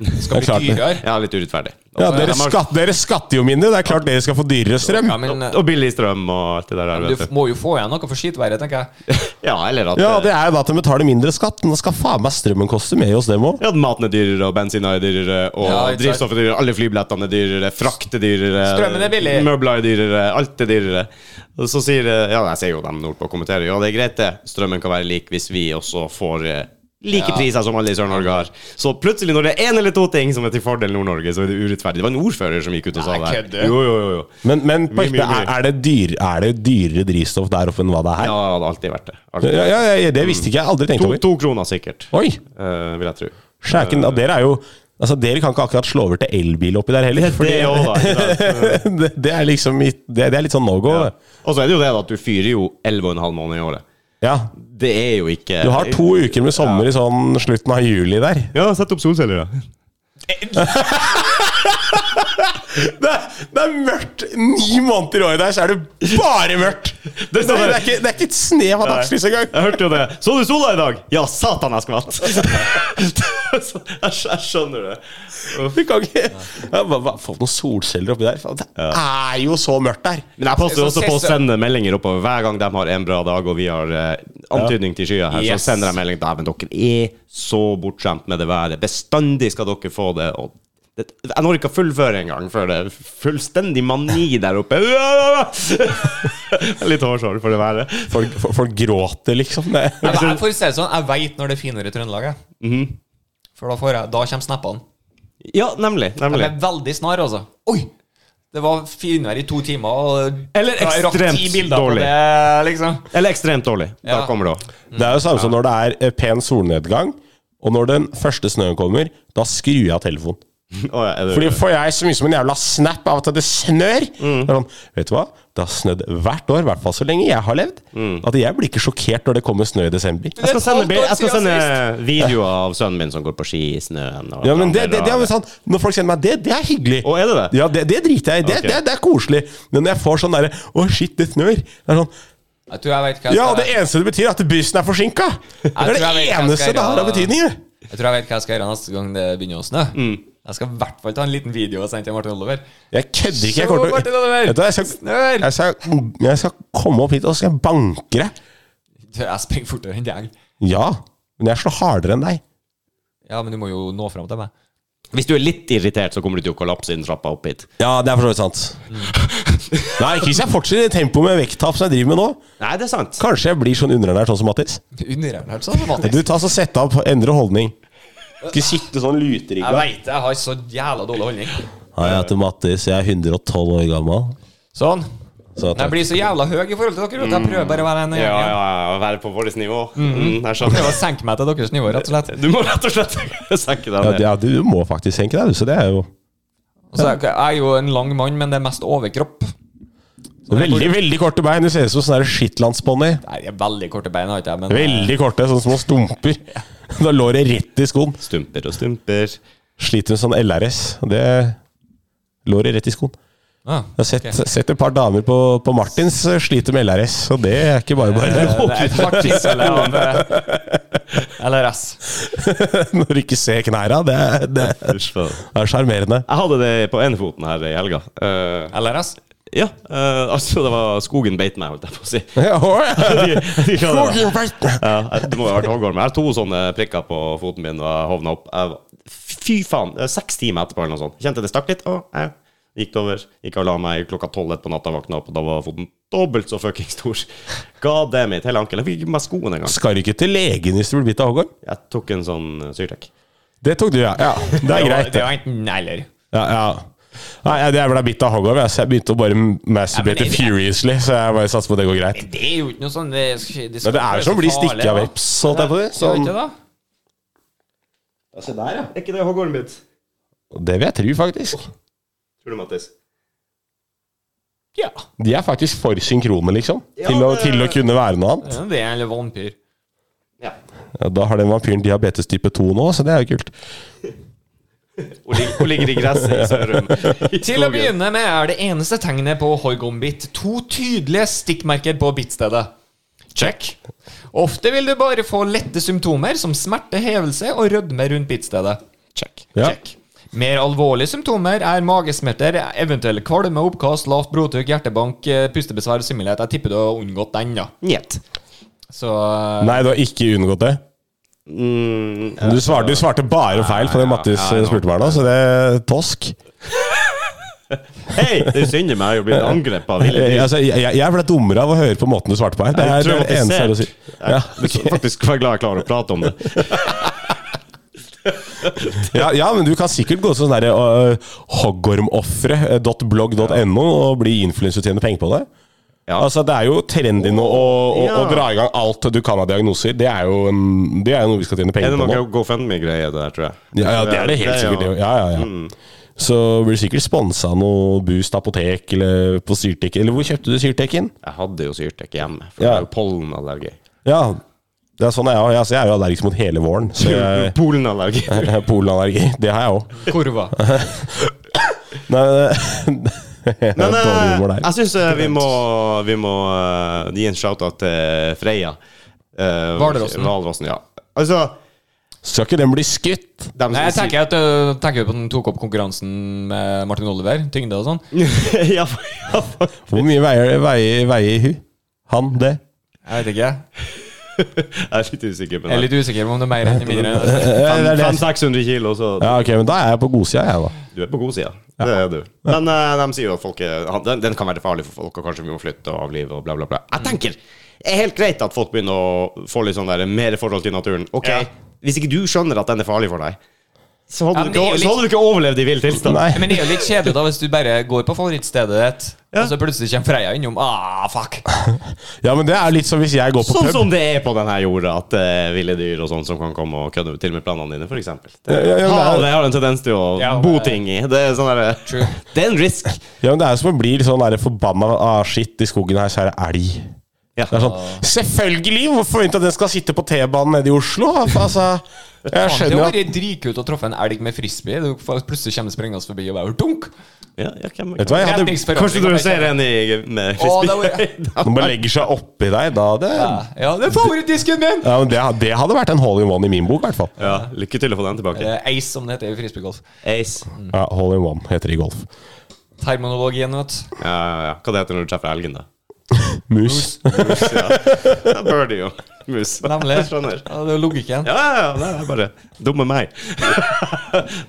[SPEAKER 3] Det skal bli
[SPEAKER 2] klart det.
[SPEAKER 3] dyrere.
[SPEAKER 1] Ja, litt urettferdig.
[SPEAKER 2] Ja, dere,
[SPEAKER 1] De har-
[SPEAKER 2] skatt, dere skatter jo mindre. Det er klart dere skal få dyrere strøm.
[SPEAKER 3] Ja, men eh,
[SPEAKER 1] Og billig strøm og alt det der. her,
[SPEAKER 3] du
[SPEAKER 1] Vet du.
[SPEAKER 3] må jo få igjen noe for skitværet, tenker jeg.
[SPEAKER 1] Ja, eller at,
[SPEAKER 2] Ja,
[SPEAKER 1] eh,
[SPEAKER 2] det er jo da at de betaler mindre skatt, men da skal faen meg strømmen koste mer hos dem òg.
[SPEAKER 1] ja, eh, at maten er dyrere, og bensina er dyrere, og
[SPEAKER 3] Ja, ikke sant.
[SPEAKER 1] drivstoffet er dyrere, alle flybillettene er dyrere, frakt er dyrere,
[SPEAKER 3] Strømmen er billig.
[SPEAKER 1] møbler er dyrere, alt er dyrere. Og så sier eh, Ja, jeg ser jo dem nordpå kommentere, ja, det er greit, det. Strømmen kan være lik hvis vi også får eh, like
[SPEAKER 3] Ja.
[SPEAKER 1] priser som alle i Sør-Norge har. Så plutselig, når det er én eller to ting som er til fordel Nord-Norge, så er det urettferdig. Det var en ordfører som gikk ut og sa
[SPEAKER 3] Nei,
[SPEAKER 1] det.
[SPEAKER 3] kødder.
[SPEAKER 1] Jo, jo, jo, jo.
[SPEAKER 2] Men, men på
[SPEAKER 1] Mye,
[SPEAKER 2] ekte,
[SPEAKER 1] mye, mye.
[SPEAKER 2] er, er, det dyr, er det dyrere drivstoff der oppe enn hva det er
[SPEAKER 1] Ja,
[SPEAKER 2] her?
[SPEAKER 1] det hadde alltid vært det. Alltid.
[SPEAKER 2] Ja, ja, ja, det visste ikke jeg. Aldri tenkt
[SPEAKER 1] To,
[SPEAKER 2] over.
[SPEAKER 1] to kroner sikkert,
[SPEAKER 2] Oi!
[SPEAKER 1] eh, vil jeg tro.
[SPEAKER 2] Skjæken, ja, dere er jo Altså, dere kan ikke akkurat slå over til elbil oppi der heller.
[SPEAKER 1] Det
[SPEAKER 2] fordi-
[SPEAKER 1] òg, da. ikke sant?
[SPEAKER 2] det, det er liksom mitt- det, det er litt sånn no go. det.
[SPEAKER 1] Og så er det jo det da at du fyrer jo 11,5 måneder i året.
[SPEAKER 2] Ja.
[SPEAKER 1] Det er jo ikke
[SPEAKER 2] Du har to uker med sommer i sånn slutten av juli der.
[SPEAKER 1] Ja, sett opp solceller, da. Eh,
[SPEAKER 2] Det er, det er mørkt ni måneder i året der, så er det bare mørkt! Det,
[SPEAKER 1] står der.
[SPEAKER 2] ikke, det er sånn ikke et snev av dagslys engang.
[SPEAKER 1] Jeg hørte jo det. Så du sola i dag? Ja, satan, jeg skvatt! Så jeg, skj- jeg skjønner det.
[SPEAKER 2] Du kan ikke ja, hva- hva- Få noen solceller oppi der. faen, Det er jo så mørkt der!
[SPEAKER 1] Men jeg passer jo også
[SPEAKER 3] Så
[SPEAKER 1] på å
[SPEAKER 3] ses-
[SPEAKER 1] sende meldinger oppover hver gang de har en bra dag og vi har eh, antydning til skyer her.
[SPEAKER 3] Yes.
[SPEAKER 1] Så sender jeg melding Dæven, dere er så bortskjemt med det været. Bestandig skal dere få det. Og det, jeg når ikke å fullføre engang før det er fullstendig mani der oppe. Litt hårsår for det været.
[SPEAKER 2] Folk, folk, folk gråter, liksom. Det.
[SPEAKER 3] Jeg, jeg, for å si det sånn, jeg veit når det er finere i Trøndelag, jeg.
[SPEAKER 2] Mhm.
[SPEAKER 3] For da, får jeg, da kommer snappene.
[SPEAKER 1] Ja, nemlig.
[SPEAKER 3] De
[SPEAKER 1] nemlig.
[SPEAKER 3] er veldig snar, altså. Oi! Det var finvær i to timer, og
[SPEAKER 1] Eller
[SPEAKER 3] jeg rakk
[SPEAKER 1] ekstremt
[SPEAKER 3] ti bilder på
[SPEAKER 1] dårlig.
[SPEAKER 3] Det, liksom.
[SPEAKER 1] Eller ekstremt dårlig. Da
[SPEAKER 3] Ja.
[SPEAKER 1] kommer det òg.
[SPEAKER 2] det er jo samme som når det er eh, pen solnedgang, og når den første snøen kommer, da skrur jeg av telefonen. Fordi får jeg så mye som en jævla snap av at det snør. Det er Sånn, vet du hva? Det har snødd hvert år, i hvert fall så lenge jeg har levd. At jeg blir ikke sjokkert når det kommer snø i desember.
[SPEAKER 1] jeg
[SPEAKER 2] Altså,
[SPEAKER 1] skal sende,
[SPEAKER 3] Det er et halvt
[SPEAKER 1] bil-
[SPEAKER 3] år
[SPEAKER 1] jeg skal
[SPEAKER 3] siden
[SPEAKER 1] sende videoer av sønnen min som går på ski i snøen. Og
[SPEAKER 2] Ja, men det,
[SPEAKER 1] andre
[SPEAKER 2] det, det er jo
[SPEAKER 1] rare.
[SPEAKER 2] sånn Når folk sier meg det, det er hyggelig.
[SPEAKER 1] Å, er det det?
[SPEAKER 2] Ja, det, det driter jeg i. Det,
[SPEAKER 1] Ok.
[SPEAKER 2] det, det er koselig. Men når jeg får sånn derre Å, shit, det snør. Det er sånn
[SPEAKER 3] Jeg tror jeg vet hva jeg
[SPEAKER 2] Ja,
[SPEAKER 3] skal
[SPEAKER 2] og det eneste det betyr, er at bussen er forsinka! Det
[SPEAKER 3] tror jeg
[SPEAKER 2] er det
[SPEAKER 3] vet hva jeg
[SPEAKER 2] eneste
[SPEAKER 3] skal
[SPEAKER 2] det har
[SPEAKER 3] gjøre.
[SPEAKER 2] av betydning. det.
[SPEAKER 3] Jeg tror jeg vet hva jeg skal gjøre neste gang det begynner å snø.
[SPEAKER 2] Mm.
[SPEAKER 3] Jeg skal i hvert fall ta en liten video og sende til Martin Oliver.
[SPEAKER 2] Jeg kødder ikke.
[SPEAKER 3] Så,
[SPEAKER 2] Jeg, kommer til,
[SPEAKER 3] Martin Oliver,
[SPEAKER 2] Vet du hva, jeg, skal,
[SPEAKER 3] Snør!
[SPEAKER 2] jeg, skal, jeg skal komme opp hit og så skal jeg banke deg.
[SPEAKER 3] Du, Jeg springer fortere enn deg.
[SPEAKER 2] Ja, men jeg slår hardere enn deg.
[SPEAKER 3] Ja, men du må jo nå fram til meg.
[SPEAKER 1] Hvis du er litt irritert, så kommer du til å kollapse innen trappa opp hit.
[SPEAKER 2] Ja, det er for så vidt sant. Nei, ikke hvis jeg fortsetter i tempoet med vekttap som jeg driver med nå.
[SPEAKER 1] Nei, det er sant.
[SPEAKER 2] Kanskje jeg blir sånn underernært sånn som Mattis.
[SPEAKER 3] Underernært sånn, Mattis.
[SPEAKER 2] Du, ta så Sett deg opp, endre holdning. Ikke sitte sånn luterigga.
[SPEAKER 3] Jeg veit det. Jeg har så jævla dårlig holdning.
[SPEAKER 2] Hei, jeg heter Mattis. Jeg er 112 år gammel.
[SPEAKER 3] Sånn.
[SPEAKER 2] Så
[SPEAKER 3] Men Jeg blir så jævla høy i forhold til dere. vet du. Jeg prøver bare å være
[SPEAKER 2] Mm.
[SPEAKER 3] en
[SPEAKER 1] Ja, ja, ja. Være på vårt nivå. Mm, jeg
[SPEAKER 3] Prøver
[SPEAKER 1] skjønner.
[SPEAKER 3] å senke meg til deres nivå, rett og slett.
[SPEAKER 1] Du må rett og slett senke deg
[SPEAKER 2] ja,
[SPEAKER 1] ned.
[SPEAKER 2] ja, du må faktisk senke deg, du. Så det er jo
[SPEAKER 3] Og så er jeg jeg er jo en lang mann, men det er mest overkropp.
[SPEAKER 2] Veldig, veldig korte bein. Du ser ut som sånn der Shetlandsbonnie.
[SPEAKER 3] Nei, jeg er veldig korte bein, har ikke jeg, men
[SPEAKER 2] Veldig korte, sånne små stumper. Da lå det rett i skoen.
[SPEAKER 1] Stumper og stumper.
[SPEAKER 2] Sliter med sånn LRS. og Det lå det rett i skoen.
[SPEAKER 3] Ah.
[SPEAKER 2] Jeg har sett, sett et par damer på, på Martins eh, sliter med LRS, og det er ikke bare bare
[SPEAKER 3] Det er et hardt tilfelle av eh, LRS.
[SPEAKER 2] når du ikke ser knærne. Det, er- det er-
[SPEAKER 1] Uff, faen.
[SPEAKER 2] det er sjarmerende.
[SPEAKER 1] Jeg hadde det på ene foten her i helga. Eh,
[SPEAKER 3] LRS?
[SPEAKER 1] ja, eh, altså det var skogen beit meg, holdt jeg på å si.
[SPEAKER 2] Ja, å, ja.
[SPEAKER 1] Jeg vet ikke hva det var.
[SPEAKER 2] Skogen-
[SPEAKER 1] Ja, jeg- Eh, det må jo ha vært hoggorm. Jeg har to sånne prikker på foten min, og jeg hovna opp. Jeg, var- fy faen! eh, Seks timer etterpå eller noe sånt. Kjente det stakk litt, og jeg gikk det over. Gikk og la meg klokka tolv på natta, våkna opp, og da var foten dobbelt så fucking stor. God damn it, hele ankelen. Jeg fikk ikke med meg skoen engang.
[SPEAKER 2] Skal du ikke til legen hvis du blir bitt av hoggorm?
[SPEAKER 1] Jeg tok en sånn eh, Syrtec.
[SPEAKER 2] Det tok du, ja. ja. Det er greit.
[SPEAKER 3] Det er jo enten eller.
[SPEAKER 2] Ja, ja. Nei, jeg- jeg ble bitt av hoggorm, jeg, så jeg begynte å bare masturbate
[SPEAKER 3] Ja, men det-
[SPEAKER 2] furiously. Så jeg bare satser på at det går greit.
[SPEAKER 3] Det er jo ikke noe sånn Det, skal- det,
[SPEAKER 2] Men det er jo som å bli stikket av veps, holdt jeg på å si.
[SPEAKER 3] Sånn.
[SPEAKER 2] Sånn.
[SPEAKER 1] Ja, se der, ja. Er ikke det hoggormen mitt?
[SPEAKER 2] Det vil jeg tro, faktisk.
[SPEAKER 1] Tror du, Mattis?
[SPEAKER 3] Ja.
[SPEAKER 2] De er faktisk for synkrone, liksom.
[SPEAKER 1] Ja,
[SPEAKER 2] Til å,
[SPEAKER 1] det-
[SPEAKER 2] til å kunne være noe annet.
[SPEAKER 3] Ja, Det er en vampyr.
[SPEAKER 1] Ja.
[SPEAKER 2] Ja, Da har den vampyren diabetes type 2 nå, så det er jo kult.
[SPEAKER 1] Hun ligger, hun ligger i gresset i Sørum.
[SPEAKER 3] Til å begynne med er det eneste tegnet på Hoigon-bit to tydelige stikkmerker på bitstedet. Check. Ofte vil du bare få lette symptomer som smerte, hevelse og rødme rundt bitstedet. Check.
[SPEAKER 2] Ja.
[SPEAKER 3] Check. Mer alvorlige symptomer er magesmerter, eventuelle kvalme, oppkast, lavt blodtrykk, hjertebank, eh, pustebesvær og svimmelhet. Jeg tipper du har unngått den, da.
[SPEAKER 1] Njet.
[SPEAKER 3] Så
[SPEAKER 2] Nei, du har ikke unngått det.
[SPEAKER 1] Mm,
[SPEAKER 2] Du svarte, du svarte bare feil på det Mattis eh,
[SPEAKER 1] ja, ja.
[SPEAKER 2] spurte meg nå, så det er tosk.
[SPEAKER 1] Hei, det er synd i meg å bli angrepet av ville
[SPEAKER 2] Jeg,
[SPEAKER 1] dyr.
[SPEAKER 2] altså, jeg, jeg- jeg ble dummere av å høre på måten du svarte på her. Det er det er det eneste jeg har å si. Ja,
[SPEAKER 1] Du skal faktisk være glad jeg klarer å prate om det.
[SPEAKER 2] ja, ja, men du kan sikkert gå til sånn derre uh, eh, hoggormofre.blogg.no og bli influenser og tjene penger på det.
[SPEAKER 1] Ja.
[SPEAKER 2] Altså, det er jo trendy nå å, å, å
[SPEAKER 1] Ja.
[SPEAKER 2] dra i gang alt du kan av diagnoser. Det er jo, en, det er jo noe vi skal tjene
[SPEAKER 1] Er
[SPEAKER 2] penger
[SPEAKER 1] det
[SPEAKER 2] på nå.
[SPEAKER 1] noe GoFundMe-greie der, tror jeg?
[SPEAKER 2] Ja, ja, det er det helt sikkert. det jo. Ja, ja, ja.
[SPEAKER 1] Mm.
[SPEAKER 2] Så blir du sikkert sponsa av noe Boost apotek eller på Syrtek. Eller hvor kjøpte du Syrteken?
[SPEAKER 1] Jeg hadde jo syrtek hjemme, for det
[SPEAKER 2] Ja.
[SPEAKER 1] er jo pollenallergi.
[SPEAKER 2] Ja, det er sånn jeg òg. Altså, jeg er jo allergisk mot hele våren. Så jeg,
[SPEAKER 1] Pollenallergi.
[SPEAKER 2] jeg har polenallergi. Det har jeg òg.
[SPEAKER 3] eh, kurva.
[SPEAKER 2] Nei, det- det er
[SPEAKER 1] Men eh,
[SPEAKER 2] dårlig humor der.
[SPEAKER 1] jeg syns vi må, vi må eh, gi en shout-out til Freia. Eh,
[SPEAKER 3] Hvalrossen.
[SPEAKER 1] Hvalrossen, ja. Altså,
[SPEAKER 2] Skal ikke den bli skutt?
[SPEAKER 1] dem som
[SPEAKER 3] Nei, jeg
[SPEAKER 1] sier-
[SPEAKER 3] tenker at øh, tenker på at han tok opp konkurransen med Martin Oliver, tyngde og sånn.
[SPEAKER 1] ja, for- ja, for-
[SPEAKER 2] Hvor mye veier, veier, veier hun? Han? Det?
[SPEAKER 3] Jeg vet ikke.
[SPEAKER 1] Jeg er litt usikker på
[SPEAKER 3] Jeg
[SPEAKER 1] det.
[SPEAKER 3] er litt usikker på om det er mer enn mindre.
[SPEAKER 2] Eh, det er det.
[SPEAKER 1] 500-600 kilo, så
[SPEAKER 2] Ja, ok, men da er jeg på godsida, jeg, da.
[SPEAKER 1] du er på god sida. Det er du. Men eh, de sier jo at folk er, han- den, den kan være farlig for folk, og kanskje vi må flytte og avlive og bla, bla, bla. Jeg tenker det er helt greit at folk begynner å få litt sånn der mer forhold til naturen. Ok,
[SPEAKER 3] Ja.
[SPEAKER 1] Hvis ikke du skjønner at den er farlig for deg, så
[SPEAKER 3] Ja,
[SPEAKER 1] hadde,
[SPEAKER 3] men
[SPEAKER 1] du, ikke,
[SPEAKER 3] det er jo
[SPEAKER 1] så hadde du ikke overlevd i vill tilstand.
[SPEAKER 2] Nei.
[SPEAKER 3] Men det er jo litt kjedelig da hvis du bare går på favorittstedet ditt,
[SPEAKER 1] Ja.
[SPEAKER 3] og så plutselig kommer Freya innom. Ah, fuck!
[SPEAKER 2] Ja, men det er litt som hvis jeg går på
[SPEAKER 1] Sånn
[SPEAKER 2] pub.
[SPEAKER 1] som det er på denne jorda, at det er ville dyr og sånn som kan komme og kødde til med planene dine, f.eks. Det,
[SPEAKER 2] Ja, ja, ja, men det er-
[SPEAKER 1] Havet har en tendens til å
[SPEAKER 3] Ja, men-
[SPEAKER 1] bo ting i. Det er, sånn der,
[SPEAKER 3] True.
[SPEAKER 1] det er en risk.
[SPEAKER 2] Ja, men Det er jo som å bli litt sånn der forbanna av ah, shit, i skogen her så er det elg.
[SPEAKER 1] Ja.
[SPEAKER 2] Det er
[SPEAKER 3] Ah.
[SPEAKER 2] sånn, Selvfølgelig! Hvorfor forvente at den skal sitte på T-banen nede i Oslo? Altså,
[SPEAKER 3] Faen,
[SPEAKER 2] jeg
[SPEAKER 3] det
[SPEAKER 2] skjønner jo
[SPEAKER 3] var
[SPEAKER 2] at
[SPEAKER 3] bare dritkult å treffe en elg med frisbee. Du får- plutselig kommer det sprengende forbi og bare dunk!
[SPEAKER 1] Ja, ja, hvem,
[SPEAKER 2] Vet du hva, jeg hadde,
[SPEAKER 1] Kanskje du ser en i, med
[SPEAKER 3] Å, det var-
[SPEAKER 1] frisbee?
[SPEAKER 2] Når man legger seg oppi deg, da det,
[SPEAKER 3] Ja, det er favorittdisken min!
[SPEAKER 2] ja, men det, det hadde vært en hole in one i min bok, i hvert fall.
[SPEAKER 1] ja, lykke til å få den tilbake.
[SPEAKER 3] Eller Ace, som det heter i frisbeegolf. Mm.
[SPEAKER 1] Ace.
[SPEAKER 2] Ja, hole in one heter det i golf.
[SPEAKER 3] Terminologien, vet du.
[SPEAKER 1] Ja, ja, ja. Hva det heter når du treffer elgen, da?
[SPEAKER 2] Mus.
[SPEAKER 1] Ja, birdie og mus.
[SPEAKER 3] Nemlig.
[SPEAKER 1] Jeg skjønner.
[SPEAKER 3] Ja, det er jo logikken.
[SPEAKER 1] Ja, ja, ja, det er bare Dumme meg.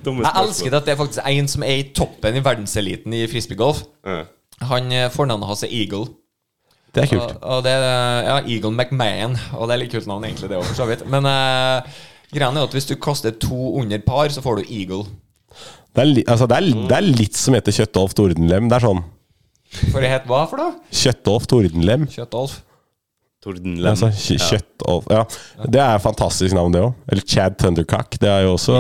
[SPEAKER 1] Dumme
[SPEAKER 3] Jeg elsket at det er faktisk en som er i toppen i verdenseliten i frisbeegolf.
[SPEAKER 1] Ja.
[SPEAKER 3] Han eh, Fornavnet hans er Eagle.
[SPEAKER 2] Det er
[SPEAKER 3] Og,
[SPEAKER 2] kult.
[SPEAKER 3] og det er ja, Eagle McMahon. Og det er litt kult navn, egentlig, det òg, for så vidt. Men eh, greia er jo at hvis du kaster to under par, så får du Eagle.
[SPEAKER 2] Det er, li- altså, det, er, det er litt som heter Kjøttolf Tordenlem. Det er sånn
[SPEAKER 3] For det het hva for noe?
[SPEAKER 2] Kjøttolf Tordenlem.
[SPEAKER 3] Kjøttolf.
[SPEAKER 1] Tordenlem.
[SPEAKER 2] Altså, kj- Kjøttolf Ja, det er et fantastisk navn, det òg. Eller Chad Thundercock. Det er jo også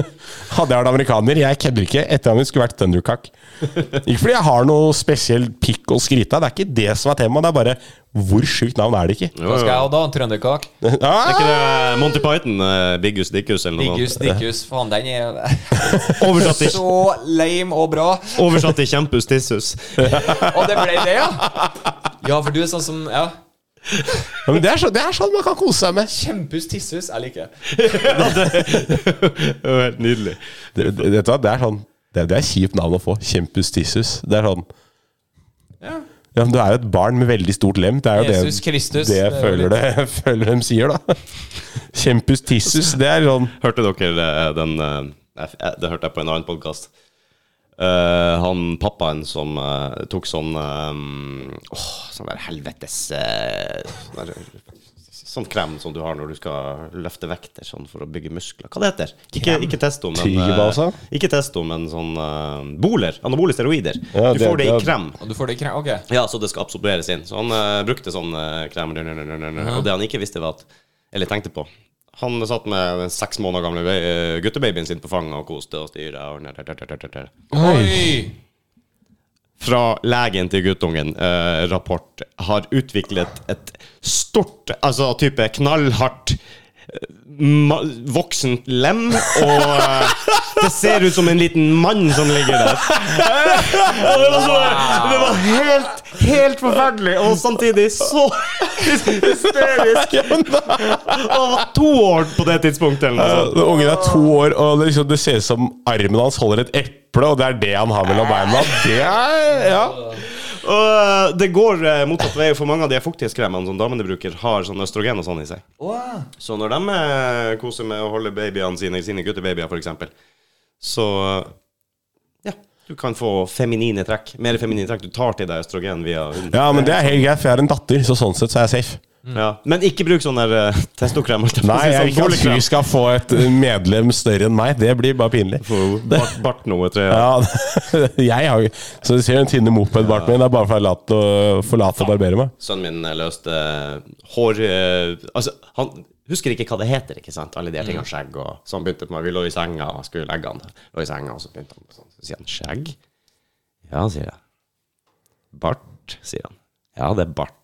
[SPEAKER 2] Hadde jeg vært amerikaner, jeg kødder ikke, etternavnet skulle vært Thundercock. Ikke fordi jeg har noe spesiell pikk å skryte av, det er ikke det som er temaet. Det er bare hvor sjukt navn er det ikke?
[SPEAKER 1] Jo,
[SPEAKER 3] Hva
[SPEAKER 1] jo.
[SPEAKER 3] skal jeg ha da? Trønderkak?
[SPEAKER 1] Er ikke
[SPEAKER 2] Ah!
[SPEAKER 1] Mm. det Monty Python, eh, Biggus Dickus eller noe
[SPEAKER 3] Diggus,
[SPEAKER 1] sånt?
[SPEAKER 3] dickus. Faen, den er
[SPEAKER 1] Oversatt til,
[SPEAKER 3] så lame og bra.
[SPEAKER 1] oversatt til Kjempus Tissus.
[SPEAKER 3] Og det ble det, ja? Ja, for du er sånn som Ja.
[SPEAKER 2] Ja, men det, er så, det er sånn man kan kose seg med.
[SPEAKER 3] Kjempehus tissus. Jeg liker det.
[SPEAKER 1] Det var Helt nydelig.
[SPEAKER 2] Det, det, vet du hva, det er sånn Det, det er kjipt navn å få. Kjempus tissus. Det er sånn ja, men Du er jo et barn med veldig stort lem. Det er jo
[SPEAKER 3] Jesus
[SPEAKER 2] det,
[SPEAKER 3] Kristus.
[SPEAKER 2] det
[SPEAKER 3] er jo
[SPEAKER 2] føler,
[SPEAKER 3] litt-
[SPEAKER 2] det, føler de sier, da. Kjempus tissus. Det er sånn
[SPEAKER 1] Hørte dere eh, den eh, nei, f- eh, Det hørte jeg på en annen podkast. han pappaen som eh, tok sånn eh, Åh, sånn der helvetes eh, sånn der, Sånn krem som du har når du skal løfte vekter sånn for å bygge muskler. Hva det heter Ikke, ikke testo, men eh,
[SPEAKER 2] Tigerbasa?
[SPEAKER 1] Ikke testo, men sånn eh, boler. Anabole steroider.
[SPEAKER 2] Ja,
[SPEAKER 1] du
[SPEAKER 2] det-
[SPEAKER 1] får det i
[SPEAKER 2] det-
[SPEAKER 1] krem.
[SPEAKER 3] Og du får det i kre... Ok.
[SPEAKER 1] Ja, så det skal absorberes inn. Så han eh, brukte sånn eh, krem. dun, dun, dun, dun, dun, Og det han ikke visste, var at Eller tenkte på. Han satt med den seks måneder gamle be- eh, guttebabyen sin på fanget og koste og styra. Og nær, nær, nær, nær, nær, nær.
[SPEAKER 3] Oi!
[SPEAKER 1] Fra legen til guttungen, eh, rapport, har utviklet et stort, altså type knallhardt eh, ma- Voksent lem, og eh, det ser ut som en liten mann som ligger der. Og det var, så, det var helt, helt forferdelig, og samtidig så hysterisk. Han var to år på det tidspunktet. Eller noe
[SPEAKER 2] Ja,
[SPEAKER 1] sånt.
[SPEAKER 2] når Ungen er to år, og det, liksom, det ser ut som armen hans holder et eple, og det er det han har mellom beina. Det er, ja
[SPEAKER 1] Og eh, det går eh, motsatt vei, for mange av de fuktighetskremene som damene bruker, har sånn østrogen og sånn i seg.
[SPEAKER 3] Wow.
[SPEAKER 1] Så når de eh, koser med å holde babyene sine, sine guttebabyer f.eks., så eh, ja, du kan få feminine trekk. Mer feminine trekk. Du tar til deg østrogen via hunden.
[SPEAKER 2] Ja, men det er helt greit, for jeg har en datter, så sånn sett så er jeg safe.
[SPEAKER 1] Ja. Men ikke bruk sånn der eh, testokrem. holdt jeg på å
[SPEAKER 2] Nei,
[SPEAKER 1] si,
[SPEAKER 2] jeg
[SPEAKER 1] sånn
[SPEAKER 2] vil ikke at
[SPEAKER 1] bolekrem.
[SPEAKER 2] hun skal få et medlem større enn meg. Det blir bare pinlig.
[SPEAKER 1] På Bart, bart noe, tror jeg.
[SPEAKER 2] Ja, jeg har jo Så du ser den tynne mopedbarten min. Det er bare for å late å- forlate å barbere meg.
[SPEAKER 1] Sønnen min eh, løste eh, hår eh, Altså, han husker ikke hva det heter, ikke sant? Alle de her tingene, skjegg og Så han begynte med Vi lå i senga, og jeg skulle legge han Lå i senga, og så begynte han sånn. Så sier han skjegg? Ja, sier jeg. Bart, sier han. Ja, det er bart.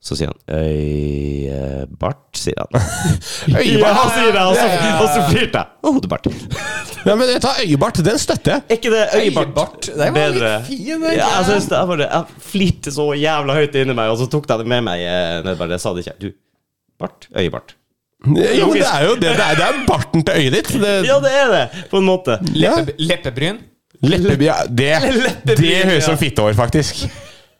[SPEAKER 1] Så sier han Øy, eh, Bart, sier han.
[SPEAKER 2] Øyebart!
[SPEAKER 1] sier jeg, og så, og så flirte jeg. Å, hodebart.
[SPEAKER 2] Ja, men ta øyebart, den støtter jeg.
[SPEAKER 1] Er ikke det øyebart?
[SPEAKER 3] Øyebart, det var litt
[SPEAKER 1] ja, altså,
[SPEAKER 3] fin, den
[SPEAKER 1] jeg,
[SPEAKER 3] greia.
[SPEAKER 1] synes det, jeg, bare, jeg flirte så jævla høyt inni meg, og så tok jeg det med meg eh, nedover. Jeg sa det ikke. Du, bart? Øyebart.
[SPEAKER 2] Jo, men det er jo det. Det er, det er barten til øyet ditt. Det,
[SPEAKER 1] Ja, det er det, på en måte.
[SPEAKER 2] ja.
[SPEAKER 3] Leppe, leppebryn.
[SPEAKER 2] Leppeby ja, Det,
[SPEAKER 1] Leppeby,
[SPEAKER 2] det høres ut
[SPEAKER 1] ja.
[SPEAKER 2] som fittehår, faktisk.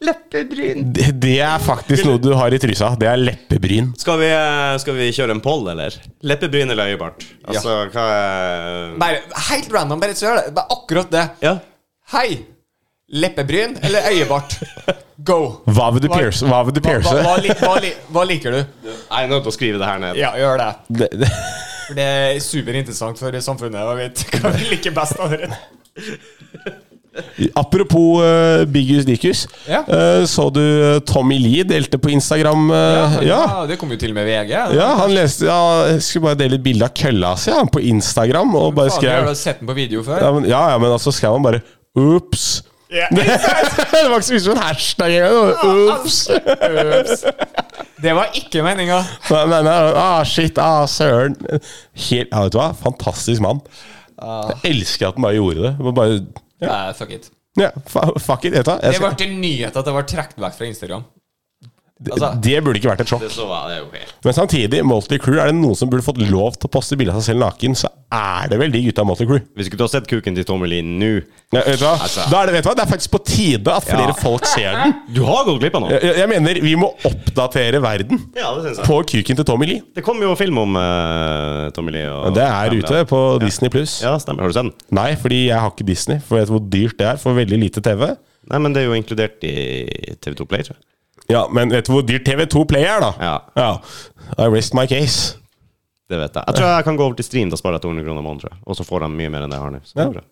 [SPEAKER 1] Leppebryn.
[SPEAKER 2] Det, det er faktisk noe du har i trusa. Det er leppebryn.
[SPEAKER 1] Skal vi, eh, skal vi kjøre en poll, eller? Leppebryn eller øyebart? Altså, hva er
[SPEAKER 3] Bare helt random, bare søl. Bare akkurat det.
[SPEAKER 1] Ja.
[SPEAKER 3] Hei! Leppebryn eller øyebart? Go!
[SPEAKER 2] Hva vil du pierce? Hva vil du
[SPEAKER 3] Hva, hva, hva,
[SPEAKER 2] pierce?
[SPEAKER 3] li, hva, li, hva liker du?
[SPEAKER 1] Jeg er nødt til å skrive det her ned.
[SPEAKER 3] Ja, gjør det.
[SPEAKER 2] Det, det,
[SPEAKER 3] For det er superinteressant for samfunnet å vite hva vi liker best av dere.
[SPEAKER 2] apropos uh, Biggus Dickus.
[SPEAKER 3] Ja.
[SPEAKER 2] eh, så du eh, Tommy Lee delte på Instagram? eh, ja.
[SPEAKER 3] det kom jo til og med VG.
[SPEAKER 2] Ja, han leste ja, Jeg skulle bare dele et bilde av kølla si ja, på Instagram, og
[SPEAKER 3] Fader,
[SPEAKER 2] bare
[SPEAKER 3] har
[SPEAKER 2] skrev
[SPEAKER 3] du sett den på video før?
[SPEAKER 2] Ja, men, ja, ja, men altså skrev han bare Ops.
[SPEAKER 3] Ja.
[SPEAKER 2] Det, det var ikke så mye som en hashtag engang. Ops.
[SPEAKER 3] Ups. Det var ikke meninga.
[SPEAKER 2] Nei, nei, nei. Ah, shit. Ah, søren. Helt, ja, vet du hva? Fantastisk mann. Jeg elsker at han bare gjorde det. Det var Bare
[SPEAKER 3] Eh, fuck it.
[SPEAKER 2] Ja, fa- fuck it, vet du hva. Jeg
[SPEAKER 3] Det ble
[SPEAKER 2] skal-
[SPEAKER 3] til nyhet at det ble trukket vekk fra Instagram. altså-
[SPEAKER 2] Det burde ikke vært et sjokk.
[SPEAKER 1] Det så jeg, det er jo helt
[SPEAKER 2] Men samtidig, Multi Crew, er det noen som burde fått lov til å poste bilde av seg selv naken, så er det vel de gutta i Multi Crew.
[SPEAKER 1] Hvis ikke du har sett kuken til Tommy Lee nå
[SPEAKER 2] Ja, vet du hva?
[SPEAKER 1] Altså.
[SPEAKER 2] Da er det, vet du hva? det er faktisk på tide at flere
[SPEAKER 1] Ja.
[SPEAKER 2] folk ser den.
[SPEAKER 1] Du har gått glipp av noe!
[SPEAKER 3] Eh,
[SPEAKER 2] Jeg, jeg- jeg mener, vi må oppdatere verden
[SPEAKER 1] Ja, det syns jeg.
[SPEAKER 2] på kuken til Tommy Lee.
[SPEAKER 1] Det kom jo film om eh, Tommy Lee og
[SPEAKER 2] Det er ute på Disney pluss.
[SPEAKER 1] Ja, stemmer. Har du sett den?
[SPEAKER 2] Nei, fordi jeg har ikke Disney. For jeg vet hvor dyrt det er for veldig lite TV.
[SPEAKER 1] Nei, men det er jo inkludert i TV2 Play, tror jeg.
[SPEAKER 2] Ja, Men vet du hvor dyrt TV2 Play er, da?
[SPEAKER 1] Ja.
[SPEAKER 2] I rest my case.
[SPEAKER 1] Det vet jeg. Jeg tror jeg kan gå over til stream, da sparer jeg 200 kroner i måneden, tror jeg. Og så får de mye mer enn det jeg har nå. Så det er
[SPEAKER 2] Ja.
[SPEAKER 1] bra.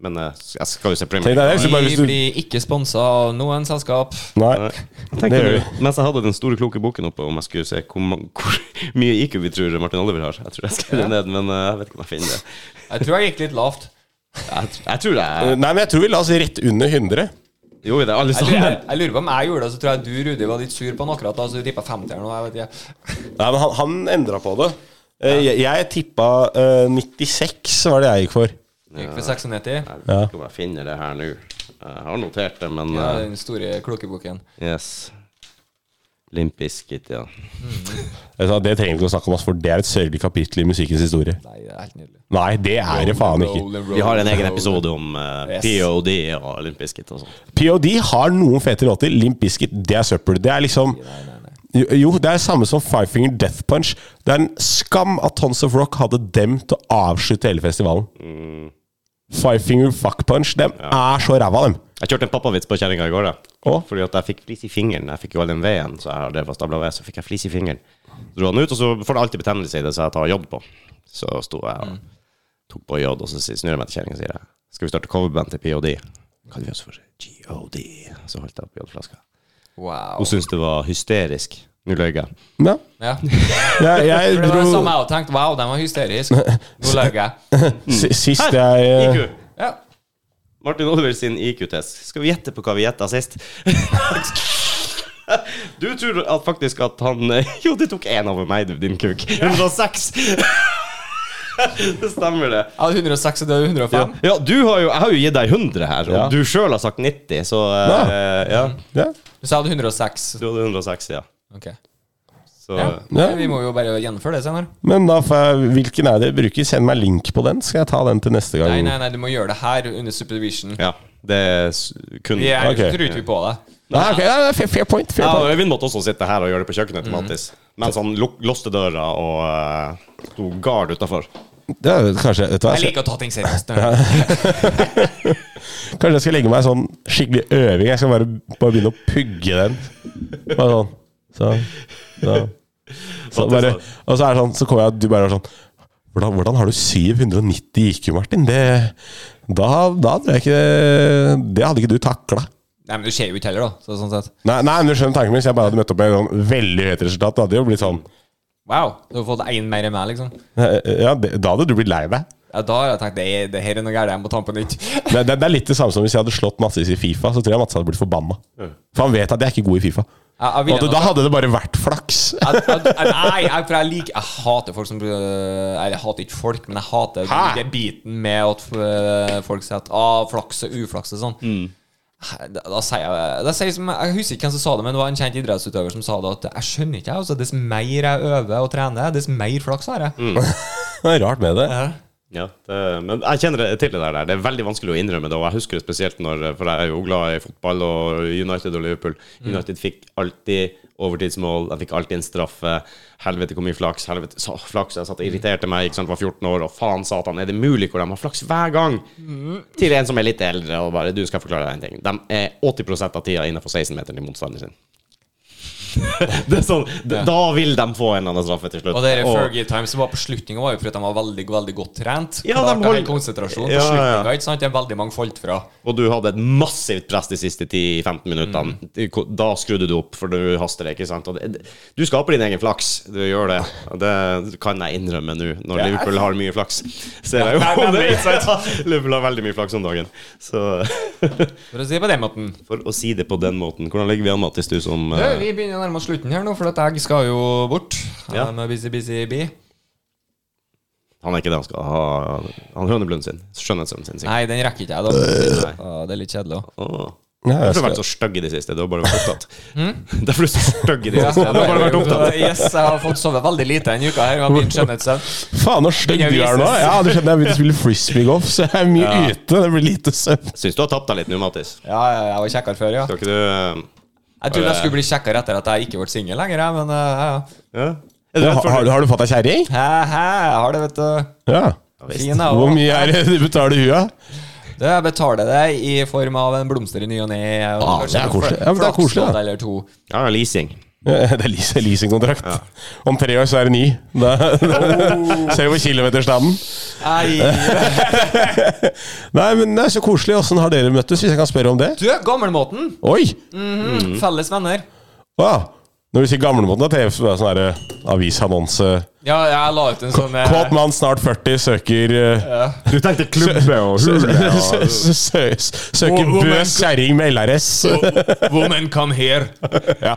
[SPEAKER 1] Men eh, jeg skal jo se Premier
[SPEAKER 2] Tenk deg det,
[SPEAKER 1] League.
[SPEAKER 2] hvis du bare
[SPEAKER 3] Vi
[SPEAKER 2] hvis du...
[SPEAKER 3] blir ikke sponsa av noen selskap.
[SPEAKER 2] Nei.
[SPEAKER 1] Tenk
[SPEAKER 2] Det gjør
[SPEAKER 1] deg, mens jeg hadde den store, kloke boken oppe, om jeg skulle se hvor, man- hvor mye IQ vi tror Martin Oliver har. Jeg tror jeg skrev det ned, men eh, jeg vet ikke om jeg finner det.
[SPEAKER 3] Jeg tror jeg gikk litt lavt.
[SPEAKER 1] Jeg, tr- jeg tror det er
[SPEAKER 2] Eh, Nei, men jeg tror vi la oss rett under 100.
[SPEAKER 1] Jo, det er alle
[SPEAKER 3] Jeg lurer, jeg,
[SPEAKER 1] sammen.
[SPEAKER 2] Sånn.
[SPEAKER 3] jeg lurer på om jeg gjorde det, så tror jeg du, Rudi, var litt sur på den akkurat da, så rippa 50 her nå. Jeg vet ikke.
[SPEAKER 2] Nei, men han, han endra på det. Eh, Jeg, jeg tippa eh, 96 var det jeg gikk for.
[SPEAKER 3] Jeg Gikk for 96.
[SPEAKER 1] Jeg vet ikke om jeg finner det her nå. Jeg har notert det, men
[SPEAKER 3] Ja,
[SPEAKER 1] eh,
[SPEAKER 3] den store klokeboken.
[SPEAKER 1] Yes. Limp Bizkit, ja.
[SPEAKER 2] Jeg sa, det trenger vi ikke å snakke om, ass, for det er et sørgelig kapittel i musikkens historie.
[SPEAKER 3] Nei, det er helt nydelig.
[SPEAKER 2] Nei, det er det faen ikke.
[SPEAKER 1] Vi har en egen episode om eh,
[SPEAKER 3] Yes.
[SPEAKER 1] POD og Limp Bizkit og sånn. sånt.
[SPEAKER 2] POD har noen fete låter. Limp Bizkit, det er søppel. Det er liksom jo, jo, det er samme som Five Finger Death Punch. Det er en skam at Tons of Rock hadde dem til å avslutte hele festivalen. Five Finger Fuck Punch, dem er så ræva, dem.
[SPEAKER 1] Jeg kjørte en pappavits på kjerringa i går. da.
[SPEAKER 2] Å?
[SPEAKER 1] Fordi at jeg fikk flis i fingeren. Jeg fikk jo all den veden, så jeg har drevet og stabla ved, så fikk jeg flis i fingeren. Så dro han ut, og så får det alltid betennelse i det, så jeg tar jod på. Så sto jeg og tok på jod, og så sier- snur jeg meg til kjerringa og sier jeg, skal vi starte coverband til POD? Hva gjør vi oss for? GOD. Så holdt jeg opp jodflaska.
[SPEAKER 3] Wow.
[SPEAKER 1] Hun syntes det var hysterisk. Nå løy jeg.
[SPEAKER 2] Ja.
[SPEAKER 3] Ja.
[SPEAKER 2] Jeg, jeg
[SPEAKER 3] For det var det
[SPEAKER 2] dro
[SPEAKER 3] samme jeg også tenkte. Wow, den var hysterisk. Nå løy jeg.
[SPEAKER 2] si- Sist jeg eh,
[SPEAKER 1] IQ.
[SPEAKER 3] Ja.
[SPEAKER 1] Martin Oliver sin IQ-test. Skal vi gjette på hva vi gjetta sist? Du tror at faktisk at han Jo, det tok én over meg, du, din kuk. 106. Det stemmer, det.
[SPEAKER 3] Jeg hadde 106, og du hadde 105.
[SPEAKER 1] Ja, du har jo, Jeg har jo gitt deg 100 her, og
[SPEAKER 2] Ja.
[SPEAKER 1] du sjøl har sagt 90, så eh, ja.
[SPEAKER 2] ja.
[SPEAKER 3] Så jeg hadde 106.
[SPEAKER 1] Du hadde 106, ja.
[SPEAKER 3] Ok.
[SPEAKER 1] Så
[SPEAKER 3] Ja.
[SPEAKER 2] Ja.
[SPEAKER 3] Vi må jo bare gjennomføre det senere.
[SPEAKER 2] Men da får jeg Hvilken er det jeg bruker? Send meg link på den, skal jeg ta den til neste gang.
[SPEAKER 3] Nei, nei, nei, du må gjøre det her under supervision.
[SPEAKER 1] ja. Det er s- kun
[SPEAKER 3] Vi er,
[SPEAKER 2] Ok.
[SPEAKER 3] tror ikke vi på det.
[SPEAKER 2] Nei, ok, nei, nei, fair, fair point. Fair
[SPEAKER 1] Ja, og
[SPEAKER 2] point.
[SPEAKER 1] Øyvind måtte også sitte her og gjøre det på kjøkkenet til Mattis, mens han luk- låste døra og eh, sto gard utafor.
[SPEAKER 2] Det er kanskje, vet du hva,
[SPEAKER 3] Jeg
[SPEAKER 2] jeg
[SPEAKER 3] liker å ta ting seriøst. nå.
[SPEAKER 2] skal, kanskje jeg skal legge meg i sånn skikkelig øving. Jeg skal bare, bare begynne å pugge den. Bare sånn. Så, så. Så bare, og så er det sånn, så kommer jeg at du bare er sånn hvordan, hvordan har du 790 i IQ, Martin? Det, da, da tror jeg ikke Det hadde ikke du takla.
[SPEAKER 3] Nei, men du ser jo ikke heller, da. Så sånn sett.
[SPEAKER 2] Nei, nei, men du skjønner tanken min. Hvis jeg bare hadde møtt opp med et sånn veldig høyt resultat, det hadde jo blitt sånn eh,
[SPEAKER 3] Wow. Du har fått én mer enn meg, liksom.
[SPEAKER 2] Ja, det, da hadde du blitt lei deg.
[SPEAKER 3] Ja, da har jeg tenkt det, det her er noe gærent, jeg må ta den på nytt.
[SPEAKER 2] Det, det, det er litt det samme som hvis jeg hadde slått Mattis i Fifa, så tror jeg Mattis hadde blitt forbanna. For han vet at jeg er ikke god i Fifa.
[SPEAKER 3] Jeg, jeg
[SPEAKER 2] Og
[SPEAKER 3] ville
[SPEAKER 2] at, da hadde det bare vært flaks.
[SPEAKER 3] jeg, jeg, jeg, nei, jeg, for jeg liker Jeg hater folk som øh, Jeg hater ikke folk, men jeg hater
[SPEAKER 2] Hæ?
[SPEAKER 3] den biten med at øh, folk sier at ah, flaks og uflaks og sånn.
[SPEAKER 1] Mm.
[SPEAKER 3] Da, da sier jeg, da sier jeg, som, jeg husker ikke hvem som sa det, men det var en kjent idrettsutøver som sa det. At jeg skjønner ikke, jeg. Altså, dess mer jeg øver og trener, dess mer flaks har
[SPEAKER 1] Mm.
[SPEAKER 3] jeg.
[SPEAKER 2] Det er rart med det.
[SPEAKER 3] Ja.
[SPEAKER 1] Ja, det, men jeg kjenner det til det der. Det er veldig vanskelig å innrømme det. Og jeg husker det spesielt når For jeg er jo glad i fotball og United og Liverpool.
[SPEAKER 3] Mm.
[SPEAKER 1] United fikk alltid overtidsmål, de fikk alltid en straffe. Helvete, hvor mye flaks. Helvete, sa, flaks. Jeg satt og
[SPEAKER 3] Mm.
[SPEAKER 1] irriterte meg, ikke sant, var 14 år, og faen satan, er det mulig hvor de har flaks hver gang?
[SPEAKER 3] Mm.
[SPEAKER 1] Til en som er litt eldre, og bare Du skal forklare deg en ting. De er 80 av tida innenfor 16-meteren til motstanderen sin. det er sånn, d- Da vil de få en eller annen straffe til slutt.
[SPEAKER 3] Og det er Fergie Times som var på slutninga, var jo fordi de var veldig veldig godt trent.
[SPEAKER 1] Ja,
[SPEAKER 3] Ja,
[SPEAKER 1] de
[SPEAKER 3] de
[SPEAKER 1] holder-
[SPEAKER 3] konsentrasjon
[SPEAKER 1] Ja, ja,
[SPEAKER 3] på
[SPEAKER 1] ja.
[SPEAKER 3] slutninga, ikke sant? Det er veldig mange falt fra.
[SPEAKER 1] og du hadde et massivt press de siste 10-15 minuttene, da skrudde du opp, for du haster det, ikke sant? Og det, du skaper din egen flaks, du gjør det. Og det kan jeg innrømme nå, når Liverpool har mye flaks. Ser jeg jo det, ikke sant? Liverpool har veldig mye flaks om dagen. Så
[SPEAKER 3] For å si det på den måten.
[SPEAKER 1] for å si det på den måten, hvordan ligger vi an, Mattis, du som
[SPEAKER 3] Du,
[SPEAKER 1] eh,
[SPEAKER 3] vi begynner å nærme oss slutten her nå, for at jeg skal jo bort.
[SPEAKER 1] Ja.
[SPEAKER 3] I'm a busy, busy bee.
[SPEAKER 1] eh, Han er ikke det han skal ha. Han høneblunden sin. Skjønnhetssønnen sin. sikkert.
[SPEAKER 3] Nei, den rekker ikke jeg, da. Ja, det er litt kjedelig òg.
[SPEAKER 1] Åh.
[SPEAKER 2] Ja,
[SPEAKER 1] Hvorfor
[SPEAKER 2] jeg
[SPEAKER 1] har du
[SPEAKER 2] skal-
[SPEAKER 1] vært så stygg i det siste? Du har bare vært opptatt. Derfor er du så stygg i det siste. Du har bare vært opptatt.
[SPEAKER 3] Yes, jeg har fått sove veldig lite denne uka. her med min skjønnhetssøvn.
[SPEAKER 2] Faen, så stygg du er nå! Ja, du skjønner, Jeg begynte å spille frisbeegolf, så jeg er mye ute. Det blir lite søvn.
[SPEAKER 1] Syns du har tapt deg litt nå, Mattis.
[SPEAKER 3] Ja, ja, jeg var kjekkere før, ja.
[SPEAKER 1] Skal ikke du eh,
[SPEAKER 3] Jeg trodde jeg skulle bli kjekkere etter at jeg ikke ble singel lenger, jeg, men eh, ja, ja.
[SPEAKER 1] ja? Er du
[SPEAKER 2] Ja,
[SPEAKER 1] redd
[SPEAKER 2] har,
[SPEAKER 1] for
[SPEAKER 2] har du fått deg kjerring?
[SPEAKER 3] Hæ, hæ, jeg har det, vet du.
[SPEAKER 2] Ja.
[SPEAKER 3] Fin, jeg
[SPEAKER 2] Hvor
[SPEAKER 3] òg.
[SPEAKER 2] mye er det du betaler hua?
[SPEAKER 3] Du, Jeg betaler det i form av en blomster i ny og ne. og
[SPEAKER 2] Ah,
[SPEAKER 3] kanskje
[SPEAKER 2] det er
[SPEAKER 3] en
[SPEAKER 2] koselig.
[SPEAKER 3] fl-
[SPEAKER 2] Ja, men det er koselig,
[SPEAKER 3] flakslodd
[SPEAKER 2] da.
[SPEAKER 3] Eller to.
[SPEAKER 1] Ja, leasing.
[SPEAKER 2] Ja, Det er leas- leasingkontrakt. Om tre år så er det ny. Da, Ser du på kilometerstanden?
[SPEAKER 3] Nei,
[SPEAKER 2] Nei, men det er så koselig. Åssen har dere møttes, hvis jeg kan spørre om det?
[SPEAKER 3] du, gammelmåten.
[SPEAKER 2] Oi!
[SPEAKER 3] Mm, felles venner.
[SPEAKER 2] Wow. Når du sier gamlemåten, da er det sånn der, eh, avisannonse
[SPEAKER 3] Ja, jeg la ut en sånn eh,
[SPEAKER 2] Kåt mann, snart 40, søker eh,
[SPEAKER 1] Du tenkte klubbe og
[SPEAKER 2] sø- sø- sø- sø- sø- Søker
[SPEAKER 3] Hvor- hvor
[SPEAKER 2] bøs
[SPEAKER 3] menneske-
[SPEAKER 2] kjerring med LRS.
[SPEAKER 3] Woman come here.
[SPEAKER 2] ja.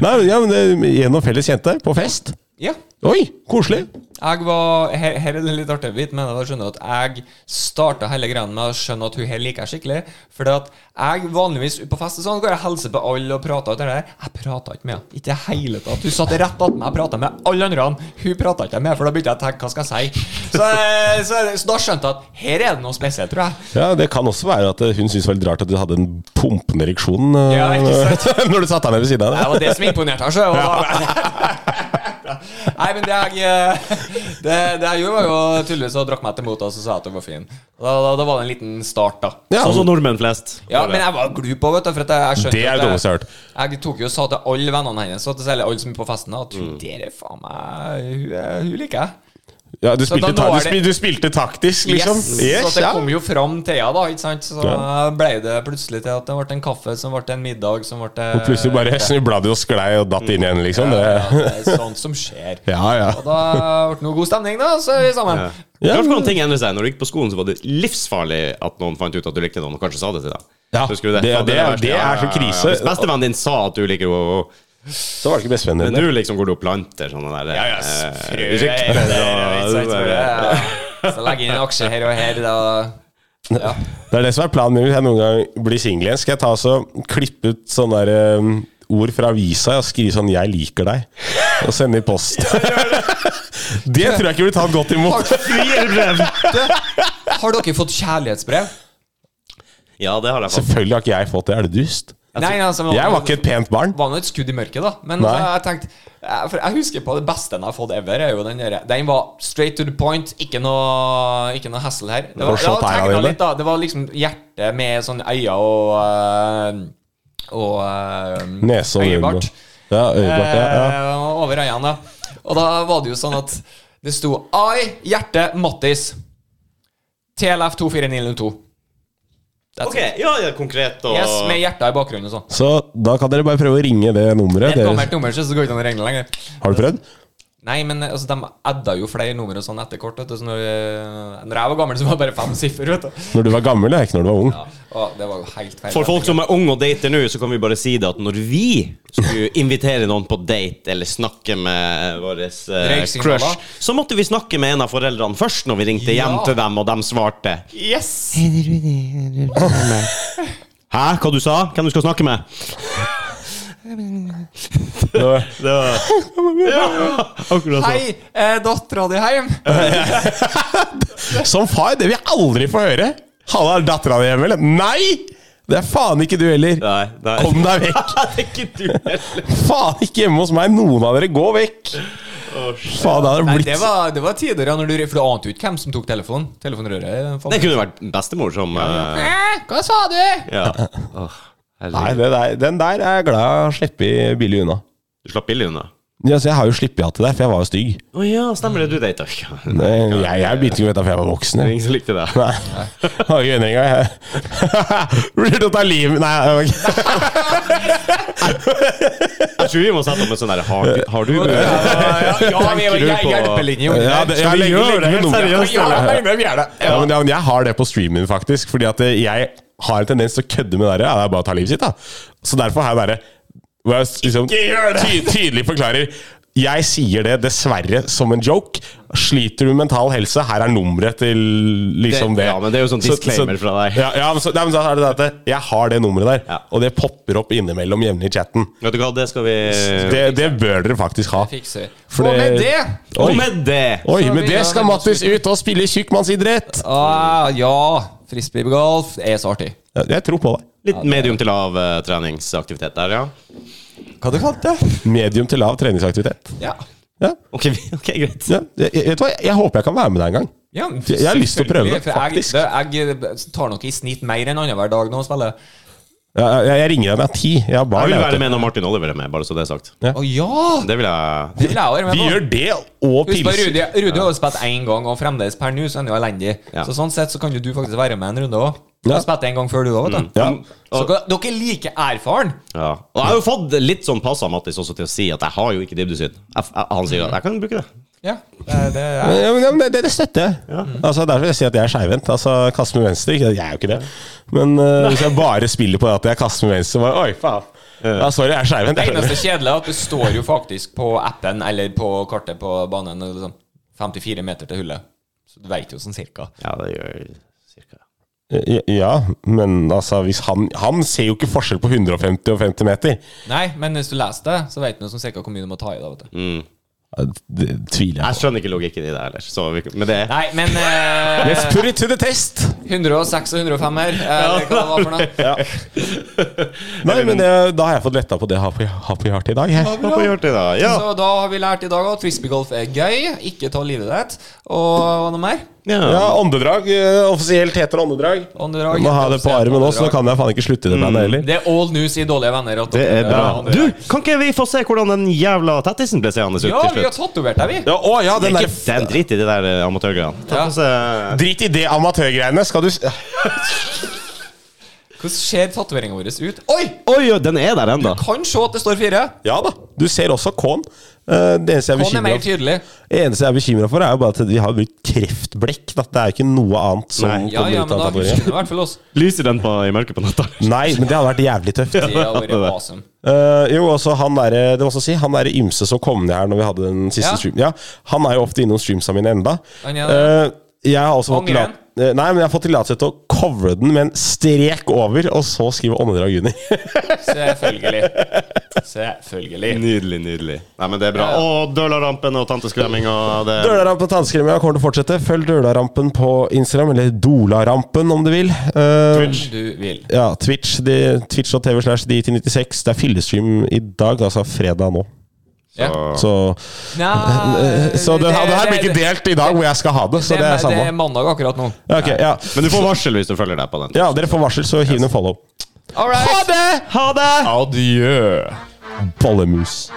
[SPEAKER 2] Nei, men, ja, men det- Gjennom felles jente på fest.
[SPEAKER 3] Ja.
[SPEAKER 2] Oi, koselig.
[SPEAKER 3] Jeg var, her, her er det litt artig bit, men jeg skjønner at jeg starta hele greia med å skjønne at hun her liker jeg skikkelig. Fordi at jeg vanligvis ute på fest og sånn, går jeg og hilser på alle og prater. og det der. Jeg prata ikke med henne. Ikke i det hele tatt. Hun satt rett attmed meg og prata med alle andre. Hun prata ikke jeg med, for da begynte jeg å tenke hva skal jeg si. Så, eh, så, så da skjønte jeg at her er det noe spesielt, tror jeg.
[SPEAKER 2] Ja, Det kan også være at eh, hun syntes det var litt rart at du hadde en pumpende ereksjon eh,
[SPEAKER 3] Ja, ikke
[SPEAKER 2] når du satte deg ned ved siden av.
[SPEAKER 3] Det
[SPEAKER 2] henne.
[SPEAKER 3] var det som imponerte henne. så det var- Nei, men det jeg, eh, det, det jeg gjorde, var jo tydeligvis å drakk meg til mot og så sa jeg at hun var fin. Og Da, da, da var det en liten start, da.
[SPEAKER 2] Ja,
[SPEAKER 1] Sånn som nordmenn flest.
[SPEAKER 3] Ja, men jeg var glup òg, vet du. For at jeg, jeg skjønte
[SPEAKER 2] Det er
[SPEAKER 3] at
[SPEAKER 2] det dummeste jeg har hørt.
[SPEAKER 3] Jeg tok jo og sa til alle vennene hennes og til særlig alle som er på festen, at
[SPEAKER 2] Mm.
[SPEAKER 3] hun der er faen meg Hun, er- hun liker jeg.
[SPEAKER 2] ja, du,
[SPEAKER 3] Så da
[SPEAKER 2] spilte ta
[SPEAKER 3] nå
[SPEAKER 2] du,
[SPEAKER 3] er det-
[SPEAKER 2] spil- du spilte taktisk, liksom?
[SPEAKER 3] Yes! så det
[SPEAKER 2] ja.
[SPEAKER 3] kom jo fram til henne, da. Ikke sant? Så
[SPEAKER 2] Ja.
[SPEAKER 3] ble det plutselig til at det ble en kaffe som ble en middag som ble
[SPEAKER 2] Og plutselig bare snubla du og sklei og datt inn igjen, liksom.
[SPEAKER 3] ja,
[SPEAKER 2] Det.
[SPEAKER 3] det er sånt som skjer.
[SPEAKER 2] Ja, ja.
[SPEAKER 3] Og da ble det noe god stemning, da, så er vi sammen.
[SPEAKER 2] Ja,
[SPEAKER 1] Klart
[SPEAKER 2] men-
[SPEAKER 1] hvordan ting endrer seg. Når du gikk på skolen, så var det livsfarlig at noen fant ut at du likte noen, og kanskje sa det til deg.
[SPEAKER 2] Ja,
[SPEAKER 1] Husker du det?
[SPEAKER 2] det-
[SPEAKER 1] Faen,
[SPEAKER 2] det-
[SPEAKER 1] verste.
[SPEAKER 2] det er
[SPEAKER 1] Ja, ja, ja,
[SPEAKER 2] så
[SPEAKER 1] ja.
[SPEAKER 2] krise.
[SPEAKER 1] Hvis bestevennen din sa at du liker henne, og-
[SPEAKER 2] Så var det ikke bestevennen
[SPEAKER 1] men
[SPEAKER 2] din.
[SPEAKER 1] nå liksom går du og planter sånne der
[SPEAKER 3] Ja, ja,
[SPEAKER 1] eh,
[SPEAKER 3] frø
[SPEAKER 1] rykter, og-
[SPEAKER 3] Så legger jeg inn aksjer her og her, da. Ja.
[SPEAKER 2] Det er det som er planen min hvis jeg noen gang blir singel igjen. Skal jeg ta så, klippe ut sånne der, um, ord fra avisa og skrive sånn 'Jeg liker deg', og sende i post. det tror jeg ikke blir tatt godt imot.
[SPEAKER 3] Har dere fått kjærlighetsbrev?
[SPEAKER 1] Ja, det har jeg fått.
[SPEAKER 2] Selvfølgelig har ikke jeg fått det. Er du dust?
[SPEAKER 3] Nei, altså, men-
[SPEAKER 2] Jeg var ikke et pent barn.
[SPEAKER 3] var nå et skudd i mørket, da. Men eh,
[SPEAKER 2] Nei.
[SPEAKER 3] jeg tenkte jeg- For jeg husker på det beste jeg har fått ever. Er jo den, der, den var straight to the point. Ikke noe Ikke noe hassle her. Det var,
[SPEAKER 2] Får se
[SPEAKER 3] ja,
[SPEAKER 2] tegna
[SPEAKER 3] tegna
[SPEAKER 2] dine.
[SPEAKER 3] litt, da. det var liksom hjerte med sånn øyne og øh, Og øh,
[SPEAKER 2] Nese og munn. og-
[SPEAKER 3] øyebart.
[SPEAKER 2] Ja, øyebart, ja, ja.
[SPEAKER 3] Eh, Over øynene, da. Og da var det jo sånn at det sto I, hjerte, Mattis. TLF 24902. That's
[SPEAKER 1] Ok,
[SPEAKER 3] it.
[SPEAKER 1] ja, ja, konkret og
[SPEAKER 3] Yes, med hjerter i bakgrunnen og sånn.
[SPEAKER 2] Så da kan dere bare prøve å ringe det nummeret.
[SPEAKER 3] Et
[SPEAKER 2] Dere,
[SPEAKER 3] gammelt nummer, så det går ikke an å regne lenger.
[SPEAKER 2] har du prøvd?
[SPEAKER 3] Nei, men altså, de adda jo flere nummer og sånn etter kort. Vet du, så når, eh, når jeg var gammel, så var det bare fem siffer. Vet du.
[SPEAKER 2] Når du var gammel, ja, ikke når du var ung.
[SPEAKER 3] Ja, og det var jo helt feil.
[SPEAKER 1] For folk som er unge og dater nå, så kan vi bare si det at når vi skulle invitere noen på date eller snakke med vår eh,
[SPEAKER 3] Røyksignaler.
[SPEAKER 1] crush, så måtte vi snakke med en av foreldrene først når vi ringte hjem
[SPEAKER 3] Ja.
[SPEAKER 1] til dem, og de svarte.
[SPEAKER 3] Yes!
[SPEAKER 1] Hæ, hva du sa? Hvem du skal snakke med?
[SPEAKER 2] Det var-
[SPEAKER 1] Det var ja, akkurat sånn.
[SPEAKER 3] Hei, eh, dattera di hjem?
[SPEAKER 2] Som far, det vil jeg aldri få høre. Halla, er dattera di hjemme, eller? Nei! Det er faen ikke du heller.
[SPEAKER 1] Nei, nei.
[SPEAKER 2] Kom deg vekk.
[SPEAKER 1] det er ikke du heller.
[SPEAKER 2] Faen ikke hjemme hos meg. Noen av dere, gå vekk. Faen, det hadde
[SPEAKER 3] Nei,
[SPEAKER 2] blitt
[SPEAKER 3] det var, det var tider, ja, når du, for du ante jo ikke hvem som tok telefonen. Telefonrøret.
[SPEAKER 1] Det
[SPEAKER 3] faen.
[SPEAKER 1] kunne vært bestemor som eh,
[SPEAKER 3] Eh, Hva sa du?
[SPEAKER 1] Ja. Åh,
[SPEAKER 2] Nei,
[SPEAKER 1] herregud.
[SPEAKER 2] det der, den der er jeg glad jeg slipper billig unna.
[SPEAKER 1] Du slapp billig unna.
[SPEAKER 2] Ja, så jeg har jo sluppet hatt det der, for jeg var jo stygg.
[SPEAKER 1] Å ja, stemmer det. Du data ikke.
[SPEAKER 2] Nei, Jeg, jeg begynte ikke å vite for jeg var voksen. Jeg.
[SPEAKER 1] Ingen som likte det.
[SPEAKER 2] Nei, jeg har ikke venner engang. jeg. Blir du tatt livet Nei, jeg var ikke-
[SPEAKER 1] Jeg tror vi må sette opp en sånn der Har, har du
[SPEAKER 3] Ja, ja, ja, vi er
[SPEAKER 1] Tenker du
[SPEAKER 3] jo
[SPEAKER 1] på-
[SPEAKER 3] hjelpelinje.
[SPEAKER 2] Ja, det- ja,
[SPEAKER 1] Skal vi
[SPEAKER 2] legge-
[SPEAKER 1] gjøre
[SPEAKER 2] legge
[SPEAKER 1] det?
[SPEAKER 2] med
[SPEAKER 1] Helt
[SPEAKER 2] nummer.
[SPEAKER 1] seriøst,
[SPEAKER 2] Ja,
[SPEAKER 1] eller?
[SPEAKER 2] legge med- vi er det. Ja, men, ja, men jeg har det på streamen, faktisk. Fordi at eh, jeg har en tendens til å kødde med det der. Ja, det er bare å ta livet sitt, da. Så derfor har jeg bare hvor jeg liksom,
[SPEAKER 1] Ikke gjør det!
[SPEAKER 2] Ty tydelig forklarer Jeg sier det dessverre som en joke. Sliter du med mental helse, her er nummeret til liksom
[SPEAKER 1] Det-
[SPEAKER 2] det.
[SPEAKER 1] ja, men det er jo sånn
[SPEAKER 2] Så-
[SPEAKER 1] disclaimer
[SPEAKER 2] så,
[SPEAKER 1] fra deg.
[SPEAKER 2] Ja, ja, men så, nei, men så er det det at eh, jeg har det nummeret der,
[SPEAKER 1] Ja.
[SPEAKER 2] og det popper opp innimellom jevnlig i chatten.
[SPEAKER 1] Vet du hva, det skal vi
[SPEAKER 2] Det, det bør dere faktisk ha.
[SPEAKER 3] Fikser.
[SPEAKER 2] For
[SPEAKER 3] Og med
[SPEAKER 2] det-
[SPEAKER 3] det
[SPEAKER 1] Og
[SPEAKER 2] Oi.
[SPEAKER 1] med det
[SPEAKER 2] Oi,
[SPEAKER 3] Så
[SPEAKER 2] med
[SPEAKER 3] vi
[SPEAKER 2] det
[SPEAKER 3] har
[SPEAKER 2] skal
[SPEAKER 3] en
[SPEAKER 2] Mattis ut og spille tjukkmannsidrett!
[SPEAKER 3] ah, Ja, frisbeegolf er så artig.
[SPEAKER 2] Ja, Jeg tror på deg.
[SPEAKER 1] Litt medium til lav eh, treningsaktivitet der, ja.
[SPEAKER 3] Hva du kalte du det?
[SPEAKER 2] Medium til lav treningsaktivitet.
[SPEAKER 3] Ja.
[SPEAKER 2] Ja,
[SPEAKER 1] Ok, vi- ok, greit.
[SPEAKER 2] ja. Jeg, jeg, vet du hva? jeg håper jeg kan være med deg en gang.
[SPEAKER 3] Ja,
[SPEAKER 2] Jeg har lyst til å prøve det,
[SPEAKER 3] selvfølgelig, for
[SPEAKER 2] faktisk.
[SPEAKER 3] Jeg, det, jeg tar nok i snitt mer enn annenhver dag nå og spiller.
[SPEAKER 2] Jeg, jeg, jeg ringer deg når jeg er ti. Jeg har
[SPEAKER 1] Jeg
[SPEAKER 2] barn.
[SPEAKER 1] vil
[SPEAKER 2] jeg vet
[SPEAKER 1] være
[SPEAKER 2] du.
[SPEAKER 1] med når Martin Oliver er med, bare så det er sagt.
[SPEAKER 3] Å ja!
[SPEAKER 1] Det vil jeg
[SPEAKER 3] Det vil jeg også være med
[SPEAKER 2] Vi
[SPEAKER 3] på.
[SPEAKER 2] gjør det og
[SPEAKER 3] Husk på
[SPEAKER 2] pils.
[SPEAKER 3] Rudi Rudi har jo spilt én gang, og fremdeles per nå så er han jo elendig.
[SPEAKER 1] Ja.
[SPEAKER 3] Så Sånn sett så kan jo du faktisk være med en runde òg. Du
[SPEAKER 2] Ja. Mm.
[SPEAKER 3] har spilt en gang før, du òg, vet du.
[SPEAKER 2] Ja.
[SPEAKER 3] Så dere- dere er like erfaren.
[SPEAKER 1] ja. Og jeg har jo fått litt sånn pass av Mattis også til å si at jeg har jo ikke dybdesyn. Jeg, jeg, han sier at jeg kan bruke det.
[SPEAKER 3] Ja, det, det er
[SPEAKER 2] Ja, men, ja, men det, det støtter jeg. Altså, derfor jeg sier at jeg er skeivhendt. Altså, kaster med venstre. ikke- Jeg er jo ikke det. Men eh, hvis jeg bare spiller på det at jeg kaster med venstre bare, Oi, faen. Ja, sorry, jeg er skeivhendt.
[SPEAKER 3] Det
[SPEAKER 2] jeg skjønner.
[SPEAKER 3] eneste kjedelige er at det står jo faktisk på appen eller på kartet på banen og liksom 54 meter til hullet. Så du veit jo sånn cirka.
[SPEAKER 1] Ja, det gjør cirka
[SPEAKER 2] Ja, men altså hvis han, han ser jo ikke forskjell på 150 og 50 meter.
[SPEAKER 3] Nei, men hvis du leser det, så veit du sånn cirka hvor mye du må ta i. da, vet du.
[SPEAKER 2] Ja, Det tviler jeg
[SPEAKER 1] Jeg
[SPEAKER 2] på.
[SPEAKER 1] skjønner ikke logikken i det heller. Så vi, men det
[SPEAKER 3] Nei, men eh,
[SPEAKER 2] Let's put it to the test!
[SPEAKER 3] 106 og 105 her, eh, eller hva det var for noe.
[SPEAKER 2] Nei, men eh, da har jeg fått letta på det Happy, happy Heart i dag. Jeg.
[SPEAKER 1] Hva får vi gjort i dag? Ja.
[SPEAKER 3] Så da har vi lært i dag at frisbeegolf er gøy. Ikke ta livet ditt. Og hva noe mer?
[SPEAKER 2] Ja, åndedrag. eh, Offisielt heter åndedrag.
[SPEAKER 3] Åndedrag.
[SPEAKER 2] Jeg må ha det på armen også, så da kan jeg faen ikke slutte i det bandet heller.
[SPEAKER 3] Det er old news i Dårlige venner. At
[SPEAKER 1] Det er bra.
[SPEAKER 3] Ja,
[SPEAKER 1] Du, kan ikke vi få se hvordan den jævla tettisen ble seende ut
[SPEAKER 3] ja,
[SPEAKER 1] til
[SPEAKER 3] vi har
[SPEAKER 1] slutt?
[SPEAKER 3] tatovert deg, vi.
[SPEAKER 2] Ja, å ja, den
[SPEAKER 1] Det er
[SPEAKER 2] der
[SPEAKER 1] ikke det er en drit i de der eh, amatørgreiene. Ta
[SPEAKER 3] Ja.
[SPEAKER 1] på seg-
[SPEAKER 2] Drit i det amatørgreiene. Skal du s-
[SPEAKER 3] Hvordan ser tatoveringa vår ut? Oi!
[SPEAKER 1] Oi, oi, den er der ennå.
[SPEAKER 3] Kan se at det står fire.
[SPEAKER 2] Ja da. Du ser også K-en. Eh, Det eneste jeg er
[SPEAKER 3] Han er mer
[SPEAKER 2] bekymret for-
[SPEAKER 3] tydelig.
[SPEAKER 2] det eneste jeg er bekymra for, er jo bare at vi har blitt kreftblekk. Da. Det er jo ikke noe annet som
[SPEAKER 1] Nei.
[SPEAKER 3] Ja,
[SPEAKER 2] kommer
[SPEAKER 3] ja,
[SPEAKER 2] ut
[SPEAKER 3] men
[SPEAKER 2] av
[SPEAKER 3] da
[SPEAKER 2] tatoveringen.
[SPEAKER 3] husker du i hvert fall oss.
[SPEAKER 1] Lyser den på, i mørket på natta?
[SPEAKER 2] Nei, men det hadde vært jævlig tøft.
[SPEAKER 3] Det har vært awesome.
[SPEAKER 2] Eh, jo, altså han der, det må jeg også si, han der ymse som kom ned her når vi hadde den siste
[SPEAKER 3] Ja.
[SPEAKER 2] stream Ja, Han er jo ofte innom streamsa mine enda.
[SPEAKER 3] Han er det.
[SPEAKER 2] Eh, jeg har også fått
[SPEAKER 3] Angrer
[SPEAKER 2] tillat- eh, Nei, men jeg har fått tillatelse til å covre den med en strek over, og så skrive åndedrag under.
[SPEAKER 3] Selvfølgelig. Selvfølgelig.
[SPEAKER 1] Nydelig, nydelig. Nei, men det er bra.
[SPEAKER 3] Ja, ja.
[SPEAKER 1] Og Dølarampen og Tanteskremming og det
[SPEAKER 2] Dølarampen tannskremmer, jeg kommer til å fortsette. Følg Dølarampen på Instagram, eller Dolarampen om du vil. Eh,
[SPEAKER 3] Om Du vil.
[SPEAKER 2] Ja, Twitch. de- Twitch.tv slash DIT96. Det er fyllestream i dag, altså fredag nå.
[SPEAKER 3] Ja.
[SPEAKER 2] Så,
[SPEAKER 3] Nei
[SPEAKER 2] så det, det her blir ikke delt i dag hvor jeg skal ha det, så det er
[SPEAKER 3] Det er
[SPEAKER 2] samme.
[SPEAKER 3] mandag akkurat nå.
[SPEAKER 2] Ja, ok, ja.
[SPEAKER 1] Men du får varsel hvis du følger deg på den.
[SPEAKER 2] Ja, dere får varsel, så hiv en follow.
[SPEAKER 3] All right.
[SPEAKER 2] det! Ha det!
[SPEAKER 1] Adjø.
[SPEAKER 2] Bollemus.